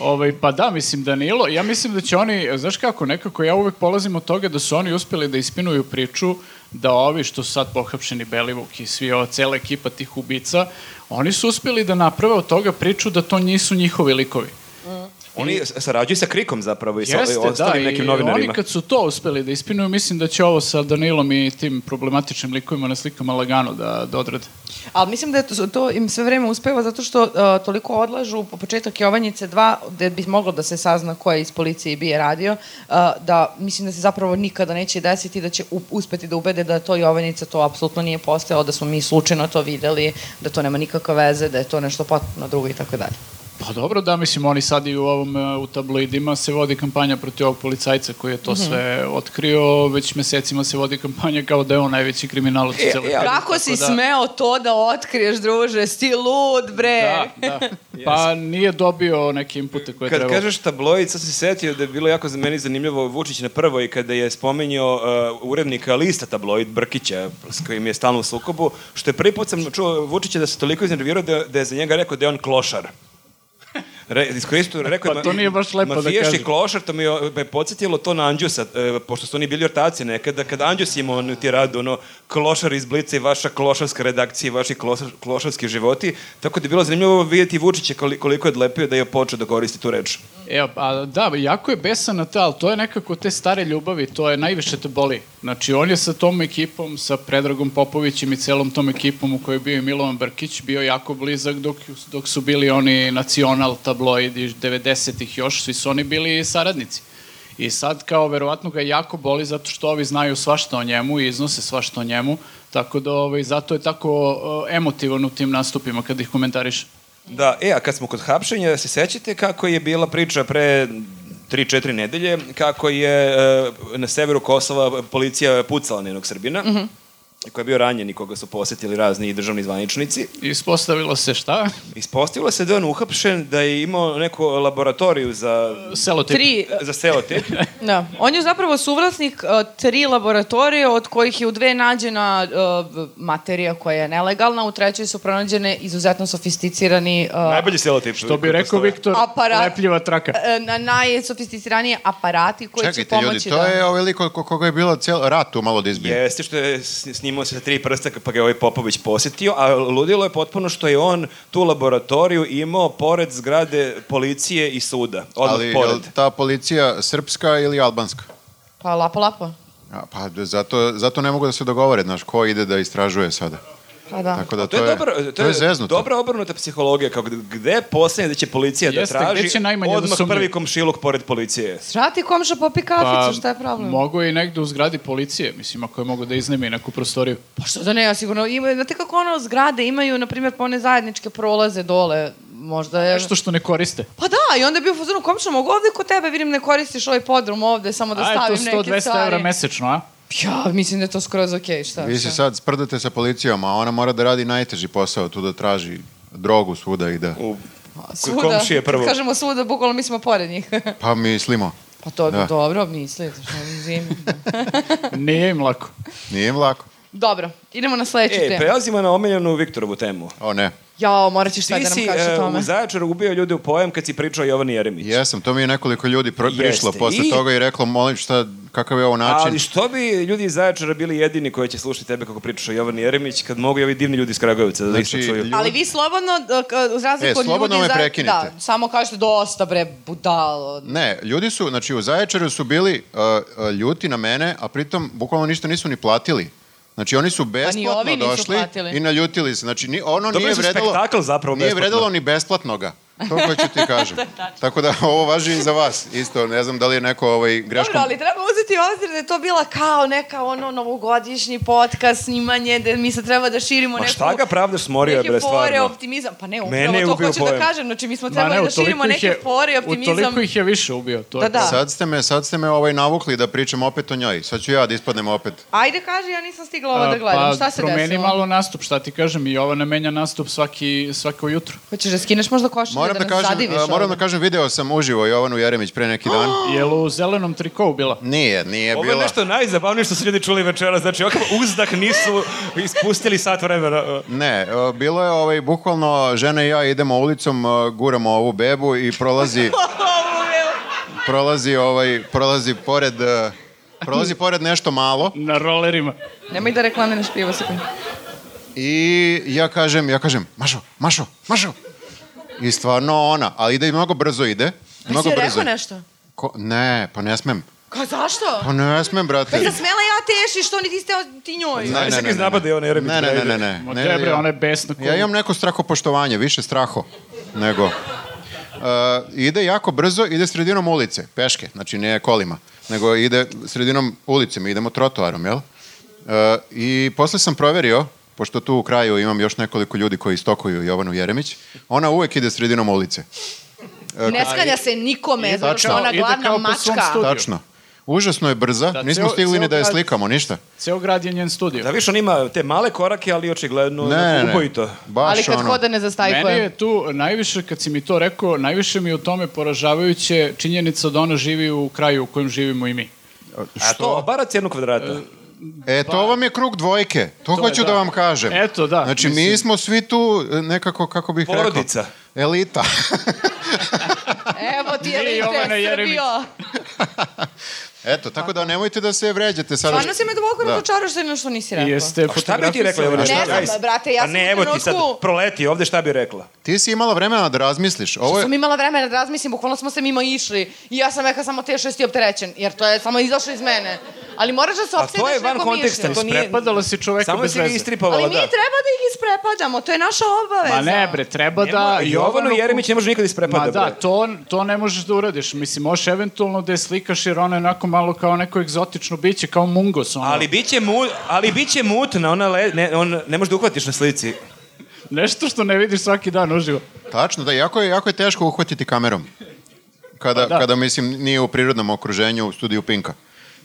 A: Ovaj, pa da, mislim Danilo, ja mislim da će oni, znaš kako, nekako ja uvek polazim od toga da su oni uspjeli da ispinuju priču da ovi što su sad pohapšeni Belivuk i svi ova cela ekipa tih ubica, oni su uspjeli da naprave od toga priču da to nisu njihovi likovi.
D: Oni s- sarađuju sa Krikom zapravo i sa
A: Jeste,
D: ostalim
A: da,
D: nekim
A: i
D: novinarima.
A: oni kad su to uspeli da ispinuju, mislim da će ovo sa Danilom i tim problematičnim likovima na slikama lagano da, da odrade.
B: Ali mislim da je to, to im sve vreme uspeva zato što uh, toliko odlažu po početak Jovanjice 2, gde bi moglo da se sazna ko je iz policije i bije radio, uh, da mislim da se zapravo nikada neće desiti da će u, uspeti da ubede da to Jovanjica to apsolutno nije postojalo, da smo mi slučajno to videli, da to nema nikakve veze, da je to nešto potpuno drugo i tako dalje.
A: Pa dobro, da, mislim, oni sad i u ovom, e, u tabloidima se vodi kampanja protiv ovog policajca koji je to sve otkrio, već mesecima se vodi kampanja kao da je on najveći kriminalac u celoj
D: e, ali-
A: priči,
B: Kako si
A: tako da-
B: smeo to da otkriješ, druže? Sti lud, bre!
A: Da, da. Pa nije dobio neke impute koje
D: Kad
A: treba.
D: kažeš tabloid, sad sam se setio da je bilo jako za meni zanimljivo Vučić na prvoj kada je spominjao uh, urednika lista tabloid Brkića s kojim je stalno u sukobu, što je prvi put sam čuo Vučića da se toliko iznervirao da, da je za njega rekao da je on klošar. Re, iskoristio, rekao je,
A: Pa to nije baš lepo da
D: mafijaški
A: kažem.
D: klošar, to mi je me podsjetilo to na Andjusa, e, pošto su oni bili ortaci nekada, kad Andjus imao onu tiradu, ono, klošar iz Blica i vaša klošarska redakcija i vaši klošar, klošarski životi, tako da je bilo zanimljivo vidjeti Vučića koli- koliko je odlepio da je počeo da koristi tu reč.
A: E, a, da, jako je besan na to, ali to je nekako te stare ljubavi, to je najviše te boli. Znači, on je sa tom ekipom, sa Predragom Popovićem i celom tom ekipom u kojoj je bio i Milovan Brkić, bio jako blizak dok, dok su bili oni nacional tabloidi 90-ih još, svi su oni bili saradnici. I sad kao verovatno ga jako boli zato što ovi znaju svašta o njemu i iznose svašta o njemu, tako da ovaj, zato je tako e, emotivan u tim nastupima kad ih komentariše.
D: Da, e, a kad smo kod hapšenja, se sećate kako je bila priča pre 3-4 nedelje, kako je e, na severu Kosova policija pucala na jednog Srbina,
A: Mhm.
D: mm -hmm. koji je bio ranjen i koga su posetili razni državni zvaničnici.
A: Ispostavilo se šta?
D: Ispostavilo se da je on uhapšen, da je imao neku laboratoriju za,
A: Selotip.
B: Tri, e,
D: za selotip.
B: da. On je zapravo suvlasnik e, tri laboratorije od kojih je u dve nađena e, materija koja je nelegalna, u trećoj su pronađene izuzetno sofisticirani e,
D: Najbolji selotip.
A: To bi rekao Viktor,
B: Aparat.
A: lepljiva traka.
B: e, na najsofisticiraniji aparati koji će
C: Čekajte,
B: pomoći
C: ljudi, to
B: da...
C: je ovaj lik od koga je bilo cijel rat tu malo da izbije.
D: Jeste što je s- snimao se sa tri prsta pa ga je ovaj Popović posetio, a ludilo je potpuno što je on tu laboratoriju imao pored zgrade policije i suda. Odmah
C: Ali je
D: pored.
C: li ta policija srpska ili albanska?
B: Pa lapo, lapo.
C: A, pa d- zato, zato ne mogu da se dogovore, znaš, ko ide da istražuje sada.
B: Pa da.
C: Tako da
D: To je, dobro, to je,
C: to je zeznuto.
D: dobra obrnuta psihologija, kao gde, gde je poslednje da će policija
A: Jeste,
D: da traži,
A: gde će najmanje da
D: odmah
A: sumnju?
D: prvi komšiluk pored policije.
C: da-
B: Srati komša
A: Pa,
B: popi kaficu, šta je problem?
A: Mogu je i negde u zgradi policije, mislim, ako je mogu da iznemi neku prostoriju.
B: Pa što da ne, ja sigurno ima, znate kako ono zgrade imaju, na primjer, pa one zajedničke prolaze dole, možda je...
A: Nešto što ne koriste.
B: Pa da, i onda je bio fazonu, komšo, mogu ovde kod tebe, vidim ne koristiš ovaj podrum ovde, samo da
A: a eto,
B: stavim neke
A: 100-200 evra
B: stvari.
A: mesečno, a?
B: Ja, mislim da je to skroz okej, šta?
C: Vi
B: šta?
C: se sad sprdate sa policijom, a ona mora da radi najteži posao, tu da traži drogu svuda i da...
D: U,
B: Svuda,
D: Svuda, komšije prvo.
B: Kad kažemo svuda, bukvalno mi smo pored njih.
C: Pa mislimo,
B: pa to je
C: Da.
B: dobro, mislite, što mi zimi.
A: Nije im lako.
C: nije im lako.
B: dobro, idemo na sledeću
D: E,
B: temu.
D: prelazimo na omiljenu Viktorovu temu.
C: O ne,
B: Jao, morat ćeš šta da
D: Ti
B: nam
D: si
B: kažeš o
D: e,
B: tome.
D: u Zaječaru ubio ljude u pojam kad si pričao o Jovani Jeremić.
C: jesam, to mi je nekoliko ljudi pro-
D: Jeste,
C: prišlo posle
D: i-
C: toga i reklo, molim šta, kakav je ovo način?
D: Ali što bi ljudi iz Zaječara bili jedini koji će slušati tebe kako pričaš o Jovani Jeremić kad mogu i ovi divni ljudi iz Kragujevca da
C: Znači,
D: isto čuju?
C: ljudi-
B: Ali vi slobodno, uh, k- uz razliku
C: E,
B: od ljudi...
C: slobodno me
B: za-
C: prekinite.
B: Da, samo kažete dosta bre, budalo.
C: Ne, ljudi su, znači u Zaječaru su bili uh, uh, ljuti na mene, a pritom bukvalno ništa nisu ni platili. Znači oni su
B: ovi
C: besplatno
B: nisu
C: došli
B: platili.
C: i naljutili se. Znači ni, ono
D: Dobili
C: nije
D: su
C: vredelo,
D: spektakl zapravo
C: nije
D: besplatno.
C: vredelo ni besplatno ga. To hoću ti kažem. Tako da ovo važi i za vas. Isto, ne znam da li je neko ovaj, greškom...
B: Dobro, ali treba uzeti u obzir da je to bila kao neka ono novogodišnji podcast, snimanje, da mi sad treba da širimo
D: Ma
B: neku...
D: šta ga pravdaš smorio je,
B: neke
D: bre,
B: fore,
D: stvarno.
B: optimizam. Pa ne,
D: Mene je
B: upravo to
D: ubio
B: hoću
D: pojam.
B: da kažem. Znači, mi smo
A: Ma
B: trebali da
A: utoliko
B: širimo
A: ih je-
B: neke fore, optimizam.
A: Utoliko ih je više ubio. To
B: Da,
A: je
B: da.
A: to.
C: Sad ste, me, sad ste me ovaj navukli da pričam opet o njoj. Sad ću ja da ispadnem opet.
B: Ajde, kaži, ja nisam stigla ovo da
A: A, pa
B: gledam. šta se
A: promeni
B: desilo?
A: malo nastup, šta ti kažem, i ova menja nastup svaki, svako jutro.
B: Hoćeš da skineš možda košulju
C: Moram
B: da,
C: da,
B: nas
C: kažem,
B: zadiviš?
C: a, moram
B: ovde?
C: da kažem, video sam uživo Jovanu Jeremić pre neki dan.
A: Jel u zelenom trikovu bila?
C: Nije, nije
D: Ovo je
C: bila.
D: nešto najzabavnije što su ljudi čuli večera, znači ovakav uzdah nisu ispustili sat vremena.
C: Ne, e, bilo je ovaj, bukvalno žena i ja idemo ulicom, e, guramo ovu bebu i prolazi, prolazi, ovaj, prolazi pored... e, Prolazi pored nešto malo
A: Na rolerima.
B: Nemoj da reklamiraš pivo, sekund.
C: i ja kažem, ja kažem, Mašo, Mašo, Mašo. I stvarno ona, ali ide i mnogo brzo ide. Mnogo
B: Mnogo brzo.
C: brzo.
B: rekao nešto?
C: Ko, ne, pa ne smem.
B: Ka, zašto?
C: Pa ne smem, brate.
B: Pa sam smela ja teši, što nisi steo ti njoj?
D: Aj, sad ga iznabada Jovana Jeremić,
C: Ne, ne, ne,
D: ajde.
C: ne, ne.
A: Ma
C: Ne,
A: ne, bre,
C: ja-
A: ona je besna. ko-
C: Ja imam neko strahopoštovanje, više straho nego... Uh, ide jako brzo, ide sredinom ulice, peške, znači ne kolima, nego ide sredinom ulice, mi idemo trotoarom, jel? Uh, I posle sam proverio, pošto tu u kraju imam još nekoliko ljudi koji istokuju Jovanu Jeremić, ona uvek ide sredinom ulice.
B: Ne skanja se nikome, zato što
C: tačno,
B: je ona
A: ide kao
B: glavna
A: po svom
B: mačka.
A: studiju.
C: Tačno. Užasno je brza,
A: Da,
C: nismo
A: ceo-
C: stigli ni
A: ceo
C: da je
A: grad-
C: slikamo, ništa.
A: Ceo grad je njen studio.
D: Da viš, on ima te male korake, ali očigledno
A: da
C: Ne, ne,
D: ubojito.
C: ne. Baš
B: ali kad
C: ono,
B: hoda ne
A: Meni
B: zastajkuje.
A: je tu najviše, kad si mi to rekao, najviše mi je u tome poražavajuće činjenica da ona živi u kraju u kojem živimo i mi.
D: A to, bara cijenu kvadrata.
C: E, to vam je krug dvojke. To,
A: Pa- To je,
C: hoću da.
A: da.
C: vam kažem.
A: Eto, da,
C: Znači, mi
A: mislim.
C: smo svi tu e, nekako, kako bih
D: Porodica.
C: rekao... Elita.
B: Evo ti
A: Nije
B: je
A: Jovana
B: lite,
A: Jeremić.
B: Srbijo.
C: Eto, tako da nemojte da se vređate sada.
B: Stvarno si me duboko
C: Da.
B: razočarao što nešto nisi
A: I
B: rekao.
A: Jeste
D: A šta bi ti rekla,
A: fotografisala-
D: Jovana?
B: Ne
D: šta
B: znam,
D: bi-
B: ba- brate, ja
D: Pa
B: sam
D: ne,
B: u
D: evo ti sad,
B: trenutku-
D: proleti ovde, šta bi rekla?
C: Ti si imala vremena da razmisliš. Ovo je...
B: Sam imala vremena da razmislim, bukvalno smo se mimo išli i ja sam rekao samo te šesti opterećen, jer to je samo izašlo iz mene. Ali moraš da se
D: A to je
B: opsedeš
D: van
B: nekom
D: konteksta, to
B: mišljenju.
D: nije...
A: Isprepadala si čoveka
D: Samo
A: bez
D: si ga
A: veze.
D: istripovala,
B: Ali mi
D: da.
B: treba da ih isprepadamo, to je naša obaveza.
A: Pa Ma ne bre, treba da...
D: Nema- Pa Jovanu Jeremić ne može nikad isprepada,
A: Ma da,
D: bre.
A: to, to ne možeš da uradiš. Mislim, možeš eventualno da je slikaš jer ona je onako malo kao neko egzotično biće, kao mungos. Ono.
D: Ali biće, mu, ali biće mutna, ona le, ne, on, ne može da uhvatiš na slici.
A: Nešto što ne vidiš svaki dan uživo.
C: Tačno, da, jako je, jako je teško uhvatiti kamerom. Kada,
A: da.
C: kada, mislim, nije u prirodnom okruženju u studiju Pinka.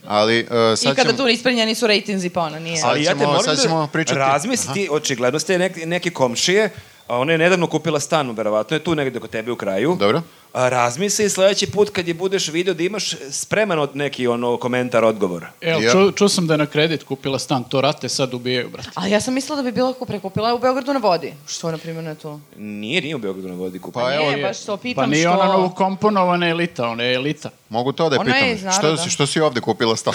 C: Ali, uh, sad
B: I kada
C: ćemo...
B: tu ispred nje nisu rejtinzi, pa ona nije.
C: Sad
D: Ali ja te
C: ćemo-
D: molim
C: sad ćemo
D: da
C: pričati.
D: razmisliti, očigledno ste neki, neki komšije, a ona je nedavno kupila stan, verovatno je tu negde kod tebe u kraju.
C: Dobro.
D: A, razmisli sledeći put kad je budeš video da imaš spreman od neki ono komentar, odgovor.
A: Evo,
C: Ja.
A: čuo ču sam da je na kredit kupila stan, to rate sad ubijaju, brate.
B: A ja sam mislila da bi bilo ko prekupila u Beogradu na vodi. Što, na primjer, na to?
D: Nije, nije u Beogradu na vodi kupio.
C: Pa evo,
B: E, baš to pitam
A: pa nije
B: što-
A: ona novo komponovana elita, ona je elita.
C: mogu to da je
B: Ona je
C: pitam.
B: iz
C: što,
B: naroda.
C: si, što si ovde kupila stan?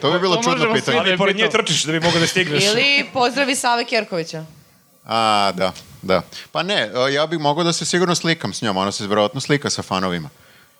C: to bi bilo
A: to
C: čudno
A: možemo
C: pitanje.
A: svi da- pored nje
D: trčiš da bi mogao da stigneš.
B: Ili pozdravi Save Kjerkovića.
C: A, da, da. Pa ne, e, ja bih mogao da se sigurno slikam s njom, ona se vjerojatno slika sa fanovima.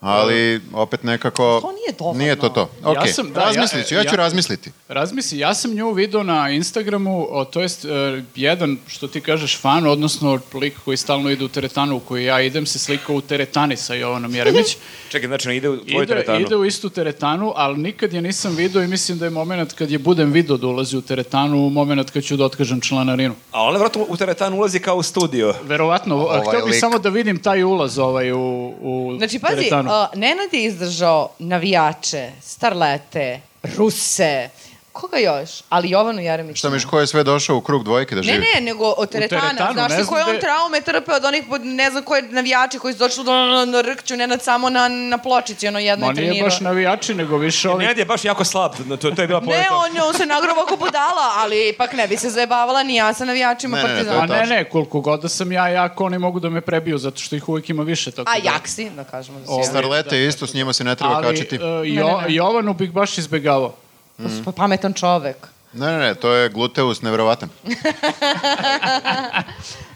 C: Ali, opet nekako...
B: Da. To nije dovoljno.
C: Nije to to. Ok,
A: Ja sam- da, ja-
C: razmislit ću, ja,
A: ja-
C: ću razmisliti.
A: Razmisli, ja sam nju video na Instagramu, o, to jest e, jedan, što ti kažeš, fan, odnosno lik koji stalno ide u teretanu u koju ja idem, se slika u teretani sa Jovanom Jeremić.
D: Čekaj, znači ona ide u tvoju
A: ide,
D: teretanu.
A: ide u istu teretanu, ali nikad je nisam video i mislim da je moment kad je budem video da ulazi u teretanu, moment kad ću da otkažem članarinu.
D: A ona vratno u teretanu ulazi kao u studio.
A: Verovatno,
C: Ovaj
A: ovaj htio bih
C: lik.
A: samo da vidim taj ulaz ovaj u, u
B: Znači, pazi,
A: teretanu.
B: uh, Nenad je izdržao navijače, starlete, ruse, koga još? Ali Jovanu Jeremiću.
C: Šta miš, ko je sve došao u krug dvojke da živi?
B: Ne, ne, nego od teretana.
A: teretanu,
B: Znaš
A: ne
B: ti
A: znam
B: koje on
A: gde-
B: traume trpe od onih, pod- ne znam koje navijače koji su došli do na, na rkću, Nenad samo na, na pločici, ono jedno
A: Ma
B: je
A: nije
B: trenirao.
A: baš navijači, nego više ovi...
D: Nenad je baš jako slab, no, to, to je bila
B: Ne,
D: poeta.
B: on, je- on se nagrao oko budala, ali ipak ne bi se zajebavala ni ja sa navijačima
C: Ne, ne, ne, to je
B: partizana.
A: A ne,
C: tačno.
A: ne, koliko god da sam ja jak, oni mogu da me prebiju, zato što ih uvijek ima više. Tako
B: A
A: da-
B: jak si, da kažemo da si
A: Ovo-
B: jak.
C: Starlete isto, s njima se ne treba
A: Ovaj, Ali
C: kačiti.
A: e, jo,
B: ne, ne.
A: Jovanu bih baš izbegavao.
B: Pa
C: Mm.
B: si Pa pametan čovek.
C: Ne, ne, ne, to je gluteus nevjerovatan.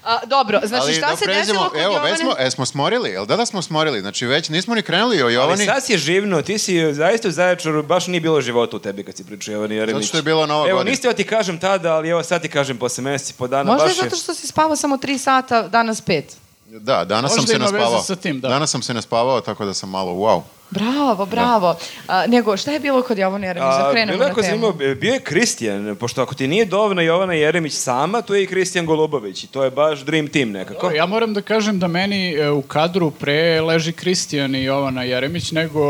B: A, dobro, znači
C: Ali
B: šta
C: da
B: se
C: pređemo,
B: desilo kod
C: evo,
B: Jovane?
C: već smo, e, smo smorili, jel da da smo smorili? Znači, već nismo ni krenuli o
D: Ali
C: Jovani,
D: sad si je živno, ti si zaista u Zaječaru, baš nije bilo života u tebi kad si pričao Jovani Jeremić.
C: zato što je bila nova
D: Evo,
C: godina.
D: niste joj ti kažem tada, ali evo sad ti kažem posle meseci, po dana,
B: Možda je
D: baš
B: zato što si spavao samo 3 sata, danas 5.
C: Da, danas
A: Možda
C: sam se
A: ima veze
C: naspavao.
A: sa tim, da.
C: Danas sam se naspavao, tako da sam malo wow.
B: Bravo, bravo. A, nego, šta je bilo kod Jovane Jeremić? Da
D: Da. A,
B: krenemo
D: bilo je
B: na
D: jako
B: temu.
D: zanimljivo, e, bio je Kristijan, pošto ako ti nije dovoljno Jovana Jeremić sama, tu je i Kristijan Golubović i to je baš dream team nekako.
A: Ja moram da kažem da meni e, u kadru pre leži Kristijan i Jovana Jeremić nego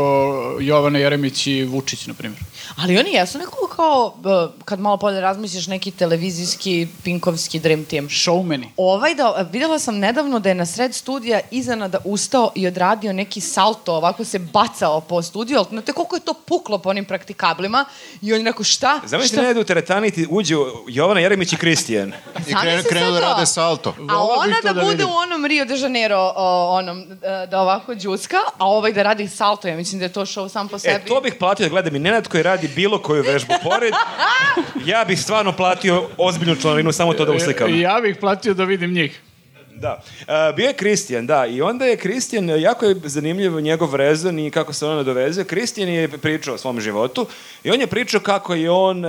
A: e, Jovana Jeremić i Vučić, na primjer.
B: Ali oni jesu nekako kao, b- kad malo bolje razmisliš, neki televizijski, pinkovski dream team.
A: Showmeni.
B: Ovaj da, videla sam nedavno da je na sred studija iznenada ustao i odradio neki salto, ovako se bacao po studiju, ali znate koliko je to puklo po onim praktikablima i on je rekao šta?
D: Zamisli
B: šta?
D: ne u teretani i ti uđe Jovana Jeremić i Kristijan.
C: I
B: Zamisli
C: krenu,
B: sad
C: krenu da
B: to.
C: rade salto.
B: A
A: Volao bih
B: ona
A: to
B: da,
A: da
B: bude
A: vidim.
B: u onom Rio de Janeiro, o, onom, e, da ovako džuska, a ovaj da radi salto, ja mislim da je to show sam po sebi.
D: E, to bih platio da gledam i Nenad koji radi bilo koju vežbu pored. Ja bih stvarno platio ozbiljnu članarinu samo to da uslikam.
A: I ja bih platio da vidim njih.
D: Da. E, bio je Kristijan, da. I onda je Kristijan, e, jako je zanimljiv njegov rezon i kako se on nadovezuje. Kristijan je pričao o svom životu i on je pričao kako je on e,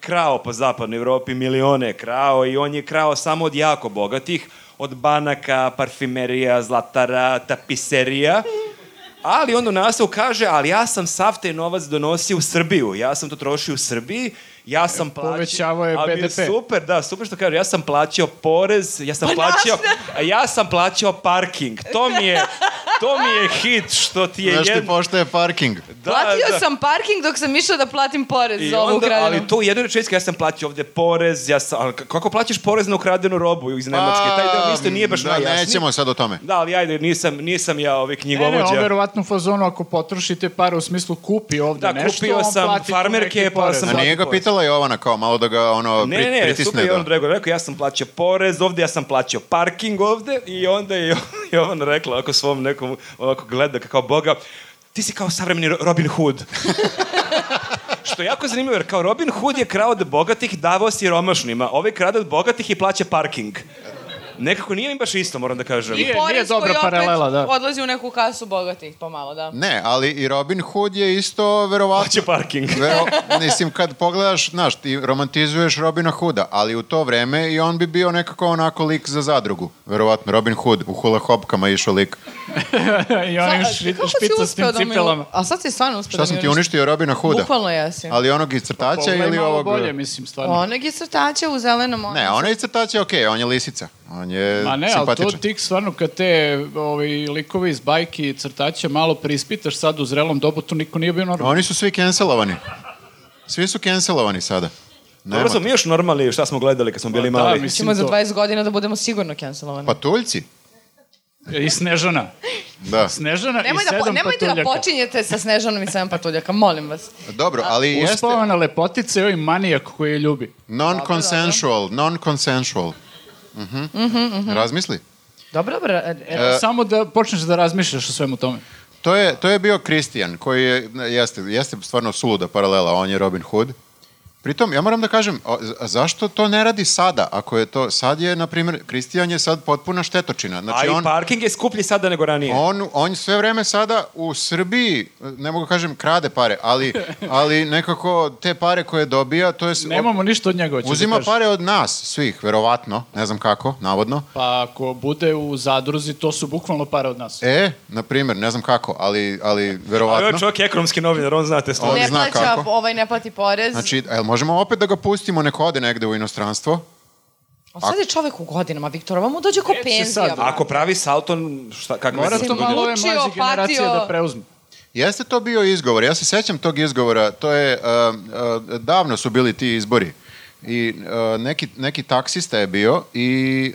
D: krao po zapadnoj Evropi, milione je krao i on je krao samo od jako bogatih, od banaka, parfimerija, zlatara, tapiserija. Ali onda u nastavu kaže, ali ja sam sav taj novac donosio u Srbiju, ja sam to trošio u Srbiji, ja sam plaćao...
A: E, Povećavao je
D: Ali bio
A: BDP.
D: Super, da, super što kaže, ja sam plaćao porez, ja sam
B: Pa
D: plaćao,
B: naš-
D: a ja sam plaćao parking. To mi je, to mi je hit što ti je
C: Znaš ti
D: jedno...
C: pošto je parking.
D: Da,
B: Platio
D: da.
B: sam parking dok sam išao da platim porez
D: I
B: za ovu
D: onda,
B: ukradenu.
D: ali to u jednoj rečenici, ja sam plaćao ovdje porez, ja sam, ali kako plaćaš porez na ukradenu robu iz Nemačke? Taj deo isto nije baš
C: da,
D: najjasniji.
C: Nećemo sad o tome.
D: Da, ali ajde, nisam, nisam ja ovaj
A: Ne,
D: knjigovođa.
A: ne, on verovatno u fazonu ako potrošite pare u smislu kupi ovde
D: Da,
A: nešto,
D: kupio
A: on
D: sam
A: plati tu
D: farmerke,
A: neki
D: pa
A: porez.
D: sam-
C: A nije ga pitala Jovana kao malo da ga ono
D: Ne,
C: pri-
D: ne, ne,
C: pritisne
D: super je on
C: da.
D: rekao, rekao, ja sam plaćao porez ovdje, ja sam plaćao parking ovdje i onda je Jovan rekla ovako svom nekom, ovako gleda ga kao boga, ti si kao savremeni Ro- Robin Hood. Što je jako zanimljivo, jer kao Robin Hood je krao od bogatih, davao siromašnima. Ovaj krade od bogatih i plaća parking. Nekako nije im baš isto, moram da kažem.
A: Nije.
B: Porez
A: dobra
B: koji opet
A: paralela, da.
B: odlazi u neku kasu bogatih pomalo, da.
C: Ne, ali i Robin Hood je isto verovatno...
D: Plaća parking.
C: Vero, mislim, kad pogledaš, znaš, ti romantizuješ Robina Hooda, ali u to vreme i on bi bio nekako onako lik za zadrugu. Verovatno, Robin Hood, u hula hopkama je išao lik.
A: I onim
B: Sa-
A: švi-
B: kako si
A: špicastim
B: uspeo da mi-
A: cipelama.
B: A sad si stvarno uspio
C: Šta
B: da
C: sam
B: mi
C: ti
B: uništiš.
C: uništio Robina Hooda?
B: Bukvalno jesi.
C: Ali onog iz crtača
A: Pa, Pogledaj
C: ili
A: malo
C: ovog...
A: bolje, mislim, stvarno.
B: Onog je crtača u zelenom. ono.
C: Ne, onaj iz crtača je okej, on je lisica. On je
A: Ma ne, ali to
C: simpatičan.
A: ti stvarno kad te ovaj, likovi iz bajki i crtaća malo preispitaš sad u zrelom dobu, to niko nije bio normalno.
C: Oni su svi cancelovani. Svi su cancelovani sada. Nema.
D: Dobro smo mi još normalni šta smo gledali kad smo bili
A: Pa da,
D: mali.
A: mislim-
E: Ćemo za
A: to.
E: 20 godina da budemo sigurno cancelovani.
C: Pa tuljci.
A: I Snežana.
C: Da.
A: Snežana
E: Nemoj
A: i
E: da,
A: sedam
E: po- nemojte da
A: patuljaka.
E: počinjete sa Snežanom i sedam patuljaka, molim vas.
C: Dobro, ali jeste
A: Uspavana lepotica i manijak koji je ljubi.
C: non-consensual, non-consensual. Mhm. Razmisli.
E: Dobro, dobro. e, e,
A: Samo da počneš da razmišljaš o svemu tome.
C: To je, to je bio Kristijan, koji je, jeste, jeste stvarno suluda paralela, on je Robin Hood. Pritom, ja moram da kažem, o- z- zašto to ne radi sada, ako je to, sad je, na primjer, Kristijan je sad potpuna štetočina. Znači,
D: A i
C: on,
D: parking je skuplji sada nego ranije.
C: on, on sve vreme sada u Srbiji, ne mogu da kažem, krade pare, ali, ali nekako te pare koje dobija, to je... s-
A: Nemamo ništa od njega, hoću da
C: Uzima
A: kažem.
C: pare od nas, svih, verovatno, ne znam kako, navodno.
A: Pa ako bude u zadruzi, to su bukvalno pare od nas.
C: E, na primjer, ne znam kako, ali, ali
D: Ovo je
C: verovatno.
D: čovjek ekonomski novinar, on znate stvari.
C: On
E: ne
C: zna
E: plaća,
C: kako.
E: ovaj ne plati porez.
C: Znači, el, možemo opet da ga pustimo, neko ode negde u inostranstvo?
E: A sad je čovek u godinama, Viktor, ovo mu dođe ko
A: Neće
E: penzija.
A: sad.
E: brate.
D: Pa Ako pravi salton, šta, kako
A: Mora
D: mislim,
A: to
D: bude?
A: malo ove
E: Učio,
A: mlađe generacije
E: patio.
A: da preuzmu.
C: Jeste to bio izgovor, ja se sećam tog izgovora, to je, um, uh, davno su bili ti izbori. I uh, neki, neki taksista je bio i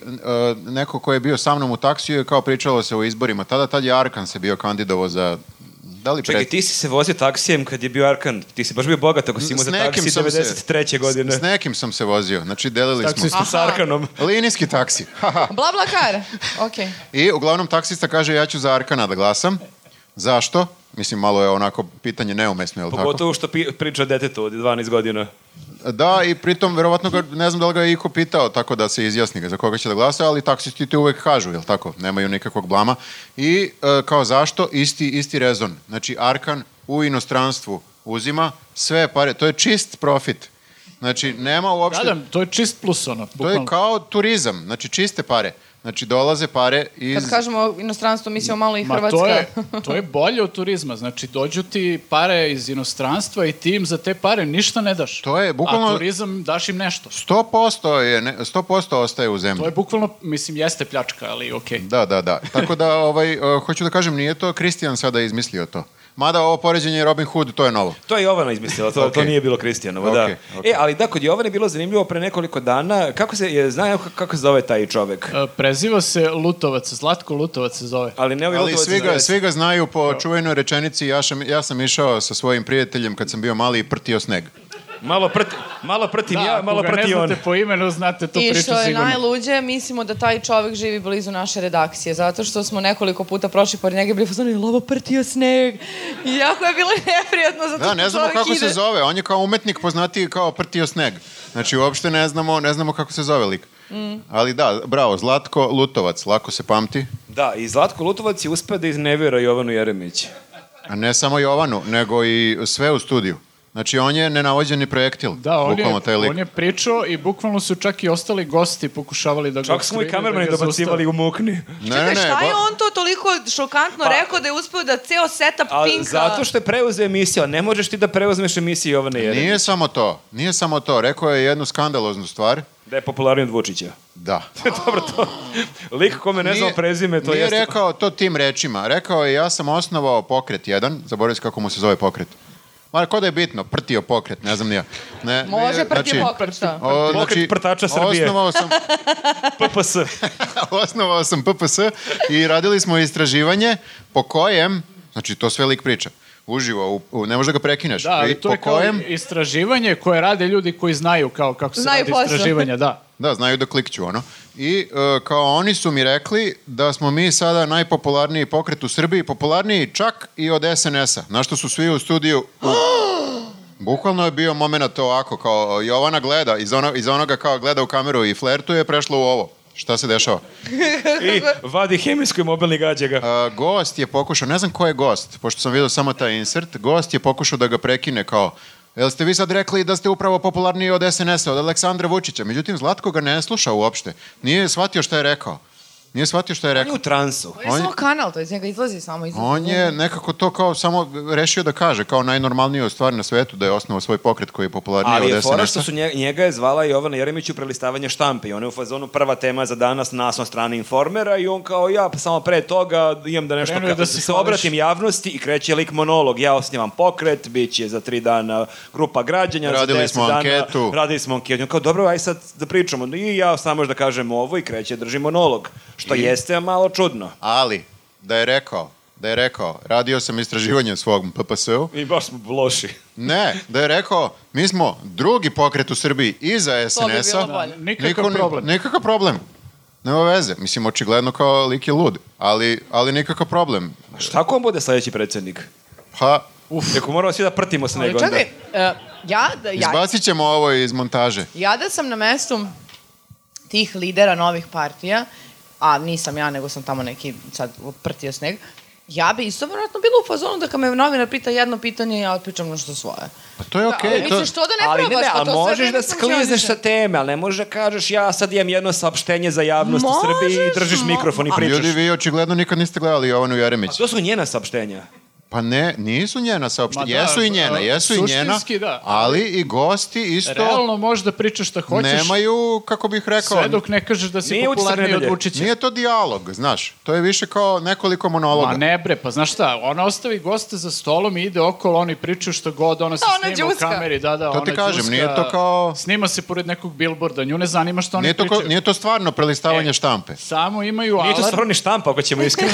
C: uh, neko ko je bio sa mnom u taksiju je kao pričalo se o izborima. Tada, tad je Arkan se bio kandidovo za... Da li
D: Čekaj,
C: pred-
D: ti si se vozio taksijem kad je bio Arkan. Ti si baš bio bogat ako si imao
C: S
D: za
C: nekim
D: taksi
C: sam se-
D: 93. godine.
C: S nekim sam se vozio, znači delili smo.
A: Taksista.
D: S Arkanom.
C: Linijski taksi. haha.
E: Bla, bla, kar. Okej.
C: I uglavnom taksista kaže ja ću za Arkana da glasam. Zašto? Mislim, malo je onako pitanje neumesno, je li tako?
D: Pogotovo što pi, priča o detetu od 12 godina.
C: Da, i pritom verovatno ga, ne znam da li ga je iko pitao tako da se izjasni ga za koga će da glasa, ali taksisti ti uvek kažu, jel tako? Nemaju nikakvog blama. I e, kao zašto? Isti, isti rezon. Znači, Arkan u inostranstvu uzima sve pare. To je čist profit. Znači, nema uopšte...
A: Da, da, to je čist plus ono.
C: to je
A: bukvalno.
C: kao turizam. Znači, čiste pare. Znači, dolaze pare iz...
E: Kad kažemo inostranstvo, mislimo malo i
A: Ma
E: Hrvatska.
A: to je, to je bolje od turizma, znači dođu ti pare iz inostranstva i ti im za te pare ništa ne daš.
C: To je bukvalno-
A: A turizam daš im nešto.
C: 100%, je, ne, 100% ostaje u zemlji.
A: To je bukvalno, mislim, jeste pljačka, ali okej.
C: Da, da, da. Tako da, ovaj, e, hoću da kažem, nije to Kristijan sada izmislio to. Mada ovo poređenje Robin Hood, to je novo.
D: To je Jovana izmislila, to, to
C: Okej.
D: nije bilo Kristijanovo, da.
C: Okej, okej.
D: E, ali da, kod Jovane je bilo zanimljivo pre nekoliko dana, kako se, je, zna kako- kako se zove taj čovek?
A: E, Preziva se Lutovac, Zlatko Lutovac se zove.
D: Ali ne ovi
C: Ali
D: Lutovac
C: svi ga,
D: iz-
C: svi ga znaju po čuvenoj rečenici ja sam, ja sam išao sa svojim prijateljem kad sam bio mali i prtio sneg.
D: Malo, prti, malo
C: Da,
D: pratim ja, malo
A: Da, ako ga ne
D: prati on.
A: znate po imenu, znate tu
E: I
A: priču
E: što je
A: sigurno.
E: najluđe, mislimo da taj čovek živi blizu naše redakcije, zato što smo nekoliko puta prošli pored njega i bili fazoni, lovo prtio sneg. I jako je bilo neprijatno, zato
C: Da,
E: što
C: ne znamo
E: čovek
C: kako
E: ide.
C: se zove, on je kao umetnik poznatiji kao prtio sneg. Znači, uopšte ne znamo, ne znamo kako se zove lik.
E: Mm.
C: Ali da, bravo, Zlatko Lutovac, lako se pamti.
D: Da, i Zlatko Lutovac je uspeo da iznevjera Jovanu Jeremić.
C: A ne samo Jovanu, nego i sve u studiju. Znači, on je nenavođeni projektil.
A: Da, on je,
C: bukvalno taj lik.
A: on je pričao i bukvalno su čak i ostali gosti pokušavali da ga
D: Čak smo i
A: otkrive, da
D: kamermani
A: ga
D: dobacivali
A: zaustave.
D: u mukni.
C: Ne,
E: Čekaj,
C: ne, ne,
E: šta je
C: ba- Pa-
E: on to toliko šokantno rekao da je uspeo da ceo setup
D: A
E: Pinka...
D: zato što je preuzeo emisiju, a ne možeš ti da preuzmeš emisiju Jovane Jeremić.
C: Nije samo to, nije samo to. Rekao je jednu skandaloznu stvar.
D: Da je popularniji od Vučića.
C: Da.
D: Dobro, to... Lik kome ne znao
C: Nije-
D: prezime, to
C: nije
D: jeste...
C: rekao to tim rečima. Rekao je ja sam osnovao pokret jedan, zaboravio sam kako mu se zove pokret. Ma ko da je bitno, prtio pokret, ne znam ni ja. Ne, znači,
E: Može
C: nije-
E: prtio pokret, šta?
C: o, znači,
D: Pokret prtača Srbije.
C: Osnovao sam,
D: PPS.
C: osnovao sam PPS i radili smo istraživanje po kojem, znači to sve lik priča, uživo, u, u- ne možeš da ga prekineš.
A: Da, ali
C: I
A: to je
C: po
A: kao
C: kojem,
A: istraživanje koje rade ljudi koji znaju kao kako se
E: Znaju
A: radi
E: posao.
A: istraživanja, da.
C: Da, znaju da klikću, ono. I e, kao oni su mi rekli da smo mi sada najpopularniji pokret u Srbiji, popularniji čak i od SNS-a. Na što su svi u studiju... U... Bukvalno je bio moment ovako, kao Jovana gleda, iz, ono, iz onoga kao gleda u kameru i flertuje, prešlo u ovo. Šta se dešava?
D: I vadi hemijsku i mobilni gađa ga.
C: E, gost je pokušao, ne znam ko je gost, pošto sam vidio samo taj insert, gost je pokušao da ga prekine kao Jel ste vi sad rekli da ste upravo popularniji od SNS-a, od Aleksandra Vučića? Međutim, Zlatko ga ne sluša uopšte. Nije shvatio šta je rekao. Nije shvatio šta je
D: On je
C: rekao.
D: u transu.
B: To je
C: On-
B: samo kanal, to iz njega izlazi samo iz...
C: On je nekako to kao samo rešio da kaže, kao najnormalniju stvar na svetu, da je osnovao svoj pokret koji je popularniji
D: Ali je
C: od
D: fora što
C: SNS-a.
D: su nje- njega je zvala Jovana Jeremić u prelistavanje štampe i ona je u fazonu prva tema za danas nas na strani informera i on kao ja pa samo pre toga imam da nešto
A: Krenuo je
D: ka-
A: da se
D: se
A: hvališ.
D: obratim javnosti i kreće lik monolog ja osnivam pokret bit će za tri dana grupa građanja za
C: Radili
D: 10
C: smo
D: dana,
C: anketu.
D: radili smo anketu I on kao dobro aj sad da pričamo i ja samo još da kažem ovo i kreće drži monolog što jeste malo čudno
C: Ali, da je rekao, da je rekao, radio sam istraživanje u svom PPS-u,
D: i baš smo loši
C: ne, da je rekao, mi smo drugi pokret u Srbiji iza
B: To bi bilo
C: SNS-a.
B: bolje.
A: Nikakav
C: Niko ni-
A: problem.
C: Nikakav problem. Nema veze. Mislim, očigledno kao lik je lud, ali, ali nikakav problem.
D: Pa šta ko on bude sledeći predsednik
C: Pa,
D: Uf. Jako moramo svi da prtimo se nego
B: Ali
D: onda.
B: čekaj, e, ja, da, ja,
C: izbacit ćemo ovo iz montaže.
B: ja da sam na mestu tih lidera novih partija, a nisam ja, nego sam tamo neki sad prtio sneg, ja bi isto vjerojatno bila u fazonu da kad me novinar pita jedno pitanje, ja otpričam nešto svoje.
C: Pa to je okej.
B: Okay,
C: to...
B: Misliš, što da ne probaš? Pa
D: ali
B: to sve
D: možeš
B: vreme
D: da
B: funkcioniše.
D: sklizneš sa teme, ali ne možeš da kažeš ja sad imam jedno saopštenje za javnost u Srbiji i
B: Možeš,
D: držiš
B: mo-
D: mikrofon i
B: a-
D: pričaš.
C: Ljudi, vi očigledno nikad niste gledali Jovanu Jeremić.
D: To su njena saopštenja.
C: Pa ne, nisu njena saopštenja.
A: Ma da,
C: jesu i njena,
A: a,
C: jesu i njena.
A: suštinski da.
C: Ali i gosti isto
A: Realno možeš da pričaš šta hoćeš,
C: nemaju, kako bih rekao,
A: sve dok ne kažeš da si
D: Nije utisak
A: popularniji od
D: nedelje.
A: Vučića.
C: nije to dijalog, znaš. To je više kao nekoliko monologa.
A: Ma ne bre, pa znaš šta, ona ostavi goste za stolom i ide okolo, oni pričaju što god, ona se
B: Da, ona
A: snima u
B: đuska.
A: kameri, da, da,
C: To
A: ona
C: ti kažem,
A: đuska,
C: nije to kao-
A: Snima se pored nekog bilborda, nju ne zanima što oni
C: Nije to,
A: pričaju.
C: ko, nije to stvarno prelistavanje
A: E.
C: štampe.
A: Samo
C: Pa
A: imaju
D: Nije
A: alarm,
D: to stvarno ni štampa, ako ćemo iskreno.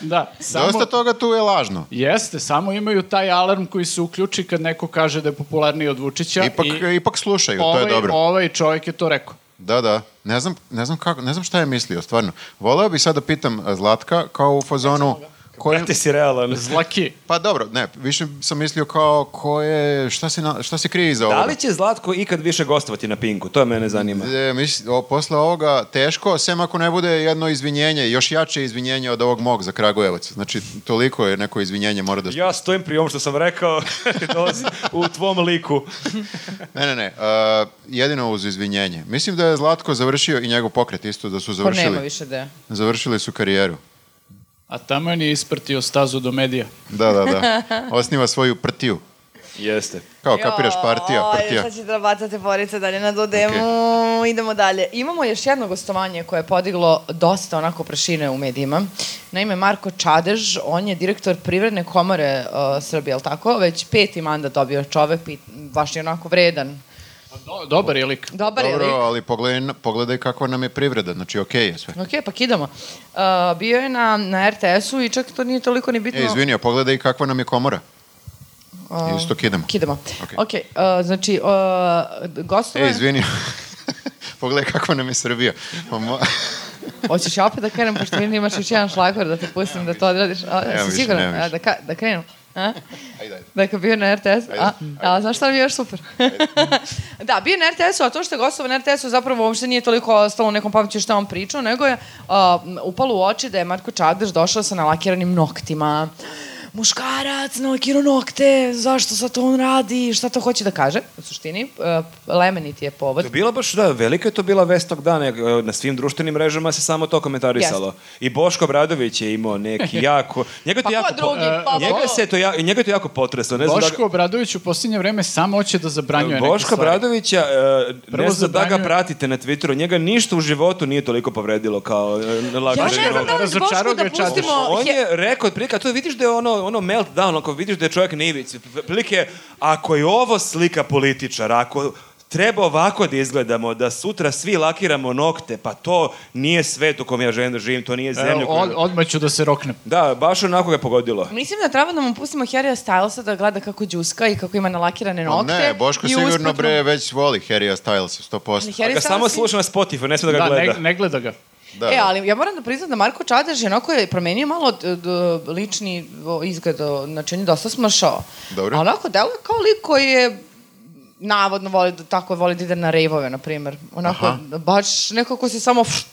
A: da, samo...
C: Dosta toga tu je lažno.
A: Jeste, samo imaju taj alarm koji se uključi kad neko kaže da je popularniji od Vučića.
C: Ipak,
A: i
C: ipak slušaju,
A: ovaj,
C: to je dobro.
A: Ovaj čovjek je to rekao.
C: Da, da. Ne znam, ne znam kako, ne znam šta je mislio, stvarno. Voleo bih sad da pitam a, Zlatka kao u fazonu koji
D: Brate si realan.
A: Zlaki.
C: Pa dobro, ne, više sam mislio kao ko je, šta se, na- šta se krije iza
D: Da
C: ovoga.
D: li će Zlatko ikad više gostovati na Pinku? To mene zanima.
C: E, mis- o, posle ovoga teško, sem ako ne bude jedno izvinjenje, još jače izvinjenje od ovog mog za Kragujevac. Znači, toliko je neko izvinjenje mora da...
D: Ja stojim pri ovom što sam rekao dolazi u tvom liku.
C: Ne, ne, ne, e, jedino uz izvinjenje. Mislim da je Zlatko završio i njegov pokret isto, da su
B: Pa nema
C: završili,
B: više da.
C: završili su karijeru.
A: A tamo je nije isprtio stazu do medija.
C: Da, da, da. Osniva svoju prtiju.
D: Jeste.
C: Kao kapiraš partija,
B: Oj,
C: prtija.
B: sad će da bacate porice dalje na dodemu. Idemo dalje. Imamo još jedno gostovanje koje je podiglo dosta onako prašine u medijima. Naime, Marko Čadež, on je direktor Privredne komore uh, Srbije, jel tako? Već peti mandat dobio čovek, pit, baš je onako vredan.
A: Do, dobar je lik.
B: Dobar je
C: Dobro,
B: lik.
C: ali pogledaj, pogledaj kako nam je privreda. Znači, okej je sve.
B: Ok, pa kidamo. Uh, bio je na, na RTS-u i čak to nije toliko ni bitno.
C: E, izvini, a pogledaj kakva nam je komora.
B: A,
C: Isto kidamo.
B: Uh, Kidamo. Ok,
C: Ok.
B: uh, znači, uh, gostova...
C: E, izvini. Pogledaj kakva nam je Srbija. Pa mo-
B: Hoćeš ja opet da krenem, pošto vidim da imaš još jedan šlagor da te pustim da to odradiš. A, si
C: Nemam više,
B: siguran?
C: nemam
B: A,
C: više.
B: da, ka, da krenu? A?
C: Ajde, ajde.
B: Da je kao bio na RTS-u. A, a znaš šta mi je još super? da, bio je na RTS-u, a to što je gostavo na RTS-u zapravo uopšte nije toliko ostalo u nekom pamću šta on pričao, nego je a, m, upalo u oči da je Marko Čadež došao sa nalakiranim noktima. Muškarac, nalakirao nokte, zašto sad to on radi, šta to hoće da kaže? U suštini, uh, lemenit je povod.
D: To je bila baš, da, velika je to bila vest tog dana. e, Na svim društvenim mrežama se samo to komentarisalo. I Boško Obradović je imao neki jako... Njega je to
B: Pa ko
D: jako, po- e,
B: drugi? Pa
D: njega,
B: ko?
D: se to ja, njega je to jako potreslo. Ne znam da ga-
A: Boško Obradović u posljednje vreme samo hoće da zabranjuje neke
D: Boško
A: stvari.
D: Bradovića, ne
A: Prvo
D: znam da ga
A: zabranjuje-
D: pratite na Twitteru, njega ništa u životu nije toliko povredilo kao e, Lako
B: Ja ne
D: Šerović.
B: znam da li Bošku
A: Razočarao
B: da
A: ga je Čadež.
B: pustimo...
D: On
B: he-
D: je rekao otprilike, a to vidiš da je ono, ono meltdown, ako vidiš da je čovjek na ivici. Otprilike, ako je ovo slika političara, ako treba ovako da izgledamo, da sutra svi lakiramo nokte, pa to nije svet u kom ja želim da živim, to nije zemlja
A: Evo,
D: koju...
A: od, odmah ću da se roknem.
D: Da, baš onako ga je pogodilo.
B: Mislim da treba da mu pustimo Harrya Stylesa da gleda kako đuska i kako ima nalakirane
C: Pa
B: nokte.
C: ne, Boško
B: i
C: sigurno
B: usputno-
C: bre već voli Harrya Stylesa,
B: Ali
C: 100%.
B: Harry
D: Pa Ga samo
B: Styles-
D: sluša na Spotify, ne sme da ga
A: Da,
D: gleda.
A: ne, ne gleda ga.
C: Da,
B: E,
C: da.
B: ali ja moram da priznam da Marko Čadež je onako je promenio malo d, d, lični o, izgled, o, znači on je dosta smršao.
C: Dobro.
B: A onako deluje kao lik koji je navodno voli da tako voli da ide na rejvove, na primer. Onako,
C: Aha.
B: baš nekako se samo pff,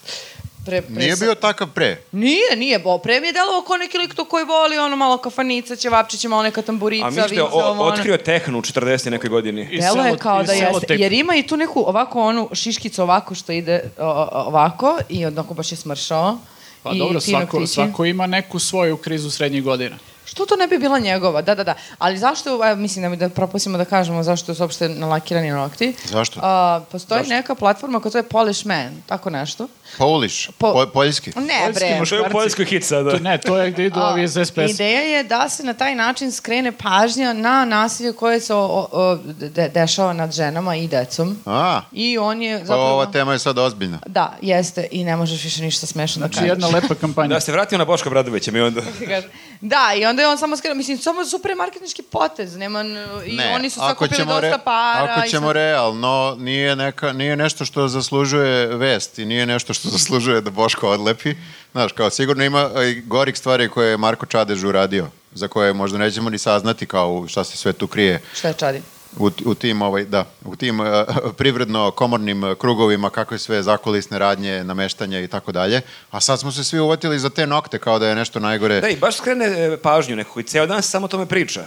B: Pre, pre
C: Nije bio takav pre.
B: Nije, nije, bo, pre mi je delovao kao neki lik to koji voli ono malo kafanica, ćevapčića, malo neka tamburica,
D: A mi ste
B: vinca, ovo, ono.
D: otkrio tehnu u 40. nekoj godini.
A: I
B: Delo je
A: selo-
B: kao
A: i
B: da jeste,
A: selotejp.
B: jer ima i tu neku ovako onu šiškicu ovako što ide o, o, ovako i onako baš je smršao.
A: Pa
B: I
A: dobro,
B: fino
A: svako,
B: kliči.
A: svako ima neku svoju krizu srednjih godina.
B: Što to ne bi bila njegova? Da, da, da. Ali zašto, e, mislim da mi da propustimo da kažemo zašto su uopšte nalakirani nokti.
C: Zašto?
B: A, postoji neka platforma koja to je Polish Man, tako nešto.
C: Polish,
B: Po-
C: po, poljski.
B: Ne, bre.
D: Što je u Poljskoj hit sada?
A: To, ne, to je gde idu ovi iz
B: A,
A: SPS.
B: Ideja je da se na taj način skrene pažnja na nasilje koje se o, o, o, de, dešava nad ženama i decom.
C: A,
B: I on je
C: pa
B: zapravo...
C: ova tema je sad ozbiljna.
B: Da, jeste. I ne možeš više ništa smešno da
A: Znači
B: kažeš.
A: jedna lepa kampanja.
D: Da, se vratio na Boška Bradovića mi onda.
B: ti kažem. Da, i onda je on samo skrenuo, mislim, samo super marketnički potez, nema, n- i
C: Ne,
B: oni su
C: ako
B: sakupili
C: ćemo,
B: dosta
C: re,
B: para.
C: ako
B: i
C: ćemo
B: sad-
C: realno, nije, neka, nije nešto što zaslužuje vest i nije nešto što zaslužuje da Boško odlepi. Znaš, kao sigurno ima i gorih stvari koje je Marko Čadež uradio, za koje možda nećemo ni saznati kao u šta se sve tu krije
B: Šta je čadi?
C: u, u tim, ovaj, da, u tim eh, privredno-komornim eh, krugovima, kakve sve zakulisne radnje, nameštanja i tako dalje. A sad smo se svi uvatili za te nokte kao da je nešto najgore.
D: Da, i baš skrene e, pažnju nekako i ceo dan se samo o tome priča.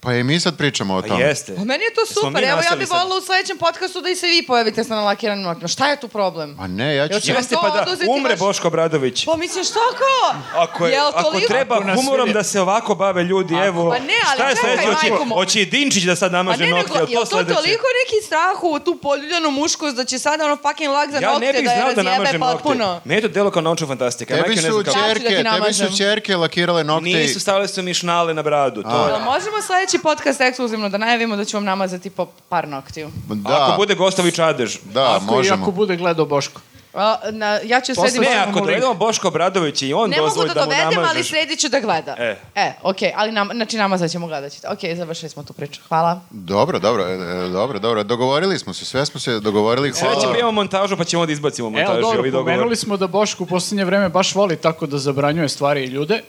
C: Pa i mi sad pričamo o
D: Pa
C: tome.
D: jeste.
B: Pa meni je to
D: Jesmo mi
B: super, evo ja
D: nastali
B: bih
D: sad?
B: volila u sledećem podcastu da i se vi pojavite sa nalakiranim noktima. Šta je tu problem?
C: Ma ne, ja ću...
B: Još ćemo
D: Jeste,
B: to
D: pa da
B: oduzeti
D: umre
B: vaš-
D: Boško Bradović.
B: Pa mislim, šta kao?
D: Ako, je,
B: Jel
D: ako
B: toliko-
D: treba
A: Ako nas
D: humorom
A: vidi.
D: da se ovako bave ljudi, evo,
B: Pa ne, ali
D: šta je
B: čekaj,
D: sledeće,
B: majko
D: oće,
B: mo-
D: oće i Dinčić da sad
B: Pa
D: namaže
B: ne,
D: nokte,
B: nego,
D: jel
B: je
D: to
B: to toliko
D: sledeće?
B: neki strah u tu poljuljanu muškost da će sada ono fucking lag za
D: Ja
B: nokte
D: ne bih
B: da je
D: znao da
B: razjebe
D: namažem
B: potpuno.
D: nokte. Meni je to delo kao naučna fantastika.
C: Tebi
D: Majke, ne
C: su,
D: znam kako.
B: ćer-
C: ćerke,
B: Ja ću da ti
C: tebi su
B: namažem.
C: ćerke lakirale nokte. i-
D: Nisu stavili su mi šnale na bradu. To,
B: Jel možemo sledeći podcast ekskluzivno da najavimo da ću vam namazati po par noktiju?
C: Da,
D: Ako bude gostavi čadež.
C: da
A: ako, I
C: možemo.
A: ako bude gledao Boško.
B: A, na, ja ću
A: Posle-
B: sredim...
D: Ne,
A: Dovedemo
D: ako
A: link.
D: dovedemo Boško Bradović i on
B: Ne mogu
D: dozvoli
B: da,
D: da mu
B: dovedem, ali
D: namažeš.
B: sredit ću da gleda.
D: E.
B: e okej, ali nam, znači namazat ćemo, gledat ćete. Okej, završili smo tu priču. Hvala.
C: Dobro, dobro, e, e, dobro, dobro. Dogovorili smo se, sve smo se dogovorili.
D: Sada će
C: Hvala.
D: prijemo montažu pa ćemo onda izbacimo montažu.
A: Evo, dobro,
D: ovi dogovor.
A: pomenuli smo da Boško u posljednje vreme baš voli tako da zabranjuje stvari i ljude.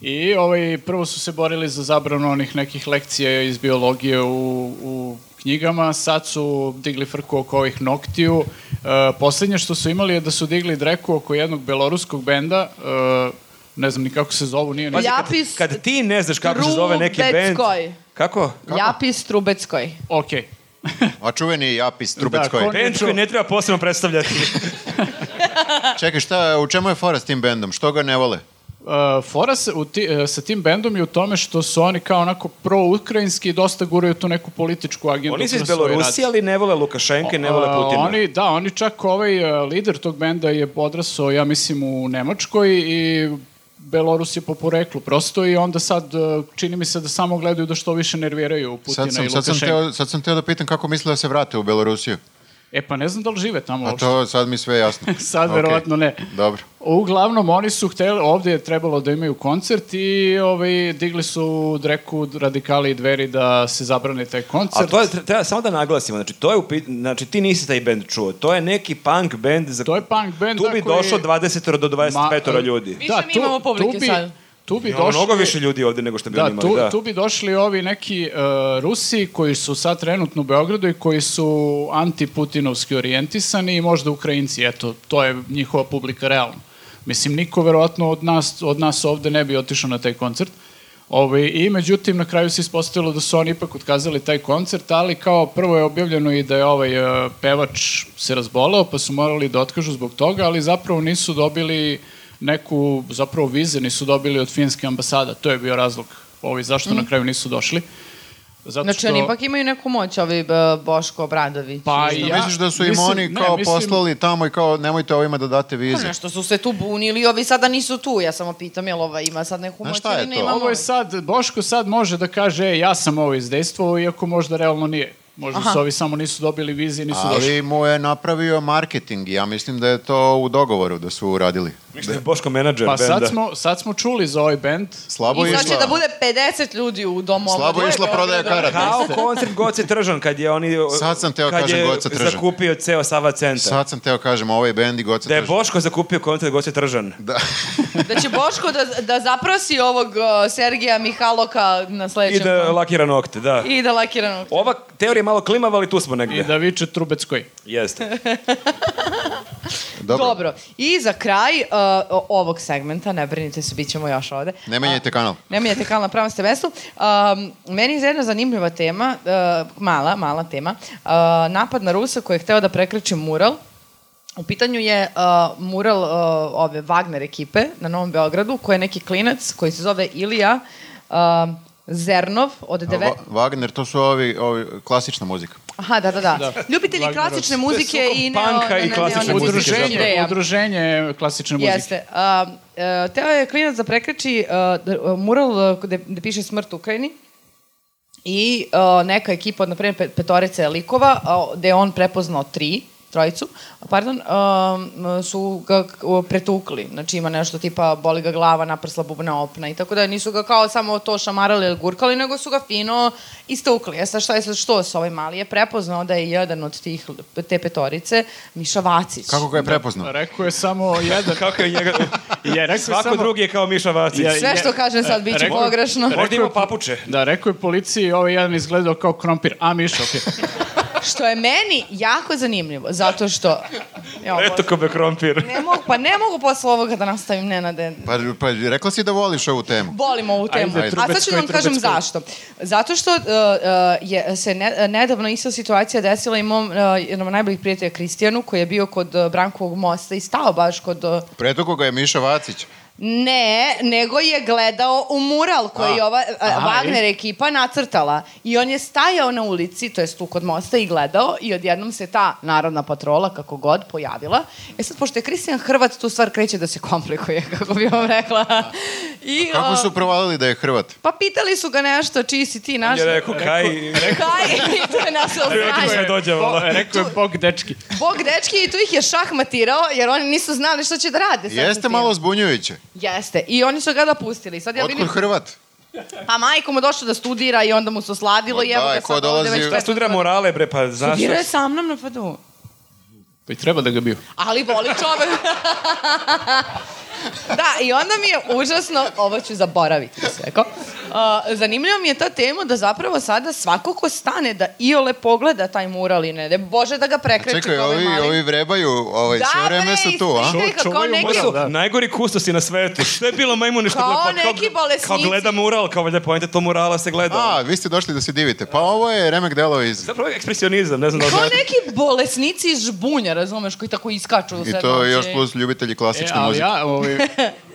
A: I ovaj, prvo su se borili za zabranu onih nekih lekcija iz biologije u, u knjigama, sad su digli frku oko ovih noktiju. E, poslednje što su imali je da su digli dreku oko jednog beloruskog benda, e, ne znam ni kako se zovu, nije ni...
D: Pazi, kad-
B: Ljapis
D: kad, ti ne znaš kako se zove neki bend...
B: Trubeckoj.
D: Kako?
B: Japis Trubeckoj.
A: Okej.
C: A čuveni Japis Trubeckoj.
A: Da, ko-
D: Bend koji ne treba posebno predstavljati.
C: Čekaj, šta, u čemu je fora s tim bendom? Što ga ne vole?
A: Uh, fora sa, u ti, e, sa tim bendom je u tome što su oni kao onako pro-ukrajinski i dosta guraju tu neku političku agendu.
D: Oni su iz
A: kroz svoj
D: Belorusije,
A: rad.
D: ali ne vole Lukašenka i ne vole
A: A,
D: Putina.
A: oni, da, oni čak ovaj e, lider tog benda je odrasao, ja mislim, u Nemačkoj i Belorus je po poreklu prosto i onda sad e, čini mi se da samo gledaju da što više nerviraju Putina
C: Sad sam,
A: i
C: sad, sam
A: Lukašenka.
C: teo, sad sam teo da pitam kako misle da se vrate u Belorusiju.
A: E pa ne znam da li žive tamo
C: A
A: uopšte.
C: to sad mi sve je jasno.
A: Sad
C: Ok.
A: verovatno ne.
C: Dobro.
A: Uglavnom, oni su hteli, ovde je trebalo da imaju koncert i ovaj, digli su dreku radikali i dveri da se zabrane taj
D: A
A: koncert.
D: to je, treba samo da naglasimo, znači, to je upit, znači ti nisi taj bend čuo, to je neki punk bend za...
A: To je punk bend,
D: Tu
A: da,
D: bi
A: koji-
D: došlo 20 do 25
A: Ma,
D: ljudi.
B: Više mi imamo publike
A: tu bi,
B: sad.
A: Tu bi
D: Ima
A: došli...
D: mnogo više ljudi ovde nego što bi oni
A: Da,
D: imali,
A: tu,
D: da.
A: tu bi došli ovi neki uh, Rusi koji su sad trenutno u Beogradu i koji su antiputinovski orijentisani i možda Ukrajinci, eto, to je njihova publika realno. Mislim, niko verovatno od nas, od nas ovde ne bi otišao na taj koncert. Ove, I međutim, na kraju se ispostavilo da su oni ipak otkazali taj koncert, ali kao prvo je objavljeno i da je ovaj e, pevač se razboleo, pa su morali da otkažu zbog toga, ali zapravo nisu dobili neku, zapravo vize nisu dobili od finske ambasada. To je bio razlog ovi, zašto na kraju nisu došli. Zato
B: Mhm. Znači, oni ipak imaju neku moć, ovi e, Boško Obradović.
A: Pa
C: Šta
A: ja,
C: misliš da su im
A: mislim-
C: oni
A: ne,
C: kao
A: mislim-
C: poslali tamo i kao nemojte ovima da date
B: Pa
C: vize?
B: nešto su se tu bunili, ovi sada nisu tu. Ja samo pitam, jel ova ima sad neku
C: Znaš
B: moć
C: šta je
B: ili ne
C: to?
B: ima
A: Ovo je
B: moć?
A: sad, Boško sad može da kaže, e, ja sam ovo izdejstvo, iako možda realno nije. Možda
B: Aha.
A: su ovi samo nisu dobili vize i nisu došli.
C: Ali mu je napravio marketing i ja mislim da je to u dogovoru da su uradili.
D: Mislim da je Boško menadžer
A: Pa
D: benda.
A: sad smo, sad smo čuli za ovaj bend.
C: Slabo
B: I
C: je
B: sad će
C: išla.
B: da bude 50 ljudi u domu.
C: Slabo je išla prodaja
B: da
C: karata.
D: Kao koncert Goce Tržan, kad je oni...
C: Sad sam teo
D: kad
C: kažem
D: je
C: Goce Tržan.
D: zakupio ceo Sava centar.
C: Sad sam teo kažem, ovaj bend i Goca
D: Da je
C: Tržan.
D: Boško zakupio koncert Goce Tržan.
B: Da će Boško da, da zaprosi ovog e, Sergeja Mihaloka na
D: I
B: sledećem.
D: da lakira nokte, da.
B: I da lakira nokte.
D: Ova teorija je malo klimava, ali tu smo negde.
A: I da viče Trubeckoj.
D: Jeste.
C: Dobro.
B: Dobro. I za kraj uh, o- ovog segmenta, ne brinite se, bit ćemo još ovde.
C: Ne menjajte kanal.
B: Ne menjate kanal na pravom ste mestu. Um, meni je za jedna zanimljiva tema, uh, mala, mala tema, uh, napad na Rusa koji je hteo da prekreće mural. U pitanju je uh, mural uh, ove Wagner ekipe na Novom Beogradu, koji je neki klinac koji se zove Ilija uh, Zernov od deve...
C: Va Wagner, to su ovi, ovi klasična muzika.
B: Aha, da, da, da.
A: Da.
B: Ljubitelji
A: Wagnerovci.
B: klasične muzike i neo...
D: panka i
B: ne- ne-
D: klasične
B: ne-
D: muzike,
A: Udruženje,
B: ideja.
A: udruženje klasične muzike.
B: Jeste. A, e, teo je klinac da prekreči e, d- e, mural e, gde, gde piše smrt Ukrajini i e, neka ekipa od, na primjer, pe- petorice likova, a, gde je on prepoznao tri, trojicu, pardon, um, su ga k- o, pretukli. Znači ima nešto tipa boli ga glava, naprsla bubna opna i tako da nisu ga kao samo to šamarali ili gurkali, nego su ga fino istukli. E sad šta je sad što s ovaj mali je prepoznao da je jedan od tih, te petorice Miša Vacić.
C: Kako ga je prepoznao?
A: Rekao je samo jedan.
D: Kako je njega...
A: rekao je
D: Svako
A: samo-
D: drugi je kao Miša Vacić.
A: Ja- e,
B: Sve što kažem sad biće
A: Rekao-
B: pogrešno.
D: Možda ima papuče.
A: Da, rekao je policiji, ovaj jedan izgledao kao krompir. A, Miša, okej.
B: Što je meni jako zanimljivo, zato što... Jo,
D: Eto ko be krompir.
B: ne mogu, pa ne mogu posle ovoga da nastavim Nenade.
C: Pa, pa rekla si da voliš ovu temu.
B: Volim ovu temu.
A: Ajde,
B: A sad ću da vam
A: Trubetskoj,
B: kažem
A: Trubetskoj.
B: zašto. Zato što uh, uh, je, se ne, uh, nedavno ista situacija desila i mom, uh, jednom od najboljih prijatelja Kristijanu, koji je bio kod uh, Brankovog mosta i stao baš kod... Uh,
C: Pretuko ga je Miša Vacić.
B: Ne, nego je gledao u mural koji
C: A.
B: je ova a,
A: Aha,
B: Wagner ekipa nacrtala. I on je stajao na ulici, to jest tu kod mosta i gledao i odjednom se ta narodna patrola, kako god, pojavila. E sad, pošto je Kristijan Hrvat, tu stvar kreće da se komplikuje, kako bi vam rekla. I,
C: Kako
B: a,
C: su provalili da je Hrvat?
B: Pa pitali su ga nešto, čiji si ti naš...
D: Je rekao, kaj...
B: Kaj? I to je našao
D: Rekao
B: znanje.
D: je- dođe, vola.
A: Bo- rekao je Bog dečki.
B: Bog dečki i tu ih je šahmatirao, jer oni nisu znali što će da rade. sad sa
C: Jeste
B: tim.
C: malo zbunjujuće.
B: Jeste. I oni su ga da pustili. Sad ja vidim...
C: Otkud Hrvat?
B: Pa majko mu došlo da studira i onda mu se osladilo
C: Ma
B: i evo
C: da,
B: ga
C: i ko
B: sad ovde
C: dolazi-
B: već...
C: Da
D: Da studira morale, bre, pa znaš...
B: Studirao je sa mnom na padu.
A: Pa i treba da ga bio.
B: Ali voli čovek. da, i onda mi je užasno, ovo ću zaboraviti sve. Ko? Uh, zanimljivo mi je ta tema da zapravo sada svako ko stane da iole pogleda taj mural i ne, de Bože da ga prekreći
C: Čekaj,
B: kao ovaj
C: ovi,
B: mali.
C: ovi vrebaju, ovaj,
B: Da,
C: sve
B: bre,
C: vreme su tu, a?
B: ispričaj ga kao
A: Čuvaju
B: neki
A: mural,
D: Su
A: Da.
D: najgori kustosi na svetu. Što je bilo majmune što
B: Kao
D: gleda? Pa
B: neki bolesnici.
D: Kao gleda mural, kao valjda pojente to murala se gleda.
C: A, vi ste došli da se divite. Pa ovo je remek delo iz...
D: Zapravo je ekspresionizam, ne znam da li
B: Kao
D: znate.
B: neki bolesnici iz žbunja, razumeš, koji tako iskaču u
C: I
B: sve
C: to
B: noći.
C: još plus ljubitelji
A: E,
C: klasične
A: ali
C: muzike.
A: ja, ovaj,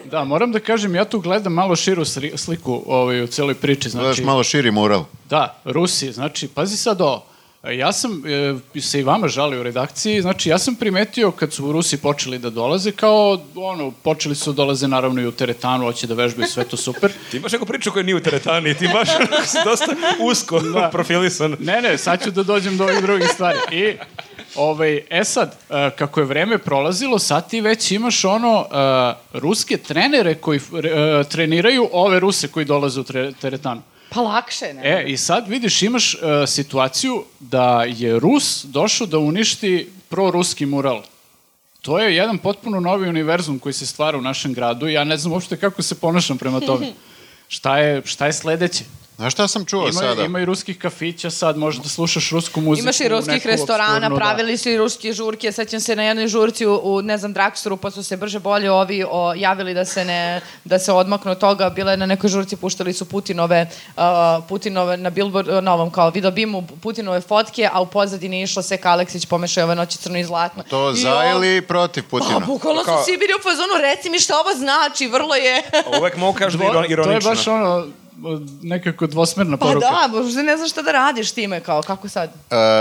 A: da, moram da kažem, ja tu gledam malo širu sri- sliku ovaj, u celoj priči.
C: Gledaš
A: Znači,
C: malo širi mural.
A: Da, Rusi, znači, pazi sad ovo. E, Ja sam e, se i vama žalio u redakciji, znači ja sam primetio kad su Rusi počeli da dolaze, kao ono, počeli su da dolaze naravno i u teretanu, hoće da vežbaju sve to super.
D: Ti imaš neku priču koja nije u teretani, ti baš onako si dosta usko
A: Da.
D: profilisan.
A: Ne, ne, sad ću da dođem do ovih drugih stvari. I, ovaj, e sad, e, kako je vreme prolazilo, sad ti već imaš ono e, ruske trenere koji f- re- e, treniraju ove Ruse koji dolaze u tre- teretanu.
B: Pa lakše, ne?
A: E, i sad vidiš, imaš e, situaciju da je Rus došao da uništi proruski mural. To je jedan potpuno novi univerzum koji se stvara u našem gradu i ja ne znam uopšte kako se ponašam prema tome. Šta je, šta je sledeće?
C: Znaš šta sam čuo sada?
A: Ima, ima i ruskih kafića sad, možeš da slušaš rusku muziku.
B: Imaš i ruskih
A: neku
B: restorana,
A: obskurnu, da.
B: pravili su i ruske žurke, sećam se na jednoj žurci u, u ne znam, Drakstoru, pa su se brže bolje ovi o, javili da se, ne, da se odmaknu od toga, bila je na nekoj žurci, puštali su Putinove, uh, Putinove na billboard, uh, novom kao videobimu, Putinove fotke, a u pozadini je išlo se Aleksić pomešao ove noći crno i zlatno.
C: To
B: I
C: za
B: on-
C: ili protiv Putina?
B: Pa, bukvalno su
D: Kao-
B: svi bili u fazonu, reci mi šta ovo znači, vrlo je...
D: A Uvek mogu kažu da je
A: Dvo,
D: iron- ironično.
A: To je baš ono, nekako dvosmerna
B: Pa
A: poruka.
B: da, možda ne znaš šta da radiš time, kao, kako sad?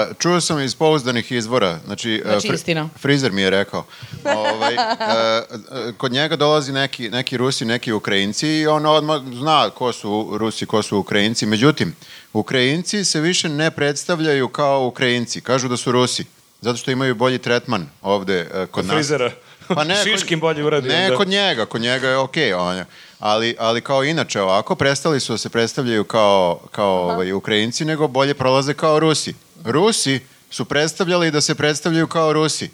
C: Uh, čuo sam iz pouzdanih izvora, znači, uh,
B: Znači,
C: fri-
B: istina.
C: frizer mi je rekao. Ovaj, uh, uh, kod njega dolazi neki, neki Rusi, neki Ukrajinci i on odmah zna ko su Rusi, ko su Ukrajinci. Međutim, Ukrajinci se više ne predstavljaju kao Ukrajinci. Kažu da su Rusi, zato što imaju bolji tretman ovde uh, kod nas.
D: Frizera.
C: Pa ne, kod-
D: Šiškim bolje uradio.
C: Ne,
D: da.
C: kod njega, kod njega je okej. on je- ali, ali kao inače ovako, prestali su da se predstavljaju kao, kao ovaj, Ukrajinci, nego bolje prolaze kao Rusi. Rusi su predstavljali da se predstavljaju kao Rusi.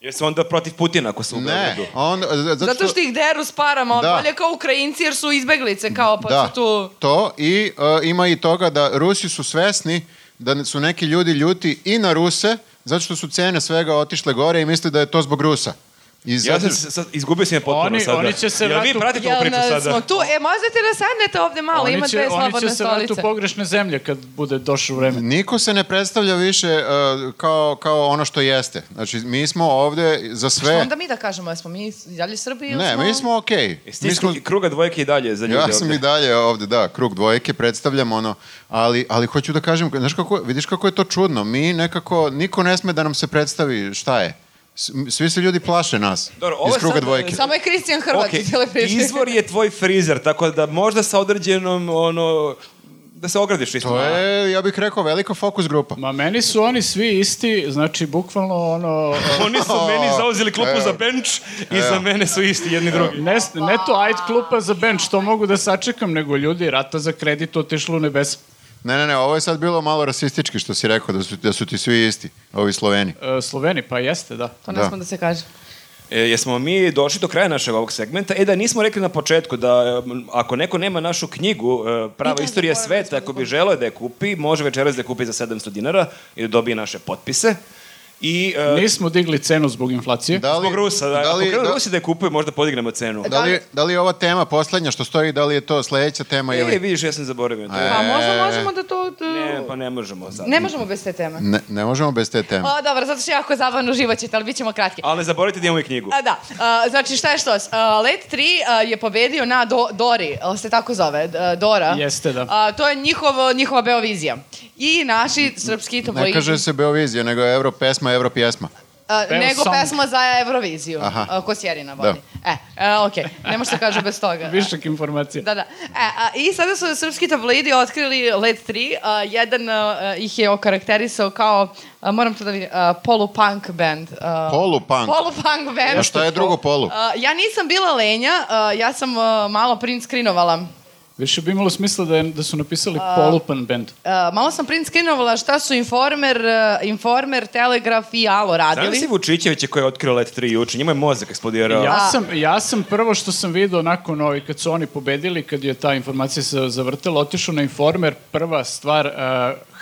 D: Jer su onda protiv Putina ako su u
C: Ne,
D: Beogradu.
C: on, z- zato,
B: Zato što ih deru s parama,
C: Da.
B: bolje kao Ukrajinci jer su izbeglice, kao pa
C: da,
B: su tu...
C: to i e, ima i toga da Rusi su svesni da su neki ljudi ljuti i na Ruse, zato što su cene svega otišle gore i misle da je to zbog Rusa. I
D: Ja
C: zato,
D: sam se sad, izgubio sam je potpuno
A: Oni-
D: sada.
A: oni će se
D: Jel vi
A: vratiti-
D: pratite ovu
B: Jel
D: priču
B: na,
D: sada?
B: smo tu? E, možete da sadnete ovde malo, ima dve slobodne
A: Oni će se vrati u
B: stolice.
A: pogrešne zemlje kad bude došlo vreme.
C: niko se ne predstavlja više uh, kao, kao ono što jeste. Znači, mi smo ovde za
B: Što
C: sve.
B: onda mi da kažemo, jesmo mi i dalje Srbi ili
C: Ne,
B: smo...
C: mi smo okej.
D: Jeste
C: Mi
D: iz
C: smo
D: kru- kruga dvojke i dalje za ljude
C: Ja sam
D: ovde?
C: i dalje ovde, da, krug dvojke, predstavljam ono, ali, ali hoću da kažem, znaš kako, vidiš kako je to čudno, mi nekako, niko ne sme da nam se predstavi šta je. S- Svi se ljudi plaše nas
D: Dobro, ovo je
C: iz kruga
D: sad, e,
C: dvojke.
B: Samo je Kristijan Hrvat okay.
D: Okej,
B: u cijele priče.
D: izvor je tvoj frizer, tako da možda sa određenom, ono, da se ogradiš isto.
C: To je, ja bih rekao, velika fokus grupa.
A: Ma meni su oni svi isti, znači bukvalno ono...
D: Oni su meni zauzeli klupu za bench i za mene su isti jedni drugi.
A: Ne, ne to ajde klupa za bench, što mogu da sačekam, nego ljudi rata za kredit otišlo u nebesa.
C: Ne, ne, ne, ovo je sad bilo malo rasistički što si rekao, da su, da su ti svi isti, ovi Sloveni.
A: E, Sloveni, pa jeste, da.
B: To ne
C: Da.
B: smo da se kaže.
D: E, jesmo mi došli do kraja našeg ovog segmenta? E da, nismo rekli na početku da e, m, ako neko nema našu knjigu e, Prava istorija sveta, ako bi želeo da je kupi, može večeras da je kupi za 700 dinara i da dobije naše potpise. I, e,
A: Nismo digli cenu zbog inflacije.
C: Da
D: Zbog Rusa, da.
C: li,
D: ako krenu
C: da,
D: Rusi da je kupuju, možda podignemo cenu.
C: da, li, da li je ova tema poslednja što stoji, da li je to sledeća tema
D: E,
C: ili...
D: vidiš, ja sam zaboravio
C: E.
D: to.
B: Pa možda možemo da to... da-
D: Ne, pa ne možemo sad.
B: Ne možemo bez te teme.
C: Ne, ne možemo bez te teme.
B: O, dobro, zato što je jako zabavno, uživat ćete, ali bit ćemo kratki.
D: Ali ne zaboravite da imamo i knjigu.
B: A, da, a, znači šta je što? A, Let 3 a, je pobedio na Do, Dori, ali se tako zove, D- a, Dora.
A: Jeste, da.
B: A, to je njihov, njihova Beovizija. I naši srpski tabloidi...
C: Ne kaže se Beovizija, nego je Euro pesma, Euro pjesma.
B: A,
A: Beo
B: nego
A: song.
B: pesma za Euroviziju,
C: Aha. Da.
B: a, Kosjerina vodi. E, e, okej, nema što kažu bez toga.
A: Višak informacija.
B: Da, da. E, a, I sada su srpski tabloidi otkrili Led 3. A, jedan a, ih je okarakterisao kao, a, moram to da vidim, a, polu-punk band. A,
C: Polupunk.
B: Polu-punk band.
C: A šta je drugo polu?
B: A, ja nisam bila lenja, a, ja sam a, malo print screenovala.
A: Više bi imalo smisla da, je, da su napisali polupan band.
B: A, malo sam print screenovala šta su Informer, a, Informer, Telegraf i Alo
D: Znaš si
B: radili.
D: Vučićevića koji je otkrio Let 3 juče? Njima je mozak eksplodirao.
A: Ja sam, ja sam prvo što sam video nakon ovi, kad su oni pobedili, kad je ta informacija se zavrtela, otišao na Informer, prva stvar, eh,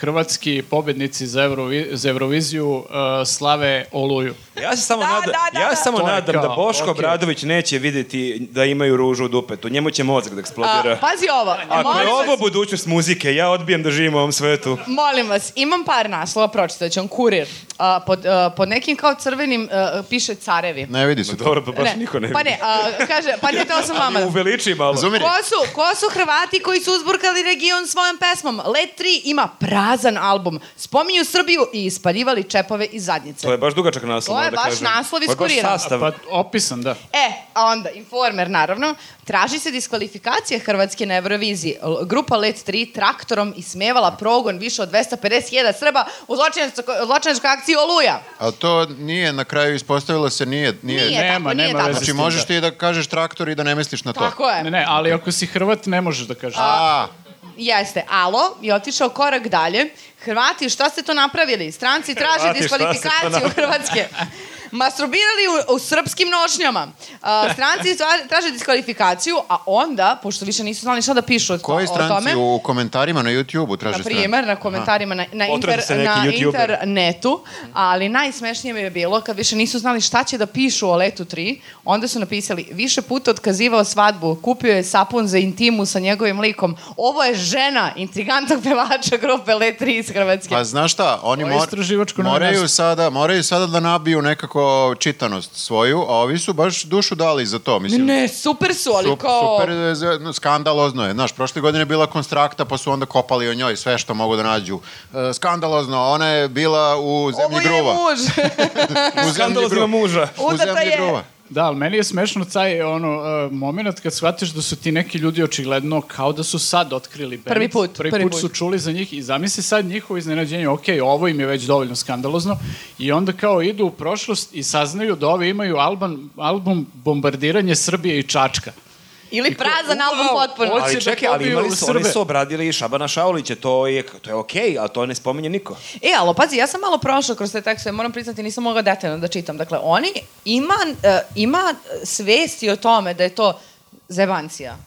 A: hrvatski pobednici za, Eurovi, za Euroviziju eh, slave Oluju.
D: Ja se samo,
B: Da,
D: nada,
B: da, da,
D: ja
B: da.
D: se samo
A: To je
D: nadam da
A: kao,
D: Boško
A: okej.
D: Obradović neće videti da imaju ružu u dupetu. Njemu će mozak da
B: A,
D: eksplodira.
B: pazi ovo.
D: Ako
B: molim
D: je
B: vas-
D: ovo budućnost muzike, ja odbijem da živim u ovom svetu.
B: Molim vas, imam par naslova, pročitat ću vam, kurir. A, pod, a, pod nekim kao crvenim a, piše carevi.
C: Ne vidi se to.
D: Dobro, pa baš niko ne vidi.
B: Pa ne, a, kaže, pa ne, to sam vama.
D: Ali uveliči malo.
C: Razumiri?
B: Ko su, ko su Hrvati koji su uzburkali region svojom pesmom? Let 3 ima prazan album. Spominju Srbiju i ispaljivali čepove iz zadnjice.
D: To je baš dugačak naslov.
B: To je
D: moram da
B: baš
D: kažem.
B: naslov iz
D: To je
B: kurira.
D: baš sastav.
A: Pa opisan, da.
B: E, a onda, informer naravno, traži se diskvalifikacija Hrvatske na Euroviziji. L- Grupa Let 3 traktorom ismevala progon više od 250.000 Srba u zločinačko- zločinačkoj akciji Oluja.
C: Ali to nije, na kraju ispostavilo se, nije... nije.
B: Nije
A: Nema,
B: tako, nije
A: nema
B: tako.
A: veze s
C: Znači,
A: tim,
C: možeš
A: da.
C: ti da kažeš traktor i da ne misliš na to.
B: Tako je.
A: Ne, ne, ali ako si Hrvat ne možeš da kažeš.
C: A,
B: Jeste, alo je otišao korak dalje. Hrvati, šta ste to napravili? Stranci traže
D: Hrvati, šta ste to
B: diskvalifikaciju
D: napravili?
B: Hrvatske. Masturbirali u, u srpskim nošnjama. A, stranci tra- traže diskvalifikaciju, a onda, pošto više nisu znali šta da pišu o, to-
C: koji
B: o tome,
C: stranci u komentarima na YouTube-u traže
B: na
C: strane?
B: primer, na komentarima na, na,
D: Potraži
B: inter,
D: se neki
B: na
D: youtuber.
B: internetu, ali najsmešnije mi je bilo kad više nisu znali šta će da pišu o letu 3, onda su napisali više puta otkazivao svadbu, kupio je sapun za intimu sa njegovim likom. Ovo je žena intrigantnog pevača grupe Let 3 iz Hrvatske.
C: Pa znaš šta, oni
A: je
C: mor-
A: istraživačko
C: moraju,
A: novinarstvo.
C: sada, moraju sada da nabiju nekako čitanost svoju, a ovi su baš dušu dali za to. Mislim,
B: ne, super su, ali
C: Sup-
B: kao...
C: Super, e, z- no, skandalozno je. Znaš, prošle godine je bila konstrakta, pa su onda kopali o njoj sve što mogu da nađu. E, skandalozno, ona je bila u
B: Ovo
C: zemlji
B: je
C: gruva.
B: muž.
C: U zemlji
D: Skandalozno
C: gruva.
D: muža.
C: U
B: Udata
C: zemlji
B: je.
C: gruva.
A: Da, ali meni je smešno taj ono, uh, moment kad shvatiš da su ti neki ljudi očigledno kao da su sad otkrili band.
B: Prvi put,
A: Prvi,
B: prvi
A: put,
B: put.
A: su čuli za njih i zamisli sad njihovo iznenađenje, ok, ovo im je već dovoljno skandalozno i onda kao idu u prošlost i saznaju da ovi imaju alban, album Bombardiranje Srbije i Čačka.
B: Ili prazan
A: Uau,
B: album potpuno.
A: hoće
D: Ali
A: da
D: čekaj, ali
A: dobiju
D: imali su, oni
A: Srbe.
D: su obradili i Šabana Šaulića, to je, to je okej, okay, ali to ne spominje niko.
B: E, ali pazi, ja sam malo prošla kroz te tekstove, moram priznati, nisam mogla detaljno da čitam. Dakle, oni ima, e, ima svesti o tome da je to zebancija.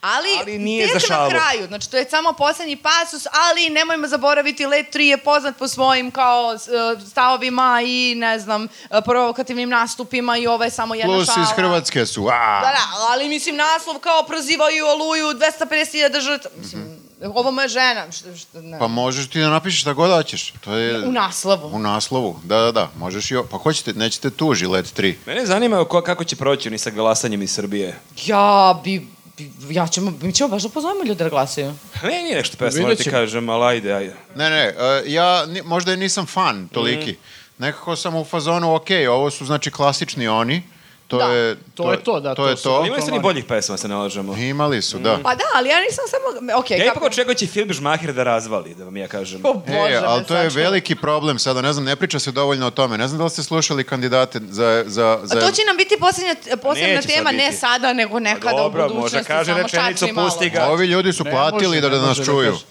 F: Ali,
D: Ali nije
F: tek
D: za šalu.
F: na kraju, znači to je samo poslednji pasus, ali nemojmo zaboraviti, Let 3 je poznat po svojim kao s- e, stavovima i ne znam, e, provokativnim nastupima i ovo je samo jedna
C: Plus
F: šala.
C: iz Hrvatske su. A,
F: Da, da, ali mislim naslov kao prozivaju Oluju 250.000 žrtva. Mislim,
D: Mhm.
F: ovo moja žena. Što, što, ne.
C: Pa možeš ti da napišeš šta god hoćeš. To je...
F: U naslovu.
C: U naslovu, da, da, da. Možeš i... o- Pa hoćete, nećete tu žilet 3.
D: Mene zanima ko, kako će proći oni sa glasanjem iz Srbije.
B: Ja bi, bi- ja ćemo, mi ćemo baš da pozovemo ljude da glasaju.
D: Ne, nije nešto pesma,
A: Vidjet
D: moram ti
A: ćemo.
D: kažem, ali ajde, ajde.
C: Ne, ne, e, ja ni, možda i nisam fan toliki.
A: Mm.
C: Nekako sam u fazonu, ok, ovo su znači klasični oni. To
F: Da.
C: je
A: To je to, da,
C: To,
A: to
C: je
A: su- Mm.
C: to.
D: Imaju se ni boljih pesma, se nalažemo.
C: Imali su, da.
F: Pa da, ali ja nisam samo... Ok,
D: Ja E, ipak
F: kako...
D: očekujem će Filip Žmahir da razvali, da vam ja kažem.
B: O bože,
C: E, ali
B: me
C: to je
B: sačuvaj.
C: veliki problem sada, ne znam, ne priča se dovoljno o tome. Ne znam da li ste slušali kandidate za... za, za...
F: A to će nam biti posljednja, posebna
D: neće sad
F: tema, ne
D: biti.
F: sada, nego
D: Pa
F: nekada
D: dobro,
F: u budućnosti.
D: možda kaže
F: samo
D: rečenicu,
F: šači malo.
D: pusti ga.
C: Ovi ljudi su
A: Ne
C: platili
A: može,
C: da,
A: ne
C: da nas
A: može
C: čuju.
A: kaže.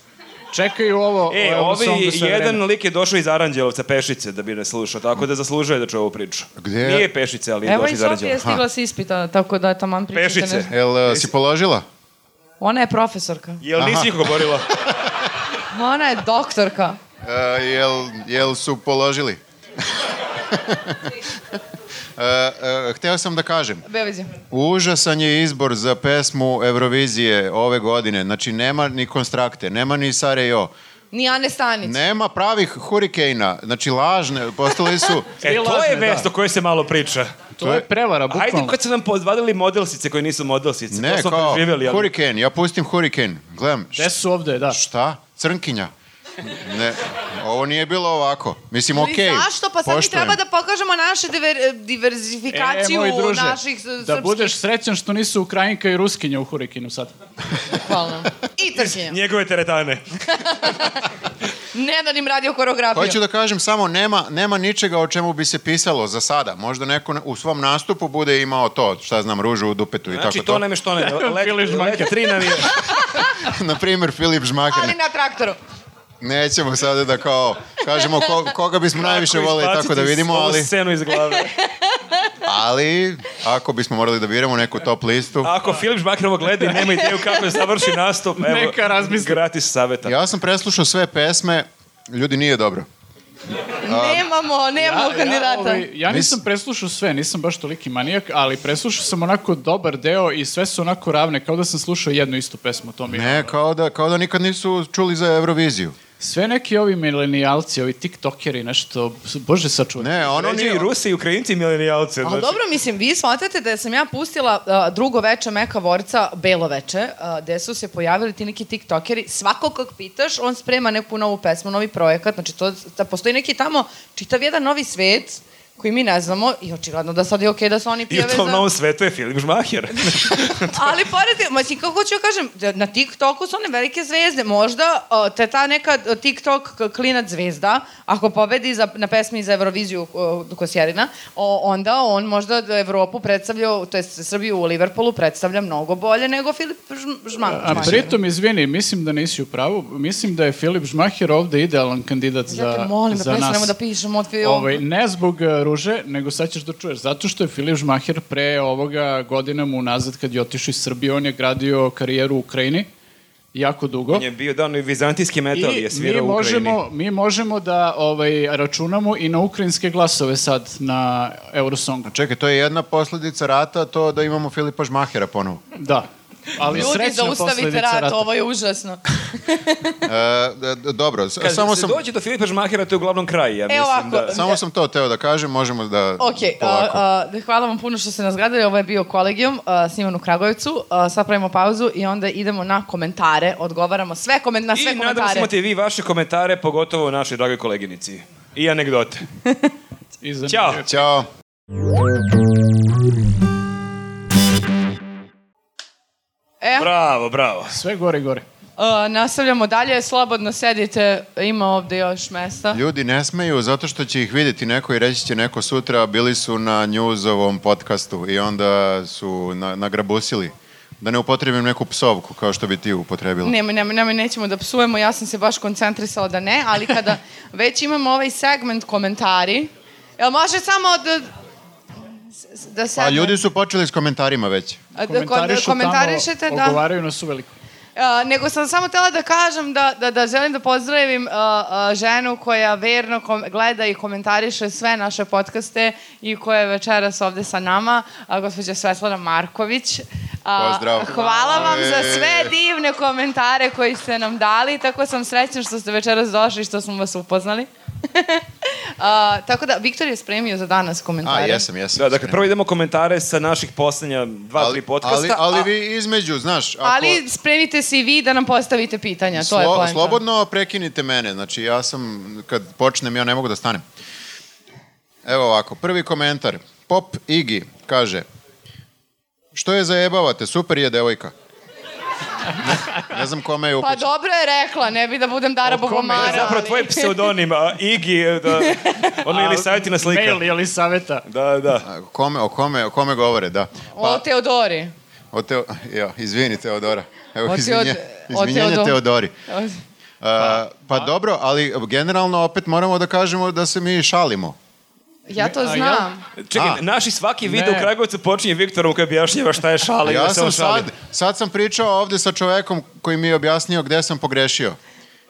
A: Čekaju ovo.
D: E,
A: evo,
D: ovaj
A: samo da se
D: jedan
A: vreme.
D: lik je došao iz Aranđelovca, Pešice, da bi nas slušao, tako da zaslužuje da čuje ovu priču.
C: Gde?
D: Nije Pešice, ali je
B: Evo
D: došao
B: i
D: iz
B: Sofija je
D: Aranđelovca.
B: stigla se ispita, tako da taman pričate.
D: Pešice.
B: nešto.
C: Jel e, si položila?
B: Ona je profesorka.
D: Jel nisi ih govorila?
B: Ona je doktorka.
C: E, jel, jel su položili? e, e, hteo sam da kažem,
B: Bevezi.
C: užasan je izbor za pesmu Eurovizije ove godine. Znači, nema ni konstrakte, nema ni Sarajevo.
F: Ni Ane Stanić.
C: Nema pravih hurikejna, znači lažne, postali su...
D: e, to
A: lažne,
D: je
A: da.
D: vest o kojoj se malo priča.
A: To je prevara,
D: Ajde,
A: bukvalno.
D: kad su nam podvadili modelsice koje nisu modelsice, to
C: Ne,
D: smo
C: kao,
D: preživjeli, ali...
C: hurikejn, ja pustim hurikejn. Gledam,
A: Gde su ovde, da.
C: Šta? Crnkinja? Ne, ovo nije bilo ovako. Mislim,
F: Ali
C: okej, okay,
F: zašto? Pa sad mi treba da pokažemo našu diver, diverzifikaciju
A: E,
D: E,
A: moj druže,
F: naših s- srpskih
A: da budeš srećan što nisu Ukrajinka i Ruskinja u Hurikinu sad.
B: Hvala.
F: i trkinja.
D: Njegove teretane.
F: Ne da im radio koreografiju.
C: Hoću da kažem samo, nema, nema ničega o čemu bi se pisalo za sada. Možda neko na- u svom nastupu bude imao to, šta znam, ružu u dupetu i
D: Znači,
C: tako
D: to
C: to.
D: nam je što ne... Let,
A: Filip Žmahir.
D: let tri nam je...
C: na primjer, Filip Žmaker.
F: Ali na traktoru.
C: Nećemo sada da kao, kažemo ko, koga bismo najviše
D: Kako
C: voleli tako da
D: izbaciti
C: vidimo,
D: ovu
C: ali,
D: scenu iz glave.
C: ali ako bismo morali da biramo neku top listu.
D: Ako Filip Žmakar ovo gleda i nema ideju kako da završi nastup, evo,
A: Neka razmisli.
D: gratis saveta.
C: Ja sam preslušao sve pesme, ljudi nije dobro.
F: Nemamo, nemamo kandidata.
A: Ja, ovaj, ja nisam preslušao sve, nisam baš toliki manijak, ali preslušao sam onako dobar deo i sve su onako ravne, kao da sam slušao jednu istu pesmu, to mi je.
C: Ne, kao da, kao da nikad nisu čuli za Euroviziju.
A: Sve neki ovi milenijalci, ovi tiktokeri, nešto, bože sačuvaj.
C: Ne, ono
D: Ono i
C: nije...
D: Rusi i Ukrajinci i milenijalci.
B: Ali
D: znači.
B: dobro, mislim, vi shvatate da sam ja pustila uh, drugo veče Meka Vorca, belo veče, uh, gde su se pojavili ti neki tiktokeri. Svako kog pitaš, on sprema neku novu pesmu, novi projekat. Znači, to, da postoji neki tamo čitav jedan novi svet koji mi ne znamo i očigledno da sad je okej da se oni
D: I u
B: pijave
D: tom
B: za...
D: novom svetu je Filip Žmaher.
B: Ali pored, te- mislim, kako hoću da kažem, da na TikToku su one velike zvezde. Možda uh, te ta neka uh, TikTok k- klinac zvezda, ako pobedi za, na pesmi za Euroviziju uh, Kosjerina, o, onda on možda da Evropu predstavlja, to je Srbiju u Liverpoolu predstavlja mnogo bolje nego Filip Žm- Žman.
A: A pritom, izvini, mislim da nisi u pravu, mislim da je Filip Žmaher ovde idealan kandidat za,
B: Ja te molim da
A: za nas.
B: prestanemo da pišemo od
A: Ovaj, ne zbog e, ruže, nego sad ćeš da čuješ. Zato što je Filip Žmaher pre ovoga godinama unazad kad je otišao iz Srbije, on je gradio karijeru u Ukrajini jako dugo.
D: On je bio da ono i vizantijski metal je
A: mi
D: svirao u Ukrajini.
A: možemo, mi možemo da ovaj, računamo i na ukrajinske glasove sad na Eurosongu.
C: Čekaj, to je jedna posledica rata, to da imamo Filipa Žmahera ponovo.
A: Da. Ali
B: Ljudi,
A: srećna
B: zaustavite
A: posledica
B: rat,
A: rata.
B: ovo je užasno.
C: E, d- d- dobro, s-
D: Kad
C: samo
D: da se
C: sam...
D: dođe do Filipa Žmahera, to je uglavnom kraj, ja mislim
B: E, ovako,
D: da...
C: Samo sam to teo da kažem, možemo da
B: Ok, a,
C: polako.
B: a, da, hvala vam puno što ste nas gledali. Ovo je bio kolegijum a, sniman u Kragujevcu. A, sad pravimo pauzu i onda idemo na komentare. Odgovaramo sve koment, na sve
D: I nadam se
B: komentare.
D: imate i vi vaše komentare, pogotovo našoj dragoj koleginici. I anegdote.
A: I za-
D: Ćao!
C: Ćao.
D: Bravo, bravo.
A: Sve gore i gore.
B: E, A, nastavljamo dalje, slobodno sedite, ima ovde još mesta.
C: Ljudi ne smeju zato što će ih vidjeti neko i reći će neko sutra, bili su na Newsovom podcastu i onda su na, nagrabusili. Da ne upotrebim neku psovku kao što bi ti upotrebila.
B: Nemoj, nemoj, nemoj, nećemo da psujemo, ja sam se baš koncentrisala da ne, ali kada već imamo ovaj segment komentari, jel može samo da... S- s- Da se...
C: Pa ljudi su počeli s komentarima već.
B: A, da-
A: Komentarišu
B: ko- komentarišete,
A: tamo,
B: da.
A: ogovaraju nas u veliko.
B: A, nego sam samo tela da kažem da, da, da želim da pozdravim a, a, ženu koja verno kom, gleda i komentariše sve naše podcaste i koja je večeras ovde sa nama, a, gospođa Svetlana Marković. A,
C: Pozdrav.
B: Hvala vam za
C: E.
B: sve divne komentare koji ste nam dali, tako sam srećna što ste večeras došli i što smo vas upoznali. a, tako da, Viktor je spremio za danas
C: A,
B: komentare.
C: jesam, jesam.
D: Da, dakle, prvo idemo komentare sa naših poslednja dva,
C: Ali-
D: tri podcasta.
C: Ali, ali vi između, znaš, ako...
B: Ali spremite se i vi da nam postavite pitanja, to je
C: Slo-
B: poenta.
C: Slobodno prekinite mene, znači ja sam, kad počnem, ja ne mogu da stanem. Evo ovako, prvi komentar. Pop Igi kaže, što je zajebavate, super je devojka. ne, ne znam kome je
B: Pa
C: upućen.
B: dobro je rekla, ne bi da budem Dara
D: To je
B: Bogomara.
D: da, zapravo tvoj pseudonim, a, Igi, e, da, ono ili savjetina slika.
A: Mail je li saveta?
D: Da, da.
C: A, Kome, o, kome, o kome govore, da.
B: Pa... O Teodori.
C: O teo, ja, izvini Teodora. Evo,
B: O
C: izvinje,
B: Teod- o
C: izvinjenje
B: Teodo-
C: Teodori. A, pa dobro, ali generalno opet moramo da kažemo da se mi šalimo.
B: Ja to
A: A,
B: znam.
D: Čekaj,
C: A.
D: naši svaki video u
A: Ne.
D: Kragovicu počinje Viktorom koji objašnjava šta je šala. i da
C: ja
D: se on
C: sam
D: šali.
C: sad, sad sam pričao ovde sa čovekom koji mi je objasnio gde sam pogrešio.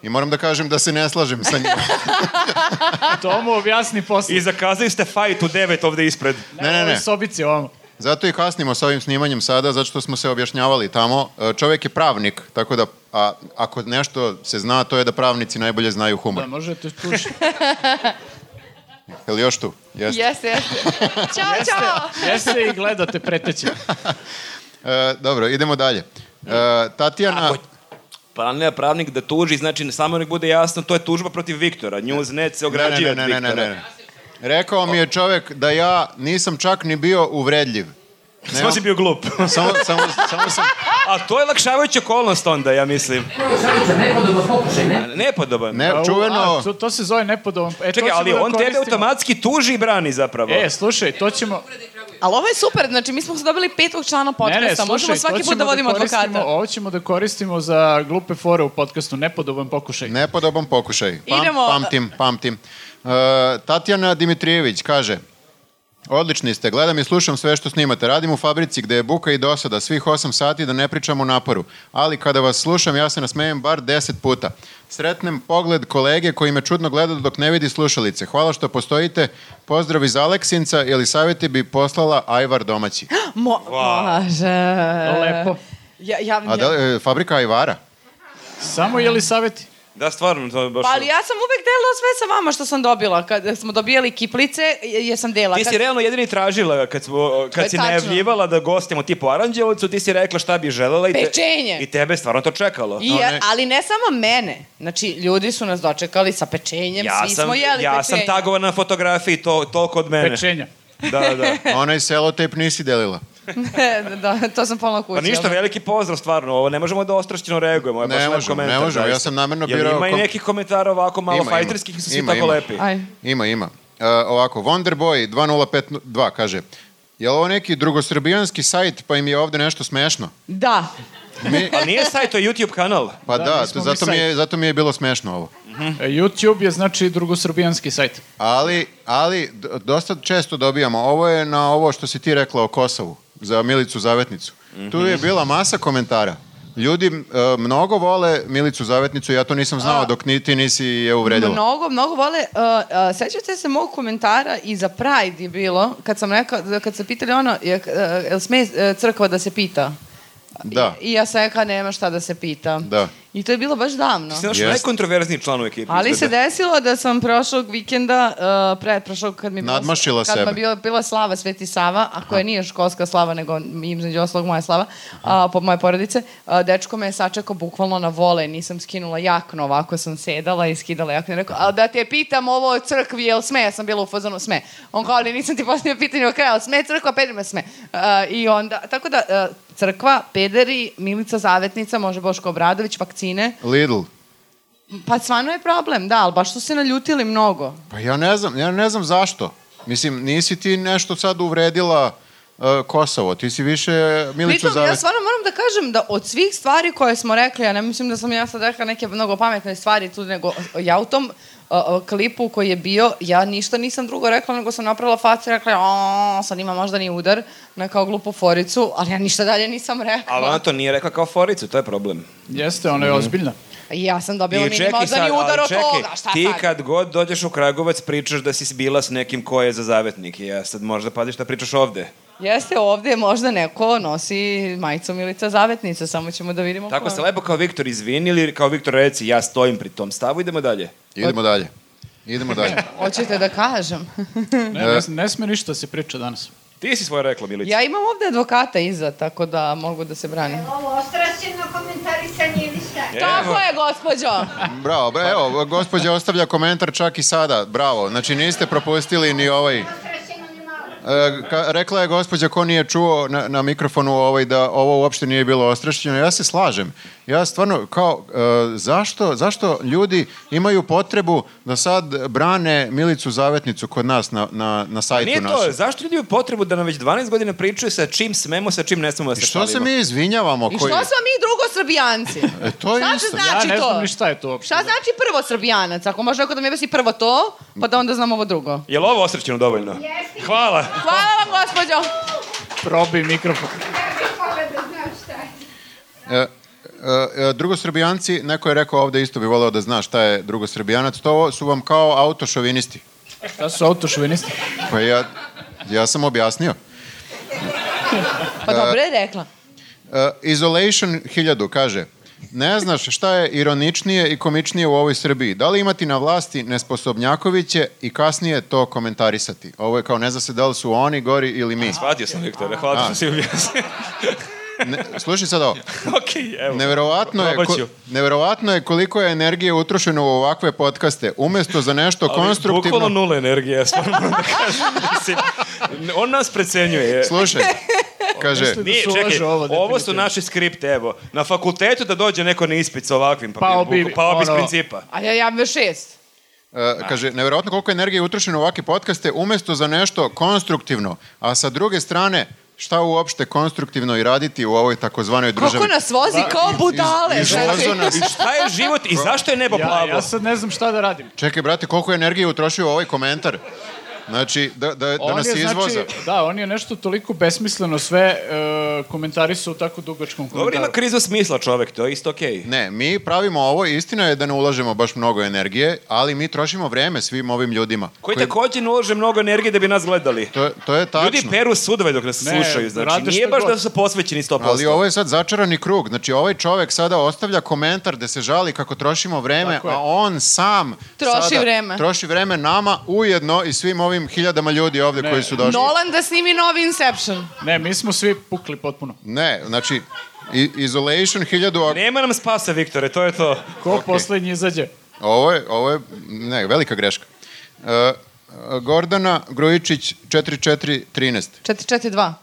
C: I moram da kažem da se ne slažem sa njim.
B: Da.
A: To mu objasni posle.
D: I zakazali ste fight u devet ovde ispred.
C: Ne, ne,
A: U
C: ne.
A: ovoj sobici ovamo.
C: Zato i kasnimo sa ovim snimanjem sada, zato što smo se objašnjavali tamo. E, Čovek je pravnik, tako da a, ako nešto se zna, to je da pravnici najbolje znaju humor.
A: Da, možete tušiti.
C: Je li još tu? Jeste.
B: Jeste, jeste. Ćao, čao.
A: Jeste i gledate preteće.
C: E, dobro, idemo dalje. E, Tatjana...
D: Ako planira pravnik da tuži, znači samo nek bude jasno, to je tužba protiv Viktora. Newsnet se
C: Ne,
D: ograđuje
C: ne,
D: od
C: ne, ne, ne,
D: Viktora.
C: ne, ne. Rekao mi je čovek da ja nisam čak ni bio uvredljiv.
D: Samo si bio glup.
C: Samo, samo, samo sam...
D: A to je lakšavajuća okolnost onda, ja mislim.
G: Savica, nepodoban pokušaj, ne?
D: Nepodoban.
C: Ne,
A: A, u-
C: čuveno...
A: A, to, to se zove nepodoban. E, to
D: Čekaj,
A: ćemo
D: ali
A: da
D: on tebe
A: koristimo.
D: automatski tuži i brani zapravo.
A: E, slušaj, to ćemo...
B: Ali ovo je super, znači mi smo dobili petog člana podcasta.
A: Ne, ne, slušaj,
B: Možemo
A: to
B: svaki
A: ćemo
B: put da vodimo
A: koristimo,
B: advokata.
A: Ovo ćemo da koristimo za glupe fore u podcastu. Nepodoban pokušaj.
C: Nepodoban pokušaj. Pam,
B: Idemo.
C: Pamtim, pamtim. Uh, Tatjana Dimitrijević kaže... Odlični ste, gledam i slušam sve što snimate. Radim u fabrici gde je buka i dosada svih 8 sati da ne pričam u naporu. Ali kada vas slušam, ja se nasmejem bar 10 puta. Sretnem pogled kolege koji me čudno gleda dok ne vidi slušalice. Hvala što postojite. Pozdrav iz Aleksinca, ili savjeti bi poslala Ajvar domaći.
B: Mo Može.
A: Lepo.
B: Ja, Pa, ja,
C: A da,
B: ja.
C: li- e, fabrika Ajvara?
A: Samo je li saveti?
D: Da, stvarno, to je baš...
B: Pa ali ja sam uvek delila sve sa vama što sam dobila. Kad smo dobijali kiplice, je- jesam delila.
D: Ti
B: Pa Kad-
D: si realno jedini tražila kad, smo,
B: je
D: kad si
B: tačno.
D: najavljivala da gostimo tipu Aranđelovcu, ti si rekla šta bi želela i, te,
B: Pečenje.
D: i tebe je stvarno to čekalo.
B: I,
C: No,
B: je-
C: ne.
B: ali ne samo mene. Znači, ljudi su nas dočekali sa pečenjem, svi smo jeli
D: ja sam
B: pečenje.
D: tagovan na fotografiji, to, toliko od mene.
A: Pečenja.
D: Da, da.
C: Onaj selotejp nisi delila.
B: da, to sam pola kuća.
D: Pa ništa, veliki pozdrav stvarno, ovo ne možemo da ostrašćeno reagujemo. je
C: Ne
D: baš lep
C: možemo,
D: komentar,
C: ne možemo,
D: zaista.
C: ja sam namerno
D: Jel
C: birao
D: Ima i
C: kom-
D: nekih komentara ovako malo
C: Ima, ima.
D: fajterskih, nisu svi
C: Ima,
D: tako
C: ima.
D: lepi.
B: Aj.
C: Ima, ima. E, ovako, Wonderboy 2052 kaže, je li ovo neki drugosrbijanski sajt pa im je ovde nešto smešno?
B: Da.
C: Mi,
D: Ali nije sajt, to je YouTube kanal.
C: pa da,
A: Da, nismo mi
C: zato, mi je, zato mi je bilo smešno ovo.
A: E, YouTube je znači drugosrbijanski sajt.
C: Ali, ali d- dosta često dobijamo, ovo je na ovo što si ti rekla o Kosovu, za Milicu Zavetnicu. Tu je bila masa komentara. Ljudi e, mnogo vole Milicu Zavetnicu, ja to nisam znao dok ni, ti nisi je uvredila.
B: Mnogo, mnogo vole. Uh, uh, sećate se mog komentara i za Pride je bilo, kad sam rekao, da- kad se pitali ono, je, uh, jel sme uh, crkva da se pita?
C: Da.
B: I, i ja sam rekao, nema šta da se pita.
C: Da.
B: I to je bilo baš davno.
D: Ti si naš
C: Jeste.
D: najkontroverzniji član u ekipi.
B: Ali se
D: izgleda.
B: desilo da sam prošlog vikenda, uh, pre prošlog kad mi je bila-
C: Nadmašila
B: kad
C: sebe.
B: mi je bila, bila slava Sveti Sava, a koja nije školska slava, nego između oslog moja slava, a, po moje porodice, a, dečko me je sačekao bukvalno na vole, nisam skinula jakno, ovako sam sedala i skidala jakno i rekao, a da te pitam ovo o crkvi, jel sme? Ja sam bila u fazonu, sme. On kao, ali nisam ti postavio pitanje o kraju, sme crkva, pederi me sme. A, I onda, tako da, a, crkva, pederi, Milica Zavetnica, može Boško Obradović, vakcine.
C: Lidl.
B: Pa stvarno je problem, da, ali baš su se naljutili mnogo.
C: Pa ja ne znam, ja ne znam zašto. Mislim, nisi ti nešto sad uvredila e, Kosovo, ti si više Miliću
B: Pritom, ja
C: Zavet.
B: stvarno moram da kažem da od svih stvari koje smo rekli, ja ne mislim da sam ja sad rekla neke mnogo pametne stvari tu, nego ja u tom uh, uh, klipu koji je bio, ja ništa nisam drugo rekla, nego sam napravila facu i rekla, o, sad ima možda ni udar na kao glupu foricu, ali ja ništa dalje nisam rekla.
D: Ali ona to nije rekla kao foricu, to je problem.
A: Jeste, ona je ozbiljna.
B: I ja sam dobila
D: I
B: ni, možda ni
D: ali
B: udar od
D: čekaj,
B: toga, šta
D: ti
B: sad?
D: kad god dođeš u Kragovac pričaš da si bila s nekim ko je za zavetnik. I ja sad možda paziš šta pričaš ovde.
B: Jeste ovde, možda neko nosi majicu Milica Zavetnica, samo ćemo da vidimo
D: Tako
B: ko je.
D: se lepo kao Viktor izvini ili kao Viktor reci ja stojim pri tom stavu, idemo dalje.
C: Idemo dalje. Idemo dalje.
B: Hoćete da kažem?
A: Ne, ne, ne sme ništa da se priča danas.
D: Ti si svoje rekla, Milica.
B: ja imam ovde advokata iza, tako da mogu da se branim.
H: Ovo ostrašćeno komentarisanje ili šta?
B: Tako je, gospođo!
C: Bravo, bra, evo, gospođa ostavlja komentar čak i sada, bravo. Znači niste propustili ni ovaj...
H: Ostrašćeno ni malo.
C: E, ka, rekla je gospođa ko nije čuo na, na mikrofonu ovaj da ovo uopšte nije bilo ostrašćeno. Ja se slažem. Ja stvarno kao e, zašto zašto ljudi imaju potrebu da sad brane Milicu Zavetnicu kod nas na na na
D: Pa Nije
C: sajtu
D: to,
C: našem.
D: zašto ljudi imaju potrebu da nam već 12 godina pričaju sa čim smemo, sa čim ne smemo da se
C: I što se
D: šalimo?
C: mi izvinjavamo
B: I što
C: koji?
B: smo mi drugo srbijanci?
C: E, to je
B: Šta
C: isto.
B: se
A: Ja
B: znači
A: ne
B: to?
A: znam ni šta je to uopšte.
B: Šta znači prvo srbijanac? Ako može neko da mi objasni prvo to, pa da onda znam ovo drugo.
D: Jel ovo osrećeno dovoljno?
H: Jesi,
D: Hvala.
B: Hvala vam, gospođo!
A: Probi mikrofon.
H: ja bih vola da znam šta je.
C: E, e, e, drugosrbijanci, neko je rekao ovde isto bi voleo da zna šta je drugosrbijanac, to su vam kao autošovinisti.
A: Šta su autošovinisti?
C: Pa ja, ja sam objasnio.
B: Pa dobro je rekla.
C: Uh, Isolation 1000 kaže Ne znaš šta je ironičnije i komičnije u ovoj Srbiji. Da li imati na vlasti nesposobnjakoviće i kasnije to komentarisati? Ovo je kao ne zna se da li su oni gori ili mi.
D: Shvatio sam, Viktore, hvala što si objasnio.
C: Ne, slušaj sad ovo.
D: Okej, evo.
C: Neverovatno je, ko,
D: Probat ću.
C: neverovatno je koliko je energije utrošeno u ovakve podcaste. Umesto za nešto
D: Ali Bukvalno
C: konstruktivno...
D: nula energije, ja stvarno moram da kažem. Mislim, on nas precenjuje.
C: Slušaj, kaže...
A: Mislim
D: Nije,
A: Da se
D: čekaj,
A: ulaže ovo,
D: ovo, ovo su
A: definitivno.
D: naši skripte, evo. Na fakultetu da dođe neko na ispit sa ovakvim papirom.
A: Pao bi,
D: bukva- pao bi s
A: Pa ono-
D: principa.
B: A ja, ja bi šest.
C: E, kaže, nevjerojatno koliko energije je utrošeno u ovakve podcaste, umesto za nešto konstruktivno, a sa druge strane, šta uopšte konstruktivno i raditi u ovoj takozvanoj
B: Koliko
C: državi?
B: nas vozi kao budale.
C: iz-
B: znači.
C: izvozo nas.
D: I šta je život i zašto je nebo
A: Ja,
D: plavo?
A: ja sad ne znam šta da radim.
C: Čekaj, brate, koliko je energije utrošio u ovaj komentar? Znači, da, da, da nas izvoza.
A: da, on je nešto toliko besmisleno sve e, komentarisao u tako dugačkom komentaru.
D: Dobro, ima krizu smisla čovek, to je isto okej.
C: Ne, mi pravimo ovo, istina je da ne ulažemo baš mnogo energije, ali mi trošimo vreme svim ovim ljudima.
D: Koji takođe ne ulaže mnogo energije da bi nas gledali.
C: To, to je tačno.
D: Ljudi peru sudove dok nas
A: Ne,
D: slušaju, znači
A: rade
D: nije
A: šta
D: baš
A: god.
D: da su posvećeni 100%.
C: Ali ovo je sad začarani krug. Znači, ovaj čovek sada ostavlja komentar da se žali kako trošimo vreme,
A: Tako je.
C: a on sam
B: Troši
C: sada
B: vreme.
C: troši vreme nama ujedno i svim ovim hiljadama ljudi ovde
A: Ne.
C: koji su došli.
B: Nolan da snimi novi Inception.
A: Ne, mi smo svi pukli potpuno.
C: Ne, znači, i- Isolation 1000, ako-
D: Nema nam spasa, Viktore, to je to.
A: Ko poslednji izađe?
C: ovo je, ovo je, ne, velika greška. E, Gordana Grujičić 4413.
B: 4-4-2.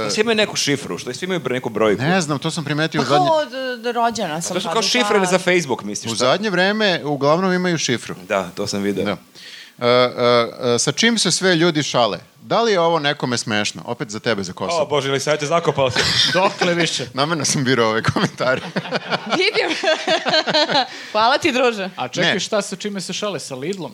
D: Što svi imaju neku šifru, što svi imaju neku brojku.
C: E. Ne znam, to sam primetio
B: Pa
C: u zadnje,
B: kao od, od rođena sam.
D: to su
B: pa
D: kao
B: do
D: šifre
B: tad.
D: za Facebook, misliš.
C: u
D: šta?
C: zadnje vreme uglavnom imaju šifru.
D: Da, to sam video.
C: Da. E, e, e, sa čim se sve ljudi šale? Da li je ovo nekome smešno? Opet za tebe, za
D: O,
C: Kosovo.
D: Bože, ili sad te zakopao se.
A: Dokle više?
C: Namerno sam birao ove komentare.
B: Vidim. Hvala ti, druže.
A: A čekaj,
C: Ne.
A: šta sa čime se šale? Sa Lidlom?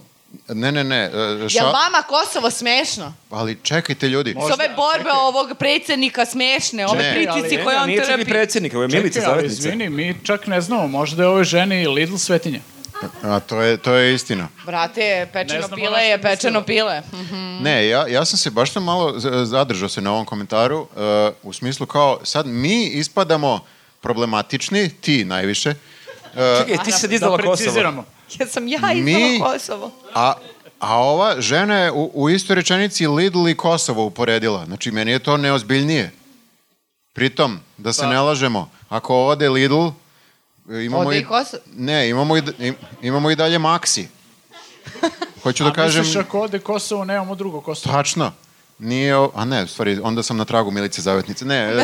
C: ne, ne, ne. e,
B: Jel
C: Ša...
B: vama Kosovo smešno?
C: Ali čekajte ljudi.
B: S ove borbe ovog predsednika smešne, ove
C: Ne.
B: pritisci
A: Ali-
B: koje on
D: Nije čak ni
B: trpi.
D: predsjednik, ovo je Milica
A: Čekaj, ali
D: Zavetnica.
A: izvini, mi čak ne znamo, možda je ovoj ženi Lidl svetinja.
C: A, to, je, to je istina.
B: Brate,
A: Ne
B: pečeno
A: znamo na
B: pile
A: šta
B: je
A: mislimo.
B: pečeno pile.
C: Ne, ja, ja sam se baš sam malo z- zadržao se na ovom komentaru e, u smislu kao sad mi ispadamo problematični, ti najviše, e,
D: Čekaj, ti si sad
A: Da
D: izdala Kosovo.
A: preciziramo.
B: Ja sam ja
C: izdala Mi-
B: izdala Kosovo.
C: a, a ova žena je u, u istoj rečenici Lidl i Kosovo uporedila. Znači, meni je to neozbiljnije. Pritom, da se ne lažemo, ako ode Lidl, e, imamo
B: Ode
C: i,
B: i Kosovo.
C: Ne, imamo i, d- im- imamo i dalje Maxi. Hoću da
A: A
C: kažem...
A: misliš ako ode Kosovo, nemamo drugo Kosovo.
C: Tačno. Nije, o- a ne, u stvari, onda sam na tragu Milice Zavetnice. Ne, e,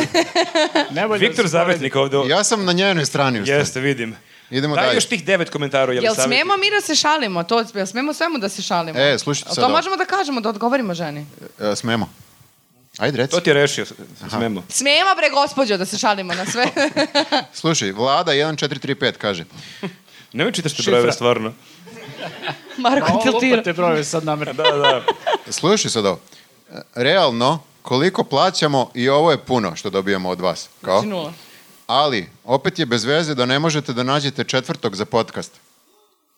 A: Ne valja
D: Pa,
A: da
D: Viktor
A: se poredi.
D: Zavetnik ovde.
C: ja sam na njenoj strani. u stvari.
D: Jeste, vidim.
C: Idemo
D: Daj
C: dalje.
D: još tih devet komentara, jel,
B: Jel
D: savjeti?
B: smemo mi da se šalimo? To, jel smemo svemu da se šalimo?
C: E, slušajte
B: Jel
C: sad
B: To
C: ovo.
B: možemo da kažemo, da odgovorimo ženi.
C: E, smemo. Ajde, reci.
D: To ti je rešio, smemo.
B: Smema bre, gospođo, da se šalimo na sve.
C: Slušaj, vlada 1435 kaže.
D: Ne mi čitaš te brojeve, stvarno.
B: Marko
A: Ovo
B: tiltira.
A: Pa, lupate brojeve sad namerno.
D: Da, da.
C: Slušaj sad ovo. Realno, koliko plaćamo i ovo je puno što dobijamo od vas. Kao?
B: Znači Nula.
C: Ali, opet je bez veze da ne možete da nađete četvrtog za podcast.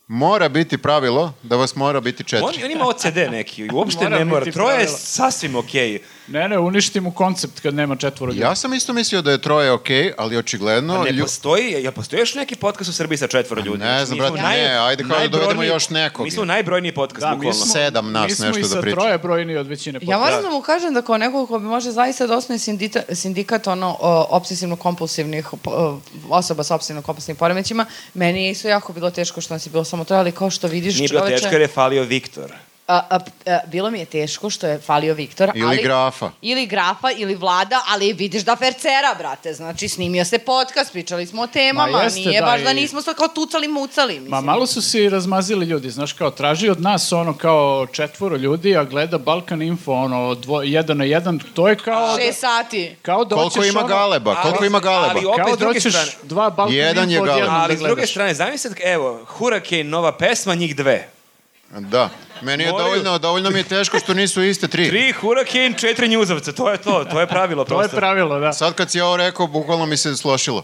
C: Mora biti pravilo da vas mora biti
D: On,
C: četiri.
D: on ima OCD neki, uopšte
A: Mora
D: ne mora.
A: biti
D: Troje je
A: pravila.
D: sasvim okej.
A: Ne, ne, uništi mu koncept kad nema četvoro ljudi.
C: Ja sam isto mislio da je troje okej, ali očigledno...
D: Pa Ne
C: lju-
D: postoji, jel postoji još neki podcast u Srbiji sa četvoro ljudi?
C: Pa ne
D: Znači,
C: znam,
D: mi
C: brate,
D: smo naj-
C: ne, ajde kao da dovedemo
D: najbrojniji-
C: još nekog.
D: Mi smo najbrojniji podcast,
A: Da, mi
D: bukvalno.
A: smo-
C: Sedam nas
A: Mi
C: nešto
A: smo i
C: da
A: sa
C: priča.
A: troje brojni od većine.
I: Ja
A: vas...
I: moram da mu kažem da kao neko ko bi možda zaista da osnovi sindita, sindikat ono, o, obsesivno-kompulsivnih o, osoba sa obsesivno-kompulsivnim poremećima, meni je isto jako bilo teško što nas je bilo samo troje, ali kao što vidiš
D: Nije bilo
I: čoveče...
D: teško jer je falio Viktor.
B: A, a, a, bilo mi je teško što je falio Viktor.
C: Ili
B: ali,
C: grafa.
B: Ili grafa, ili vlada, ali vidiš da fercera, brate. Znači, snimio se podcast, pričali smo o temama,
A: Ma jeste,
B: nije
A: da,
B: baš da
A: i-
B: nismo sad kao tucali, mucali. Mislim.
A: Ma malo su se i razmazili ljudi, znaš kao, traži od nas ono kao četvoro ljudi, a gleda Balkan Info, ono, dvo, jedan na jedan, to je kao...
B: Šest sati.
A: Kao da
C: Koliko
A: hoćeš
C: ima
A: ono-
C: galeba? Koliko
D: ali-
C: ima galeba?
D: ali opet
A: Kao
D: s
A: da
D: druge
A: hoćeš
D: strane-
A: dva Balkan
C: Jedan je
A: Info
C: galeb.
A: odjednom
D: Ali
A: da
D: s druge
A: gledaš.
D: strane, zamislite, evo, Hurricane, nova pesma, njih dve.
C: Da. Meni je
D: Moraju-
C: dovoljno, dovoljno mi je teško što nisu iste tri.
D: Tri Hurricane, četiri njuzovca, to je to, to je pravilo
A: To je
D: prosto.
A: pravilo, da.
C: Sad kad si ovo rekao, bukvalno mi se slošilo.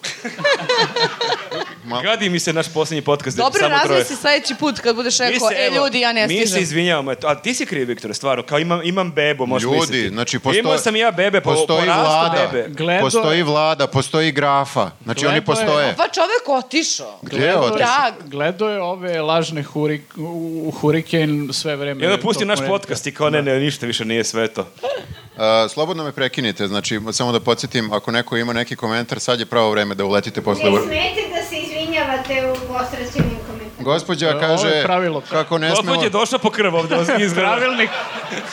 D: Gadi mi se naš posljednji podcast. gde
B: Dobro
D: samo troje.
B: razmisli sledeći put kad budeš
D: Mi
B: rekao,
D: se,
B: e
D: evo,
B: ljudi, ja ne
D: Mi se
B: stižem.
D: izvinjavamo, eto, a ti si kriv, Viktor, stvarno, kao imam, imam bebu, možeš
C: Ljudi,
D: misliti.
C: znači, postoji-
D: Imao sam i ja bebe, po,
C: Postoji
D: postoji
C: vlada,
D: bebe.
A: Gledo-
C: postoji vlada, postoji grafa. Znači
A: Gledo
C: oni
A: je-
C: postoje.
B: Pa čovek otišao.
C: Gdje je
A: Gledao
C: otišao?
A: Gledao je ove lažne hurik, u, u huriken sve vreme.
D: I onda pusti
A: tog
D: naš
A: ponedjeljka.
D: podcast i kao ne,
C: Da.
D: ne, ništa više nije sve to.
C: Uh, slobodno me prekinite, znači samo da podsjetim, ako neko ima neki komentar, sad je pravo vreme da uletite posle...
H: Ne smete da se izvinjavate u ostraćenim komentarima.
C: Gospođa
A: ovo je
C: kaže
A: pravilo.
C: kako ne smemo,
D: Gospod je došla po krv ovde, ozgi izgleda.
A: Pravilnik,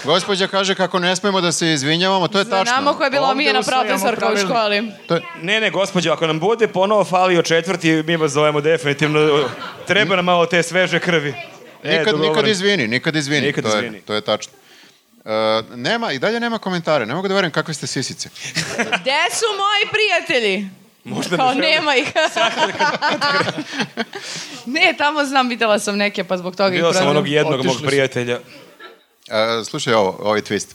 C: gospođa kaže kako ne smemo da se izvinjavamo, to je
B: Za nama
C: tačno.
B: koja je bila
A: Ovde
B: omijena
A: usvajamo
B: profesorka u
A: pravilnik.
B: školi.
C: To je,
D: Ne, ne, gospođo, ako nam bude ponovo falio četvrti, mi vas zovemo definitivno. Treba nam malo te sveže krvi. E,
C: nikad,
D: dogovoreno.
C: nikad izvini, nikad izvini,
D: Nikad
C: to, je,
D: izvini.
C: to je tačno. Uh, nema, i dalje nema komentare, ne mogu da verujem kakve ste sisice.
B: Gde su moji prijatelji?
D: Možda
B: Kao
D: ne žele.
B: nema ih. ne, tamo znam, videla sam neke, pa zbog toga
D: Bilo
B: ih
D: sam
B: prozvem.
D: onog jednog
A: Otišli
D: mog
A: su.
D: prijatelja.
C: E, slušaj ovo, ovaj twist.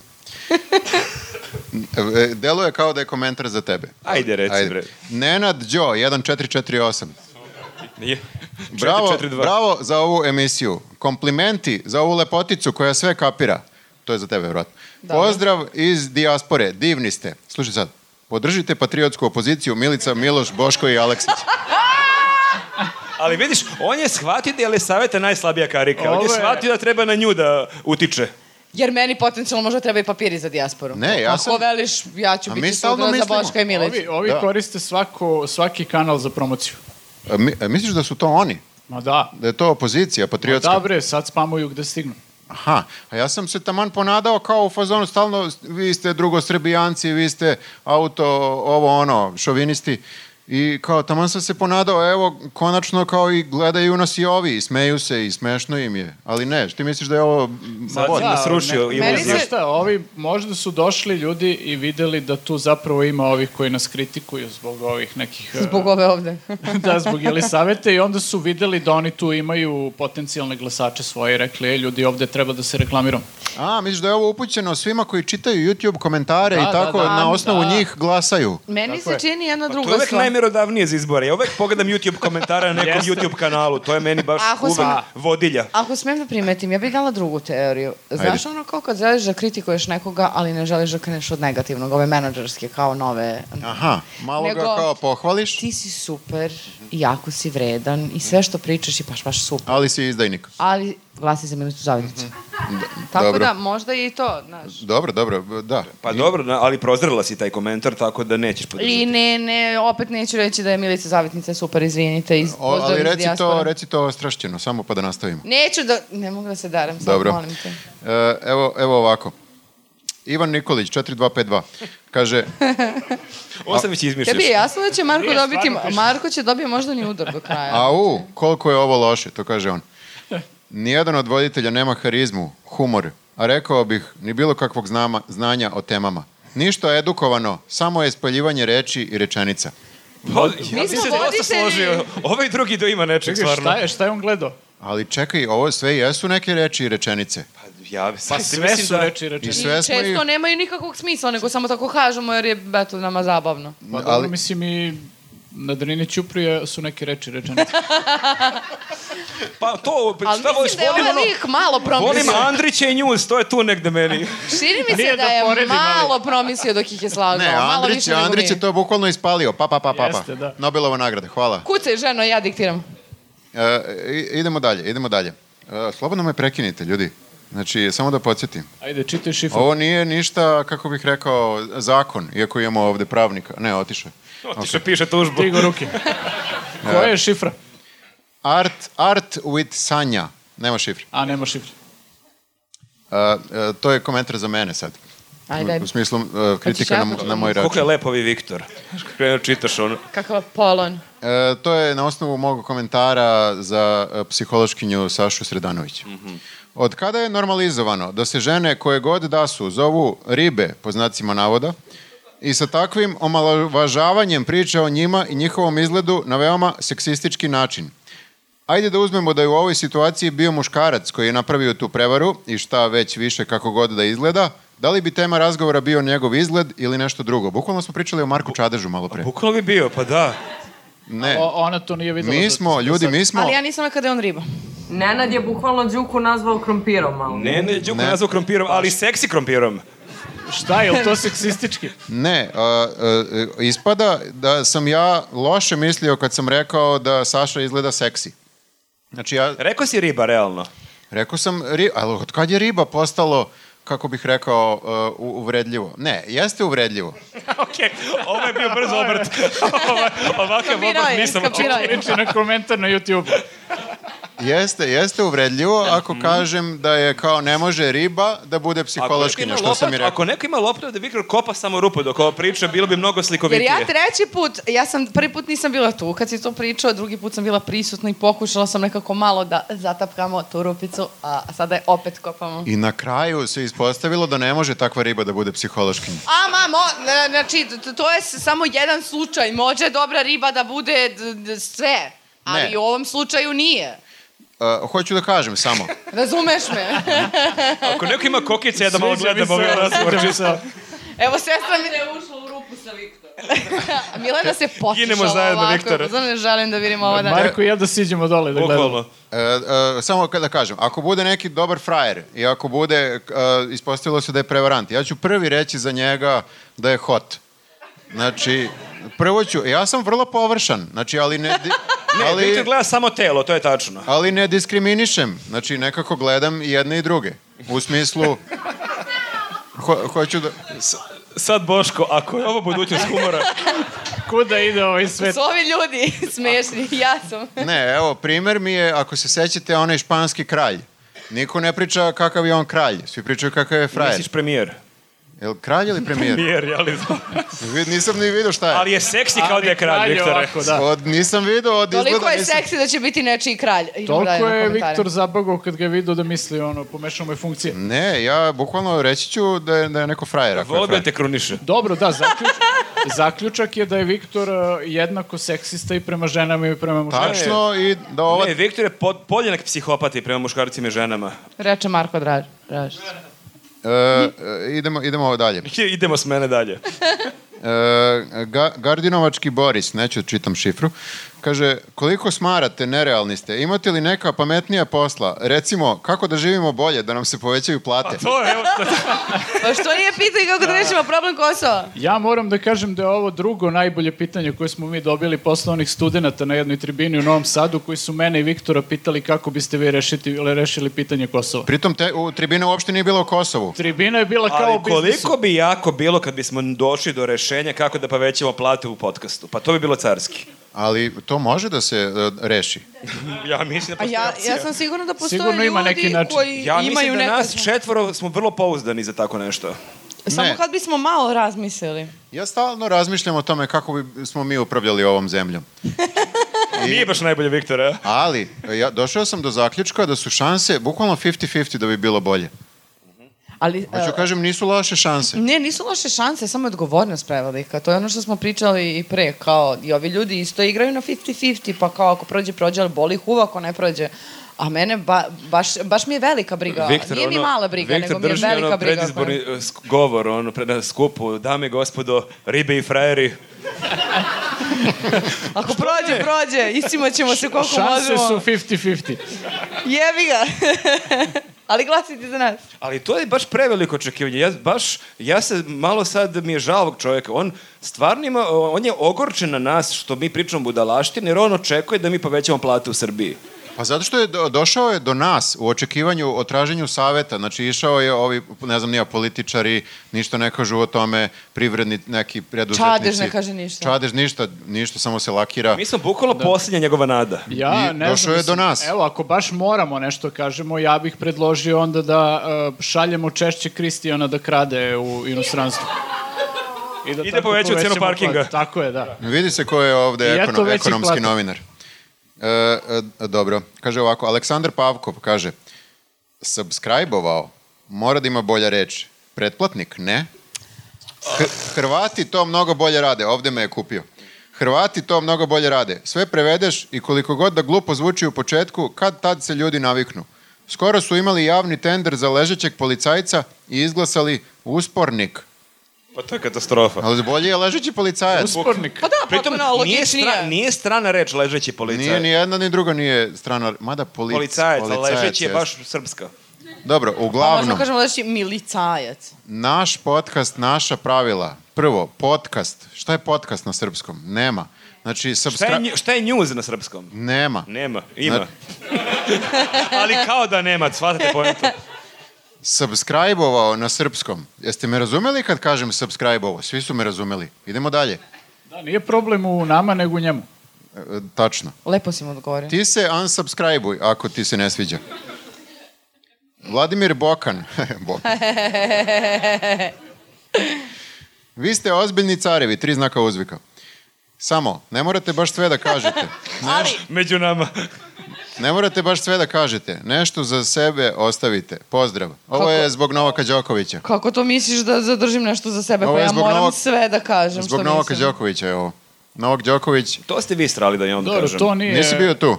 C: E, Deluje kao da je komentar za tebe.
D: Ajde, reci,
C: Ajde.
D: bre.
C: Nenad Đo, 1448.
D: Nije.
C: Bravo,
D: 442.
C: bravo za ovu emisiju. Komplimenti za ovu lepoticu koja sve kapira. To je za tebe, vrat. Pozdrav iz dijaspore, divni ste. Slušaj sad, podržite patriotsku opoziciju Milica, Miloš, Boško i Aleksić.
D: Ali vidiš, on je shvatio da je Elisaveta najslabija karika. On je
A: Ovo je-
D: shvatio da treba na nju da utiče.
B: Jer meni potencijalno možda treba i papiri za dijasporu.
C: Ne, ja sam-
B: Ako veliš, ja ću
C: A mi
B: biti
C: stalno
B: sutra za
C: mislimo.
B: Boška i Milić.
A: ovi, ovi
C: Da.
A: koriste svako, svaki kanal za promociju.
C: A mi- a misliš da su to oni?
A: Ma da.
C: Da je to opozicija,
A: Ma
C: patriotska?
A: da bre, sad spamuju gde stignu.
C: Aha, a ja sam se taman ponadao kao u fazonu stalno vi ste drugosrbijanci, vi ste auto, ovo ono, šovinisti. I kao taman sam se ponadao, evo, konačno kao i gledaju nas i ovi, i smeju se i smešno im je. Ali ne, ti misliš da je ovo...
D: Sad si nas rušio
A: Da, ne-
D: iluzije.
A: Znaš šta, ovi možda su došli ljudi i videli da tu zapravo ima ovih koji nas kritikuju zbog ovih nekih... e,
B: Zbog ove ovde.
A: da, zbog Jelisavete i onda su videli da oni tu imaju potencijalne glasače svoje i rekli, e, ljudi, ovde treba da se reklamiramo.
C: A, misliš da je ovo upućeno svima koji čitaju YouTube komentare i
A: da,
C: tako
A: da,
C: na osnovu njih glasaju.
B: Meni
A: Tako
B: se
A: je.
B: čini jedna
D: Pa To
B: druga
D: je uvek
B: stvar.
D: najmerodavnije za izbore. Ja uvek pogledam YouTube komentare na nekom
A: Jeste.
D: YouTube kanalu. To je meni baš
B: Ako
D: uvek
B: sam-
D: vodilja.
B: Ako smem da primetim, ja bih dala drugu teoriju. Znaš ono kao kad želiš da kritikuješ nekoga, ali ne želiš da kreneš od negativnog, ove menadžerske kao nove...
C: Aha, malo ga
B: Nego-
C: kao pohvališ,
B: Ti si super, i jako si vredan i sve što pričaš je baš, baš super.
C: ali si izdajnik.
B: Ali glasi za minutu zavetnicu. Tako
C: Mhm. dobro.
B: da, možda i to, znaš.
C: Dobro, dobro, da.
D: Pa dobro, na- ali prozrela si taj komentar, tako da nećeš
B: I
D: podržati.
B: ne, ne, opet neću reći da je Milica Zavetnica super, izvinite. Iz,
C: O,
B: pozdrav
C: ali
B: iz
C: reci to,
B: dijaspore.
C: reci to ostrašćeno, samo pa da nastavimo.
B: Neću da, ne mogu da se daram, sad
C: Dobro.
B: molim te.
C: E, evo, evo ovako. Ivan Nikolić, 4252, kaže,
D: Ovo sam već izmišljaš.
B: Tebi je jasno da će Marko dobiti, Marko će dobiti možda ni udar do kraja.
C: au, koliko je ovo loše, to kaže on. Nijedan od voditelja nema harizmu, humor, a rekao bih, ni bilo kakvog znama, znanja o temama. Ništa edukovano, samo je spaljivanje reči i rečenica.
D: Pa, ja
B: Mi
D: bi
C: da
B: smo
D: se dosta
B: voditelji.
D: složio. Ovaj drugi do ima nečeg,
A: Čekaj,
D: stvarno.
A: šta je, šta je on gledao?
C: Ali čekaj, ovo sve jesu neke reči i rečenice.
D: Ja,
A: Pa sve
D: da-
A: su reči i
C: I
A: rečenice.
C: sve
B: I
C: smo ih...
B: često nemaju nikakvog smisla, nego samo tako kažemo jer je, eto, nama zabavno.
A: Pa dobro,
C: ali-
A: mislim i na Drini Ćuprije su neke reči i rečenice.
D: Pa to,
B: Ali
D: šta voliš,
B: mislim da je
D: volim
B: ovaj
D: ono...
B: lik malo
D: Volim
B: promislio.
D: Andrića i Njuz, to je tu negde meni.
B: Širi mi se
A: Nije
B: da
A: da
B: je
A: poredim, ali-
B: malo promislio dok ih je slagao.
C: Ne,
B: malo
C: Andrić,
B: više nego
C: Andrić
B: mi.
C: je to bukvalno ispalio. Pa, pa, pa, pa, pa.
A: Jeste, da.
C: Nobelova nagrada, hvala.
B: Kucaj, ženo, ja diktiram.
C: E, i- idemo dalje, idemo dalje. E, slobodno me prekinite, ljudi. Znači, samo da podsjetim.
A: Ajde, čitaj šifru.
C: Ovo nije ništa, kako bih rekao, zakon, iako imamo ovde pravnika. Ne, otišao je.
D: Otiše, piše tužbu.
A: Digo ruke. Koja je šifra?
C: Art, art with Sanja. Nema šifre.
A: A, nema šifre.
C: E, e, to je komentar za mene sad.
B: Ajde, Pa
C: U smislu e, kritika
B: ja
C: na,
B: pročitam?
C: na moj
D: Kako je
C: račun.
D: lep ovi Viktor. Krenuo čitaš ono.
B: kakav polon.
C: E, to je na osnovu mog komentara za e, psihološkinju Sašu Sredanović. Od kada je normalizovano da se žene koje god da su zovu ribe, po znacima navoda, i sa takvim omalovažavanjem priča o njima i njihovom izgledu na veoma seksistički način. Ajde da uzmemo da je u ovoj situaciji bio muškarac koji je napravio tu prevaru i šta već više kako god da izgleda, da li bi tema razgovora bio njegov izgled ili nešto drugo? Bukvalno smo pričali o Marku Čadežu malo pre.
D: Bukvalo bi bio, pa da.
C: Ne.
A: O, ona to nije videla.
C: E. Mi
A: zato
C: smo,
A: sam
C: ljudi,
A: sad-
C: mi smo...
B: Ali ja nisam kada je on riba.
J: Nenad je bukvalno Đuku nazvao krompirom, ali...
D: Ne, ne, Đuko nazvao krompirom, ali seksi krompirom.
A: Šta je, je li to seksistički?
C: Ne, a, a, e, ispada da sam ja loše mislio kad sam rekao da Saša izgleda seksi. Znači ja
D: Rekao si riba, realno.
C: rekao sam, ri, ali od kad je riba postalo, kako bih rekao, a, u- uvredljivo? Ne, jeste uvredljivo.
D: Okej, ovo je bio brz obrt. Ovo- Ovakav
B: Skapirao
D: obrt
B: je,
D: nisam
B: skapirao je.
A: Liči na komentar na YouTube.
C: Jeste, jeste uvredljivo ako kažem da je kao ne može riba da bude
D: Ako neko ima
C: psihološkinja, što sam i
D: lopatu-
C: rekao.
D: Ako neko ima loptu da Viktor kopa samo rupu dok ovo priča, bilo bi mnogo
B: Jer
D: slikovitije.
B: ja treći put, ja sam prvi put nisam bila tu kad si to pričao, drugi put sam bila prisutna i pokušala sam nekako malo da zatapkamo tu rupicu, a sada je opet kopamo.
C: I na kraju se ispostavilo da ne može takva riba da bude psihološkinja.
B: Ama, mo, na- znači, t- to je s- samo jedan slučaj. Može dobra riba da bude d- d- sve, ali
C: Ne.
B: u ovom slučaju nije.
C: A, hoću da kažem samo.
B: Razumeš me?
D: Ako neko ima kokice, ja da malo
A: Sviđa mi
D: gledam
A: se,
D: ovaj razgovor.
A: sviđa mi
D: čisto.
A: se.
B: Evo, sestra mi je ušla u rupu sa Viktorom. Milena se potišala
D: Ginemo zajedno,
B: ovako,
D: Viktore.
B: zato ne želim da vidim ovo da...
A: Marko i ja da siđemo dole da gledamo.
D: Bukvalno.
C: E, e, samo kada kažem, ako bude neki dobar frajer i ako bude, e, ispostavilo se da je prevarant, ja ću prvi reći za njega da je hot. Znači, prvo ću, ja sam vrlo površan, znači, ali ne... di-
D: Ali... Viktor
C: ali,
D: gleda samo telo, to je tačno.
C: ali ne diskriminišem, znači nekako gledam i jedne i druge. U smislu, ho, hoću da...
D: Sad Boško, ako je ovo budućnost humora,
A: Kuda ide ovaj svet?
B: Su ovi ljudi smešni, ja sam.
C: Ne, evo, primer mi je, ako se sećate, onaj španski kralj. Niko ne priča kakav je on kralj, svi pričaju kakav je frajer.
D: misliš premijer.
C: Jel kralj ili premijer?
D: Premijer, jeli
C: Vi- Nisam ni vidio šta je.
D: Ali je seksi kao da je kralj, Viktore.
A: ovako, da.
C: Od, nisam video, od
B: Toliko
C: izgleda
B: je
C: nisam...
B: seksi da će biti nečiji kralj. Idemo dalje
A: Toliko
B: na
A: je
B: komentare.
A: Viktor zabagao kad ga je vidio da misli, ono, pomešao mu je funkcije.
C: Ne, ja bukvalno reći ću da je, da je neko frajer. ako je
D: Volio bi da
C: frajer.
D: te kruniše.
A: Dobro, da, zaključ... zaključak je da je Viktor uh, jednako seksista i prema ženama i
D: Pa.
A: prema muškarima.
C: Tačno i da ova...
D: Ne, Viktor je pod, podjednak psihopati prema muškarcima i ženama.
B: Reče Marko Draž. Draž.
C: e, e, idemo, idemo ovo dalje.
D: Idemo s mene dalje.
C: E, ga, Gardinovački Boris, neću da čitam šifru, kaže, koliko smarate, nerealni ste, imate li neka pametnija posla? Recimo, kako da živimo bolje, da nam se povećaju plate?
D: To je, evo,
B: Pa što nije pitanje kako da rešimo problem Kosova?
A: Ja moram da kažem da je ovo drugo najbolje pitanje koje smo mi dobili posle onih studenta na jednoj tribini u Novom Sadu koji su mene i Viktora pitali kako biste vi rešiti, rešili pitanje Kosova.
C: Pritom, te, u, tribina uopšte nije bila u Kosovu.
A: Tribina je bila kao
D: ali
A: u biznisu.
D: koliko bi jako bilo kad bismo došli do rešenja kako da povećamo plate u podcastu. Pa to bi bilo carski.
C: Ali to može da se e, reši.
D: Ja mislim da
B: A
D: postoji
B: ja,
D: opcija.
B: ja sam sigurna da postoje
A: Sigurno ima
B: ljudi
A: neki način.
B: koji
D: Ja
B: imaju
D: mislim da
B: neka...
D: nas četvoro smo vrlo pouzdani za tako nešto.
B: Samo
C: Ne.
B: kad bismo malo razmislili.
C: Ja stalno razmišljam o tome kako bi smo mi upravljali ovom zemljom.
D: Nije baš najbolje, Viktore. a?
C: Ali, ja, došao sam do zaključka da su šanse bukvalno 50-50 da bi bilo bolje.
B: Ali,
C: Hoću
B: e,
C: kažem, nisu loše šanse.
B: Ne, nisu loše šanse, samo je odgovornost prevelika. To je ono što smo pričali i pre, kao i ovi ljudi isto igraju na 50-50, pa kao ako prođe, prođe, ali boli ih uva ako ne prođe. A mene ba, baš, baš mi je velika briga. Da, Nije mi mala briga,
D: Viktor
B: nego mi je
D: drži
B: velika
D: ono
B: briga.
D: predizborni eh, sk- govor ono, pred, na skupu, dame i gospodo, ribe i frajeri.
B: Ako prođe, prođe, istimaćemo se koliko
A: Šanse
B: možemo.
A: su 50-50.
B: Jebi ga. ali glasite za nas.
D: Ali to je baš preveliko očekivanje. Ja, baš, ja se malo sad mi je žal ovog čovjeka. On stvarno ima, on je ogorčen na nas što mi pričamo budalaštine, jer on očekuje da mi povećamo plate u Srbiji.
C: Pa zato što je do- došao je do nas u očekivanju o traženju saveta, znači išao je ovi, ne znam, nija političari, ništa ne kažu o tome, privredni neki preduzetnici.
B: Čadež ne kaže ništa.
C: Čadež ništa, ništa, samo se lakira.
D: Mi smo bukvalno posljednja njegova nada.
A: Ja,
C: I
A: ne
C: došao
A: znam,
C: je
A: mislim,
C: do nas.
A: Evo, ako baš moramo nešto kažemo, ja bih predložio onda da e, šaljemo češće Kristijana da krade u inostranstvu. I da
D: I da
A: tako
D: povećamo cijenu
A: povećamo
D: parkinga.
A: platu. Tako je, da.
C: Vidi se ko je ovde
A: I eto
C: ekono-
A: većih
C: ekonomski
A: plata.
C: novinar. E, e, dobro, kaže ovako, Aleksandar Pavkov kaže, subscribe-ovao, mora da ima bolja reč. Pretplatnik, ne? H- Hrvati to mnogo bolje rade, ovde me je kupio. Hrvati to mnogo bolje rade. Sve prevedeš i koliko god da glupo zvuči u početku, kad tad se ljudi naviknu. Skoro su imali javni tender za ležećeg policajca i izglasali uspornik.
D: Pa to je katastrofa.
C: Ali bolje je ležeći policajac.
A: Uspornik.
B: Pa da,
D: Pritom,
B: potpuno
D: nije,
B: logičnije.
D: stra, nije strana reč ležeći policajac.
C: Nije ni jedna ni druga nije strana, mada polic,
D: policajac, ali ležeći je
C: jeste.
D: baš srpska.
C: Dobro,
B: Pa
C: uglavnom,
B: možemo kažemo da si milicajac.
C: naš podcast, naša pravila. Prvo, podcast. Šta je podcast na srpskom? Nema. Znači,
D: Šta je,
C: subscribe...
D: nju- šta je news na srpskom?
C: Nema.
D: Nema, ima.
C: Ne.
D: ali kao da nema, shvatate pojentu.
C: Subscribe-ovao na srpskom. Jeste me razumeli kad kažem subscribe-ovo? Svi su me razumeli. Idemo dalje.
A: Da, nije problem u nama, nego u njemu.
C: E, e, tačno.
B: Lepo si mu odgovorio.
C: Ti se unsubscribe-uj ako ti se ne sviđa. Vladimir Bokan. Bokan. Vi ste ozbiljni carevi, tri znaka uzvika. Samo, ne morate baš sve da kažete.
B: Ali,
D: Među nama.
C: Ne morate baš sve da kažete. Nešto za sebe ostavite. Pozdrav. Ovo je zbog Novaka Đokovića.
B: kako to misliš da zadržim nešto za sebe?
C: Ovo
B: Pa
C: je
B: ja
C: zbog
B: moram
C: Novak-
B: sve da kažem
C: Zbog
B: što
C: Novaka
B: mislim.
C: Đokovića je ovo. Novak Đoković,
D: To ste vi strali da imam da
A: Dobro,
D: kažem.
A: to nije,
C: nisi bio tu.
D: Da.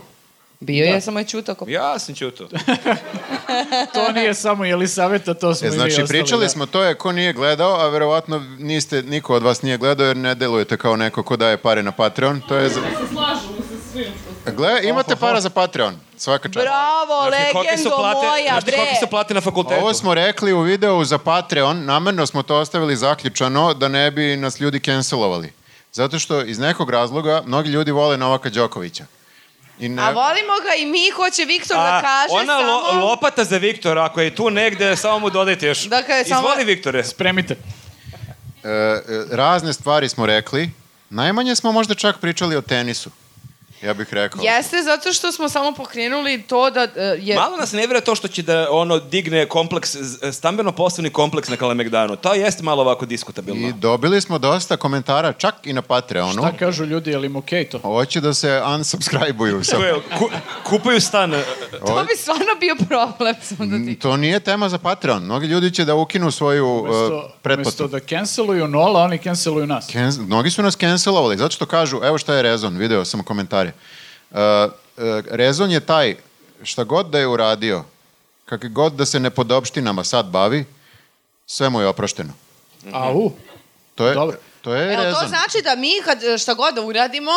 B: Bio je, samo je čutao ko
D: Ja sam čuto.
A: to nije samo Jelisaveta, to smo
C: E,
A: i mi
C: znači,
A: ostali,
C: pričali
A: da.
C: smo, to je ko nije gledao, a verovatno niste, niko od vas nije gledao jer ne delujete kao neko ko daje pare na Patreon. To je... Za... Gle, imate para za Patreon, svaka čast.
B: Bravo,
D: kolike
B: legendo moja,
D: znaš ti
B: bre.
D: kolike znači, su plate na fakultetu?
C: Ovo smo rekli u videu za Patreon, namerno smo to ostavili zaključano da ne bi nas ljudi cancelovali. Zato što iz nekog razloga mnogi ljudi vole Novaka Đokovića. I ne...
B: A volimo ga i mi, ko će Viktor da
D: A,
B: kaže
D: ona
B: samo...
D: lo- lopata za Viktora, ako je tu negde, samo mu dodajte još.
B: Dakle, samo-
D: Izvoli, Viktore.
A: Spremite.
C: E, e, razne stvari smo rekli, najmanje smo možda čak pričali o tenisu. Ja bih rekao.
B: Jeste, zato što smo samo pokrenuli to da... e, je...
D: Malo nas ne vjeruje to što će da ono digne kompleks, z- stambeno-poslovni kompleks na Kalemegdanu. To jeste malo ovako diskutabilno.
C: I dobili smo dosta komentara, čak i na Patreonu.
A: Šta kažu ljudi, je li im okej to?
C: Hoće da se unsubscribe-uju. sa-
D: To je, ku- kupaju stan. e,
B: To bi stvarno bio problem, sam da ti...
C: To nije tema za Patreon. Mnogi ljudi će da ukinu svoju uh,
A: Mesto, mesto
C: pretplatu.
A: da canceluju Nola, oni canceluju nas.
C: Kenz- mnogi su nas cancelovali, zato što kažu, evo šta je rezon, video sam komentare. Uh, uh, rezon je taj, šta god da je uradio, kakve god da se nepodopštinama sad bavi, sve mu je oprošteno.
A: Au,
C: To je,
A: Dobro.
C: to je
B: Evo,
C: rezon.
B: to znači da mi kad e, šta god da uradimo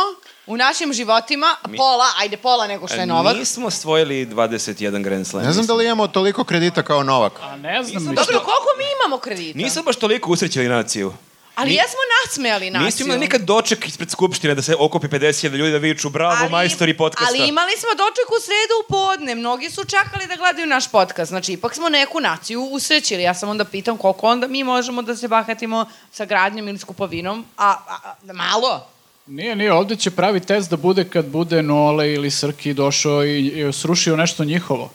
B: u našim životima, pola, ajde pola nego
D: E,
B: što je novac.
D: Nismo svojili 21 Grand Slam.
C: Ne znam da li imamo toliko kredita kao Novak.
A: a ne znam ništa.
B: Dobro, koliko mi imamo kredita?
D: Nisam baš toliko usrećili naciju.
B: Ali jesmo nasmejali naciju.
D: Nisam imali nikad doček ispred skupštine da se okupi 50.000 ljudi da viču bravo
B: Ali-
D: majstori podcasta.
B: Ali imali smo doček u sredu u podne, mnogi su čekali da gledaju naš podcast, znači ipak smo neku naciju usrećili. Ja sam onda pitam koliko onda mi možemo da se bahatimo sa gradnjom ili s kupovinom, a, a, a malo.
A: Nije, nije, ovde će pravi test da bude kad bude Nole ili Srki došao i, i srušio nešto njihovo.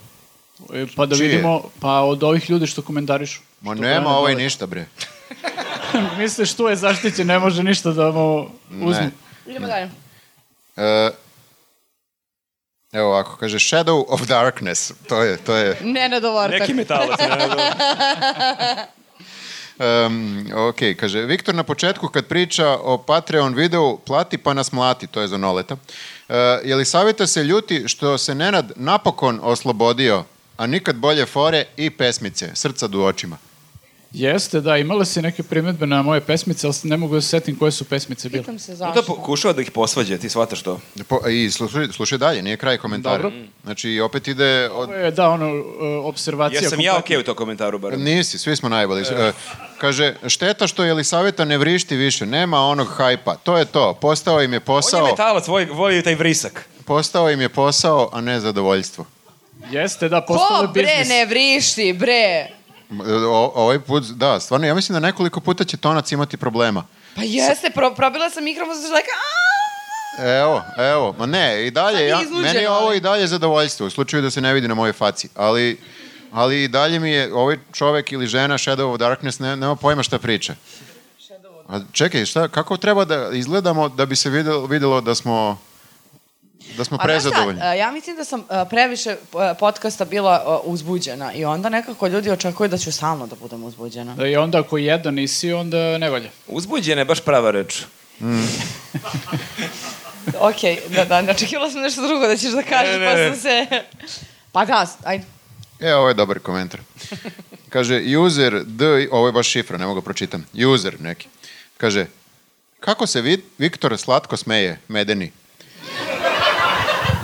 A: E, Pa da
C: Čije?
A: vidimo, pa od ovih ljudi što komentarišu.
C: Ma
A: Što
C: nema
A: brane
C: ovaj
A: dole.
C: ništa, bre.
A: Misliš, tu je zaštićen, ne može ništa da mu uzmu.
C: Ne.
B: Idemo dalje.
C: E, Evo ovako, kaže Shadow of Darkness. To je, to je...
B: Nenad Ortak.
D: Neki metalac, Nenad Ortak.
C: Um, ok, kaže, Viktor na početku kad priča o Patreon videu plati pa nas mlati, to je za noleta. Uh, je li savjeta se ljuti što se Nenad napokon oslobodio, a nikad bolje fore i pesmice, srca du očima?
A: Jeste, da, imala si neke primetbe na moje pesmice, ali ne mogu da se setim koje su pesmice bile.
B: Pitam se
D: Da
B: zašto.
D: pokušava da ih posvađa, ti shvataš to.
C: E, Po, I slušaj, slušaj dalje, nije kraj komentara.
A: Dobro.
C: Znači, opet ide... Od...
A: Ovo je, da, ono, e, observacija.
D: Jesam ja
A: kompletna.
D: okej u tom komentaru, bar.
C: Nisi, svi smo najbolji. E, Kaže, šteta što Jelisaveta ne vrišti više, nema onog hajpa. To je to, postao im je
D: On je
C: posao,
D: metalac, voli, voli taj vrisak.
C: postao im je posao, a ne zadovoljstvo.
A: Jeste, da, postalo je
B: Ko bre
A: biznis.
B: ne vrišti, bre?
C: O, ovaj put, da, stvarno, ja mislim da nekoliko puta će Tonac imati problema.
B: Pa jeste, pro, probila sam mikrofon, znači like, aaa!
C: Evo, evo, ma ne, i dalje,
B: Sad je
C: ja,
B: iznuđen,
C: meni je
B: ali.
C: ovo i dalje zadovoljstvo, u slučaju da se ne vidi na mojoj faci, ali, ali i dalje mi je ovaj čovek ili žena Shadow of Darkness, ne, nema pojma šta priča. A čekaj, šta, kako treba da izgledamo da bi se videlo, videlo da smo, da smo
B: A znaš šta,
C: prezadovoljni?
B: e, ja mislim da sam e, previše e, podcasta bila e, uzbuđena i onda nekako ljudi očekuju da ću stalno da budem uzbuđena.
A: Da, I onda ako jedan nisi, onda ne valja.
D: Uzbuđena je baš prava reč.
B: Okej, da, da, ne očekivala sam nešto drugo da ćeš da kažeš,
D: Ne, ne, ne.
B: pa sam se... Pa da, s- ajde.
C: E, ovo je dobar komentar. Kaže, user D, ovo je baš šifra, ne mogu da pročitam. User neki. Kaže, kako se vid, Viktor slatko smeje, medeni?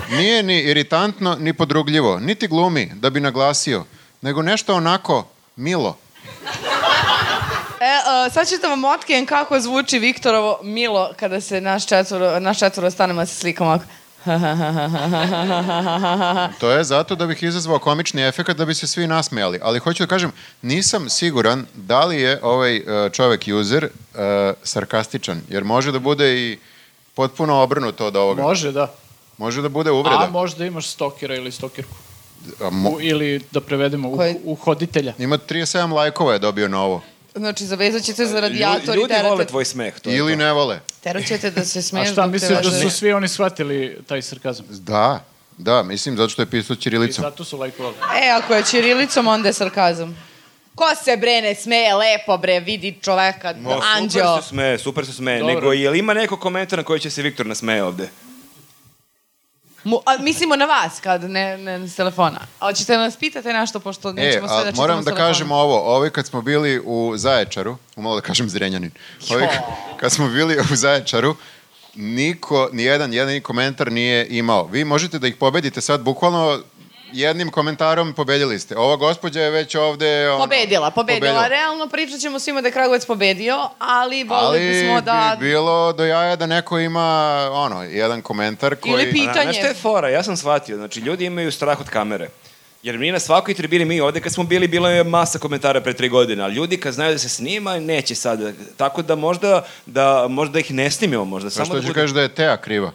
C: Nije ni iritantno, ni podrugljivo, niti glumi, da bi naglasio, nego nešto onako milo.
B: E, e, sad ću da vam otkrijem kako zvuči Viktorovo milo kada se naš četvoro, naš četvoro stanemo da se slikamo ovako.
C: To je zato da bih izazvao komični efekt da bi se svi nasmejali. Ali hoću da kažem, nisam siguran da li je ovaj e, čovek user e, sarkastičan, jer može da bude i potpuno obrnuto od ovoga.
A: Može, da.
C: Može da bude
A: A
C: uvreda.
A: možda imaš stokera ili stokirku.
C: A mo-
A: U, ili da prevedemo, u,
B: Koji-
A: uhoditelja.
C: Ima 37 lajkova je dobio na ovo.
B: Znači, zavezat ćete za
D: Ljudi,
B: radijator i
D: ljudi vole
B: terate,
D: tvoj smeh. To je
C: Ili
D: to.
C: ne vole.
B: teraćete da se
A: A
B: smeješ.
A: šta
B: dok te
A: misliš da
B: vežu.
A: su svi oni shvatili taj sarkazam?
C: Da, da, mislim, zato što je pisao
A: I
C: Čirilicom.
A: zato su lajkovali.
B: E, ako je čirilicom, onda je sarkazam. Ko se bre ne smeje lepo bre, vidi čoveka,
D: Mo,
B: anđeo.
D: Super se smeje, super se smeje.
A: Dobro.
D: Nego, je li ima neko komentar na koji će se Viktor nasmeje ovde?
B: Mu, a, mislimo na vas, kad ne, ne s telefona. A hoćete da nas pitate nešto, pošto
C: E,
B: nećemo sve da
C: a
B: čitamo
C: moram
B: s
C: da
B: telefona.
C: kažem ovo, ovi kad smo bili u Zaječaru, umalo da kažem Zrenjanin, ovi kad, kad smo bili u Zaječaru, niko, nijedan, jedini komentar nije imao. Vi možete da ih pobedite sad, bukvalno jednim komentarom pobedili ste. Ova gospođa je već ovde... ono,
B: Pobedila, pobedila. Realno pričat ćemo svima da je Kragovac pobedio, ali
C: Ali
B: volili smo da...
C: bi bilo do jaja da neko ima ono, jedan komentar koji...
B: Ili pi- Pitanje.
D: Znaš šta je fora? Ja sam shvatio. Znači, ljudi imaju strah od kamere. Jer mi na svakoj tribini, mi ovde kad smo bili, bilo je masa komentara pre tri godine, ali ljudi kad znaju da se snima, neće sad. Tako da možda, da, možda ih ne snimimo, možda
C: Pa
D: samo
C: što
D: da
C: ću
D: bude...
C: kažeš da je Teja kriva?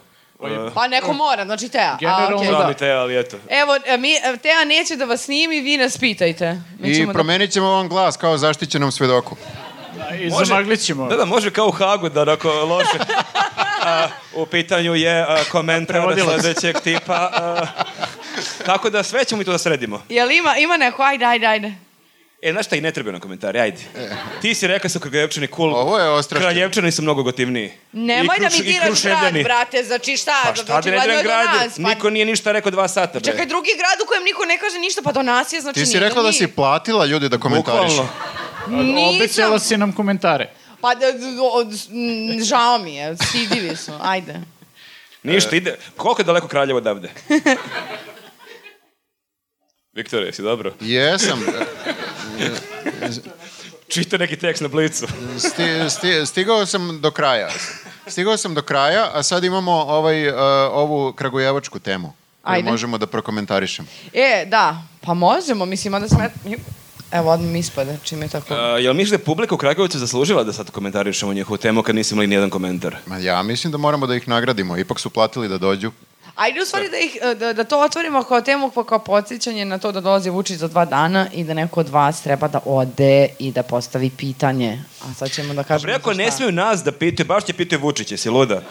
B: Pa neko mora, znači Teja. a,
A: Generalno
B: okej.
A: da.
D: Žao mi te, ali eto.
B: Evo, e, mi, e, Teja neće da vas snimi, vi nas pitajte. Mi
C: I
B: ćemo da-
C: promenit ćemo vam glas kao zaštićenom svedoku.
A: Da, I zamaglit ćemo.
D: Da, da, može kao u Hagu da onako loše. A, u pitanju je a, komentar
A: Prevodilac.
D: sledećeg tipa. a, tako da sve ćemo mi to da sredimo.
B: Jel ima, ima neko, ajde, ajde, ajde.
D: E, znaš šta, i ne trebaju na komentari, ajde. Ti si rekao su Kraljevčani cool.
C: E. Ovo je ostrašćeno.
D: Kraljevčani su mnogo gotivniji.
B: Nemoj
D: I
B: da
D: Kruš-
B: mi
D: i
B: diraš grad,
D: Kruševljani.
B: brate, znači šta?
D: Pa šta
B: znači,
D: da ne
B: valjda
D: diram
B: je do
D: grad?
B: nas, pa-
D: Niko nije ništa rekao dva sata, bre.
B: Čekaj, drugi grad u kojem niko ne kaže ništa, pa do nas je, znači
C: Ti si
B: nije do
C: rekla da
B: njih.
C: si platila ljudi da komentarišu.
D: Bukvalno.
B: Nisam.
A: Obećala si nam komentare.
B: Pa, da, da, od, m, žao mi je, stidivi su, ajde.
C: E.
D: Ništa, ide. Koliko je daleko Kraljevo odavde? Viktore, jesi dobro?
C: Jesam.
D: Čita neki tekst na blicu.
C: Sti, sti, stigao sam do kraja. Stigao sam do kraja, a sad imamo ovaj, uh, ovu kragujevačku temu. koju
B: Ajde.
C: Možemo da prokomentarišemo.
B: E, da, pa možemo, mislim, onda smet... Evo, odmah mi ispada, čim je tako.
D: A, jel misliš da je publika u Kragujevcu zaslužila da sad komentarišemo njihovu temu kad nisi imali nijedan komentar?
C: Ma ja mislim da moramo da ih nagradimo. Ipak su platili da dođu.
B: Ajde, u stvari, da, ih, e, da, da to otvorimo kao temu, pa kao podsjećanje na to da dolazi Vučić za dva dana i da neko od vas treba da ode i da postavi pitanje. A sad ćemo da kažemo... za
D: Rekao,
B: šta.
D: ne smiju nas da pitaju, baš će pitaju Vučić, jesi luda?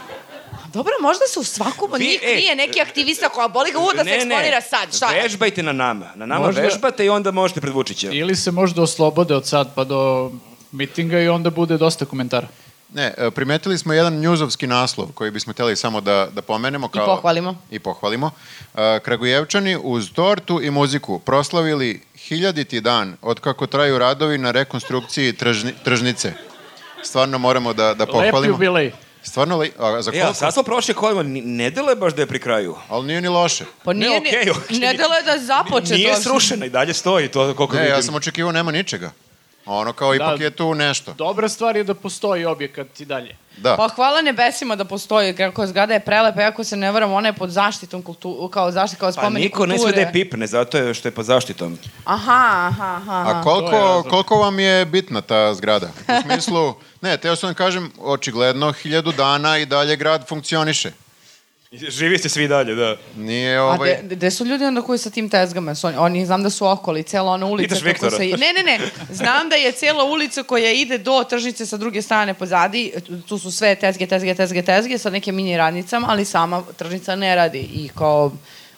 B: Dobro, možda se u svakom od
D: Vi-
B: njih
D: e,
B: krije neki aktivista koja boli ga u da se eksponira sad. Šta? je?
D: Vežbajte na nama. Na nama
A: Možda-
D: vežbate i onda možete pred E, Vučića.
A: Ili se možda oslobode od sad pa do mitinga i onda bude dosta komentara.
C: Ne, e, primetili smo jedan njuzovski naslov koji bismo hteli samo da, da pomenemo. Kao,
B: pohvalimo.
C: I pohvalimo. E, Kragujevčani uz tortu i muziku proslavili hiljaditi dan od kako traju radovi na rekonstrukciji tržni, tržnice. Stvarno moramo da, da
A: Lep
C: pohvalimo.
A: jubilej.
C: Stvarno, le, E, a, za koliko?
D: Ja, sad smo prošli kolima, ni- ne deluje baš da je pri kraju.
C: Ali nije ni loše.
B: Pa nije,
D: Ne,
B: ne,
D: okej, okej.
B: ne deluje da je započet.
D: Nije
B: uopšte.
D: srušena i dalje stoji to koliko
C: Ne,
D: vidim.
C: ja sam očekivao nema ničega. Ono kao ipak je tu nešto.
A: Dobra stvar je da postoji objekat i dalje.
C: Da.
B: Pa hvala nebesima da postoji, kako zgrada je prelepa, iako se ne varam, ona je pod zaštitom kultu, kao zaštit, kao
D: Pa
B: spomenik
D: niko
B: kulture.
D: ne sve da je pipne, zato je što je pod zaštitom.
B: Aha, aha, aha.
C: A
A: to je
C: koliko,
A: razlog.
C: koliko vam je bitna ta zgrada? U smislu, ne, teo sam da kažem, očigledno, hiljadu dana i dalje grad funkcioniše.
D: Živi ste svi dalje, da.
C: Nije
B: A
C: ovaj...
B: de, gde su ljudi onda koji sa tim tezgama? Su Oni, oni znam da su okoli, cijela ona ulica.
D: Pitaš
B: kako
D: Viktora.
B: se i- ne, ne, ne. Znam da je cijela ulica koja ide do tržnice sa druge strane pozadi. Tu su sve tezge, tezge, tezge, tezge sa nekim mini radnicama, ali sama tržnica ne radi. I kao...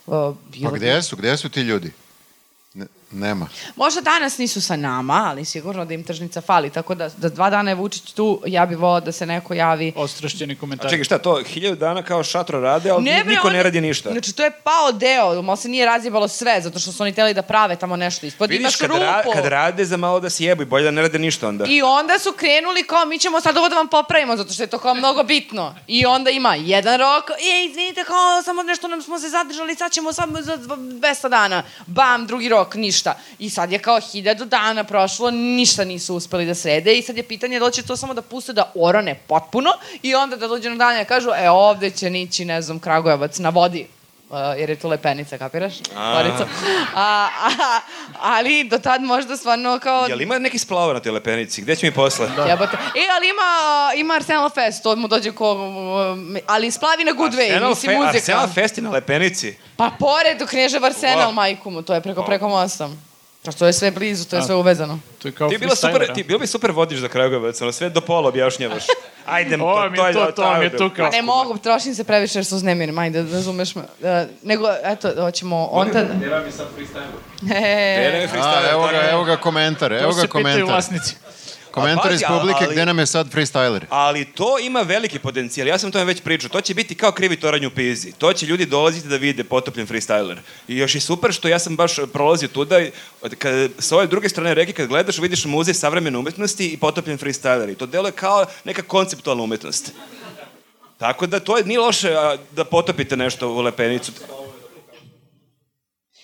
B: Uh,
C: Pa
B: bilo-
C: gde su? Gde su ti ljudi? Ne, nema.
B: Možda danas nisu sa nama, ali sigurno da im tržnica fali. Tako da, da dva dana je Vučić tu, ja bi volao da se neko javi
A: Ostrašćeni komentari.
D: A čekaj, šta to, hiljadu dana kao šatro rade, ali
B: Ne, bre,
D: niko
B: oni-
D: ne radi ništa.
B: Znači, to je pao deo, malo se nije razjebalo sve, zato što su oni teli da prave tamo nešto ispod. Imaš
D: Vidiš, kad,
B: rupu.
D: ra- kad rade za malo da se jebu i bolje da ne rade ništa onda.
B: I onda su krenuli kao, mi ćemo sad ovo da vam popravimo, zato što je to kao mnogo bitno. I onda ima jedan rok, je, izvinite, kao, samo nešto nam smo se zadržali, sad ćemo samo za dv- 200 dana. Bam, drugi rok, ništa. I sad je kao hiljadu dana prošlo, ništa nisu uspeli da srede i sad je pitanje da li će to samo da puste da orane potpuno i onda da dođe na danje i kažu, e, ovde će nići, ne znam, Kragujevac na vodi. Uh, jer je tu lepenica, kapiraš? Tvorica. A, a, ali do tad možda stvarno kao...
D: Jel ima neki splava na te lepenici? Gde će mi posle?
A: Da.
B: Jebote. E, ali ima, ima Arsenal Fest, to mu dođe ko... um, Ali splavi na Good Way,
D: Arsenal
B: mislim
D: fe-
B: muzika.
D: Arsenal Fest je na lepenici.
B: Pa pored u Knežev Arsenal,
D: Wow. Da.
B: majku mu, to je preko, preko mosta. Pa to je sve blizu, to je sve uvezano.
A: To je kao da.
D: Ti, bila super,
A: freestylera.
D: ti bilo bi super vodiš za Kragujevac, ono sve do pola objašnjavaš. Ajde,
A: Ovo mi je to, to mi je to kao...
B: Pa ne mogu, trošim se previše jer su uznemirim, ajde, razumeš me. E, nego, eto, hoćemo onda... Dera mi sad freestyle. E,
C: A, evo ga, evo ga komentar,
A: To
C: evo
A: se
C: ga
A: pitaju
C: komentar.
A: vlasnici.
C: Komentar
D: A,
C: iz
D: pazi,
C: publike,
D: ali-
C: gde nam je sad freestyler?
D: Ali to ima veliki potencijal. Ja sam o tome već pričao. To će biti kao krivi toranj u Pizi. To će ljudi dolaziti da vide potopljen freestyler. I još je super što ja sam baš prolazio tuda. i od- Kad, s ove druge strane reke kad gledaš vidiš muzej savremene umetnosti i potopljen freestyler. I to deluje kao neka konceptualna umetnost. Tako da to je, nije loše a, da potopite nešto u lepenicu.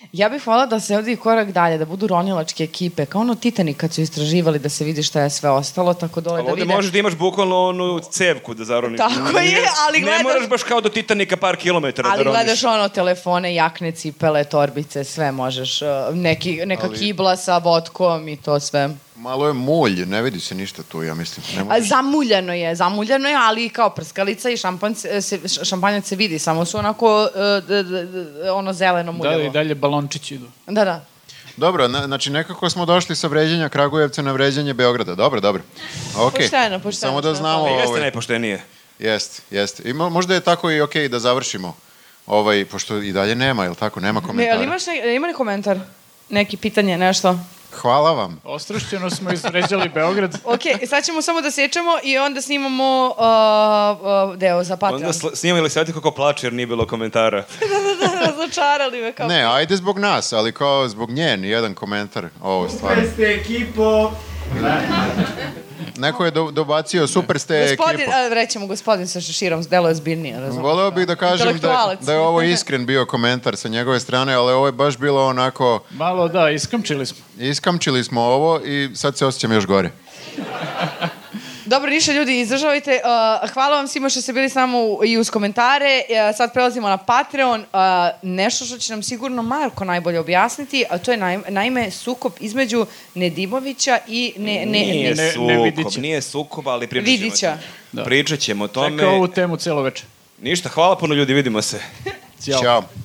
B: Da ja bih volila da se ovdje i korak dalje, da budu ronilačke ekipe, kao ono Titanic kad su istraživali da se vidi šta je sve ostalo, tako dole
D: Ali
B: da
D: ovde
B: vide.
D: možeš da imaš bukvalno onu cevku da zaroniš.
B: Tako je,
D: Nije-
B: ali
D: Ne
B: gledaš-
D: moraš baš kao do Titanika par kilometara da
B: Ali
D: roniš.
B: gledaš ono telefone, jakne, cipele, torbice, sve možeš. uh, Neki, neka
C: Ali-
B: kibla sa vodkom i to sve.
C: Malo je mulj, ne vidi se ništa tu, ja mislim. Ne
B: A,
C: možeš.
B: Zamuljano je, zamuljano je, ali kao prskalica i šampanjac se, š- šampanjac se vidi, samo su onako uh, d- d- d- ono zeleno
A: Da,
B: muljavo.
A: i dalje balončići idu.
B: da, da.
C: Dobro, na, znači nekako smo došli sa vređenja Kragujevca na vređenje Beograda. Dobro, dobro. Okay.
B: Pošteno, pošteno,
C: Samo da
B: pošteno.
C: znamo...
D: Pa Jeste
C: ovaj,
D: najpoštenije.
C: Jeste, jeste. Ima, možda je tako i okej da završimo. Ovaj, pošto i dalje nema, jel tako? Nema
B: Ne,
C: komentara.
B: ali imaš ne, ima li komentar? Neki pitanje, nešto?
C: Hvala vam.
A: Ostrašćeno smo izvređali Beograd.
B: Ok, sad ćemo samo da sečemo i onda snimamo uh, uh, deo za Patreon.
D: Onda sl- snimali se kako plače jer nije bilo komentara.
B: Razočarali me kao...
C: Ne, ajde zbog nas, ali kao zbog nje, nijedan komentar. Ovo, stvarno.
K: ste ekipo.
C: Neko je do, dobacio, super ste
B: Gospodin,
C: ekipa.
B: a, rećemo gospodin sa šeširom, delo je zbiljnije, razumiješ?
C: Voleo bih da kažem da,
B: Intelektualac.
C: da je ovo iskren bio komentar sa njegove strane, ali ovo je baš bilo onako,
A: Malo da, iskamčili smo.
C: iskamčili smo ovo i sad se osjećam još gore.
B: Dobro, ništa ljudi, izdržavajte. Uh, hvala vam svima što ste bili s nama u- i uz komentare. Uh, sad prelazimo na Patreon. Uh, nešto što će nam sigurno Marko najbolje objasniti, a to je naim- naime sukob između Nedimovića i ne, ne,
D: Nije
B: ne,
A: ne
D: sukob,
A: Vidića.
D: nije sukob, ali pričat ćemo.
B: Vidića.
D: Da. Pričat ćemo o tome.
A: Čekao ovu temu cijelo večer.
D: Ništa, hvala puno ljudi, vidimo se.
A: Ćao.
C: Ćao.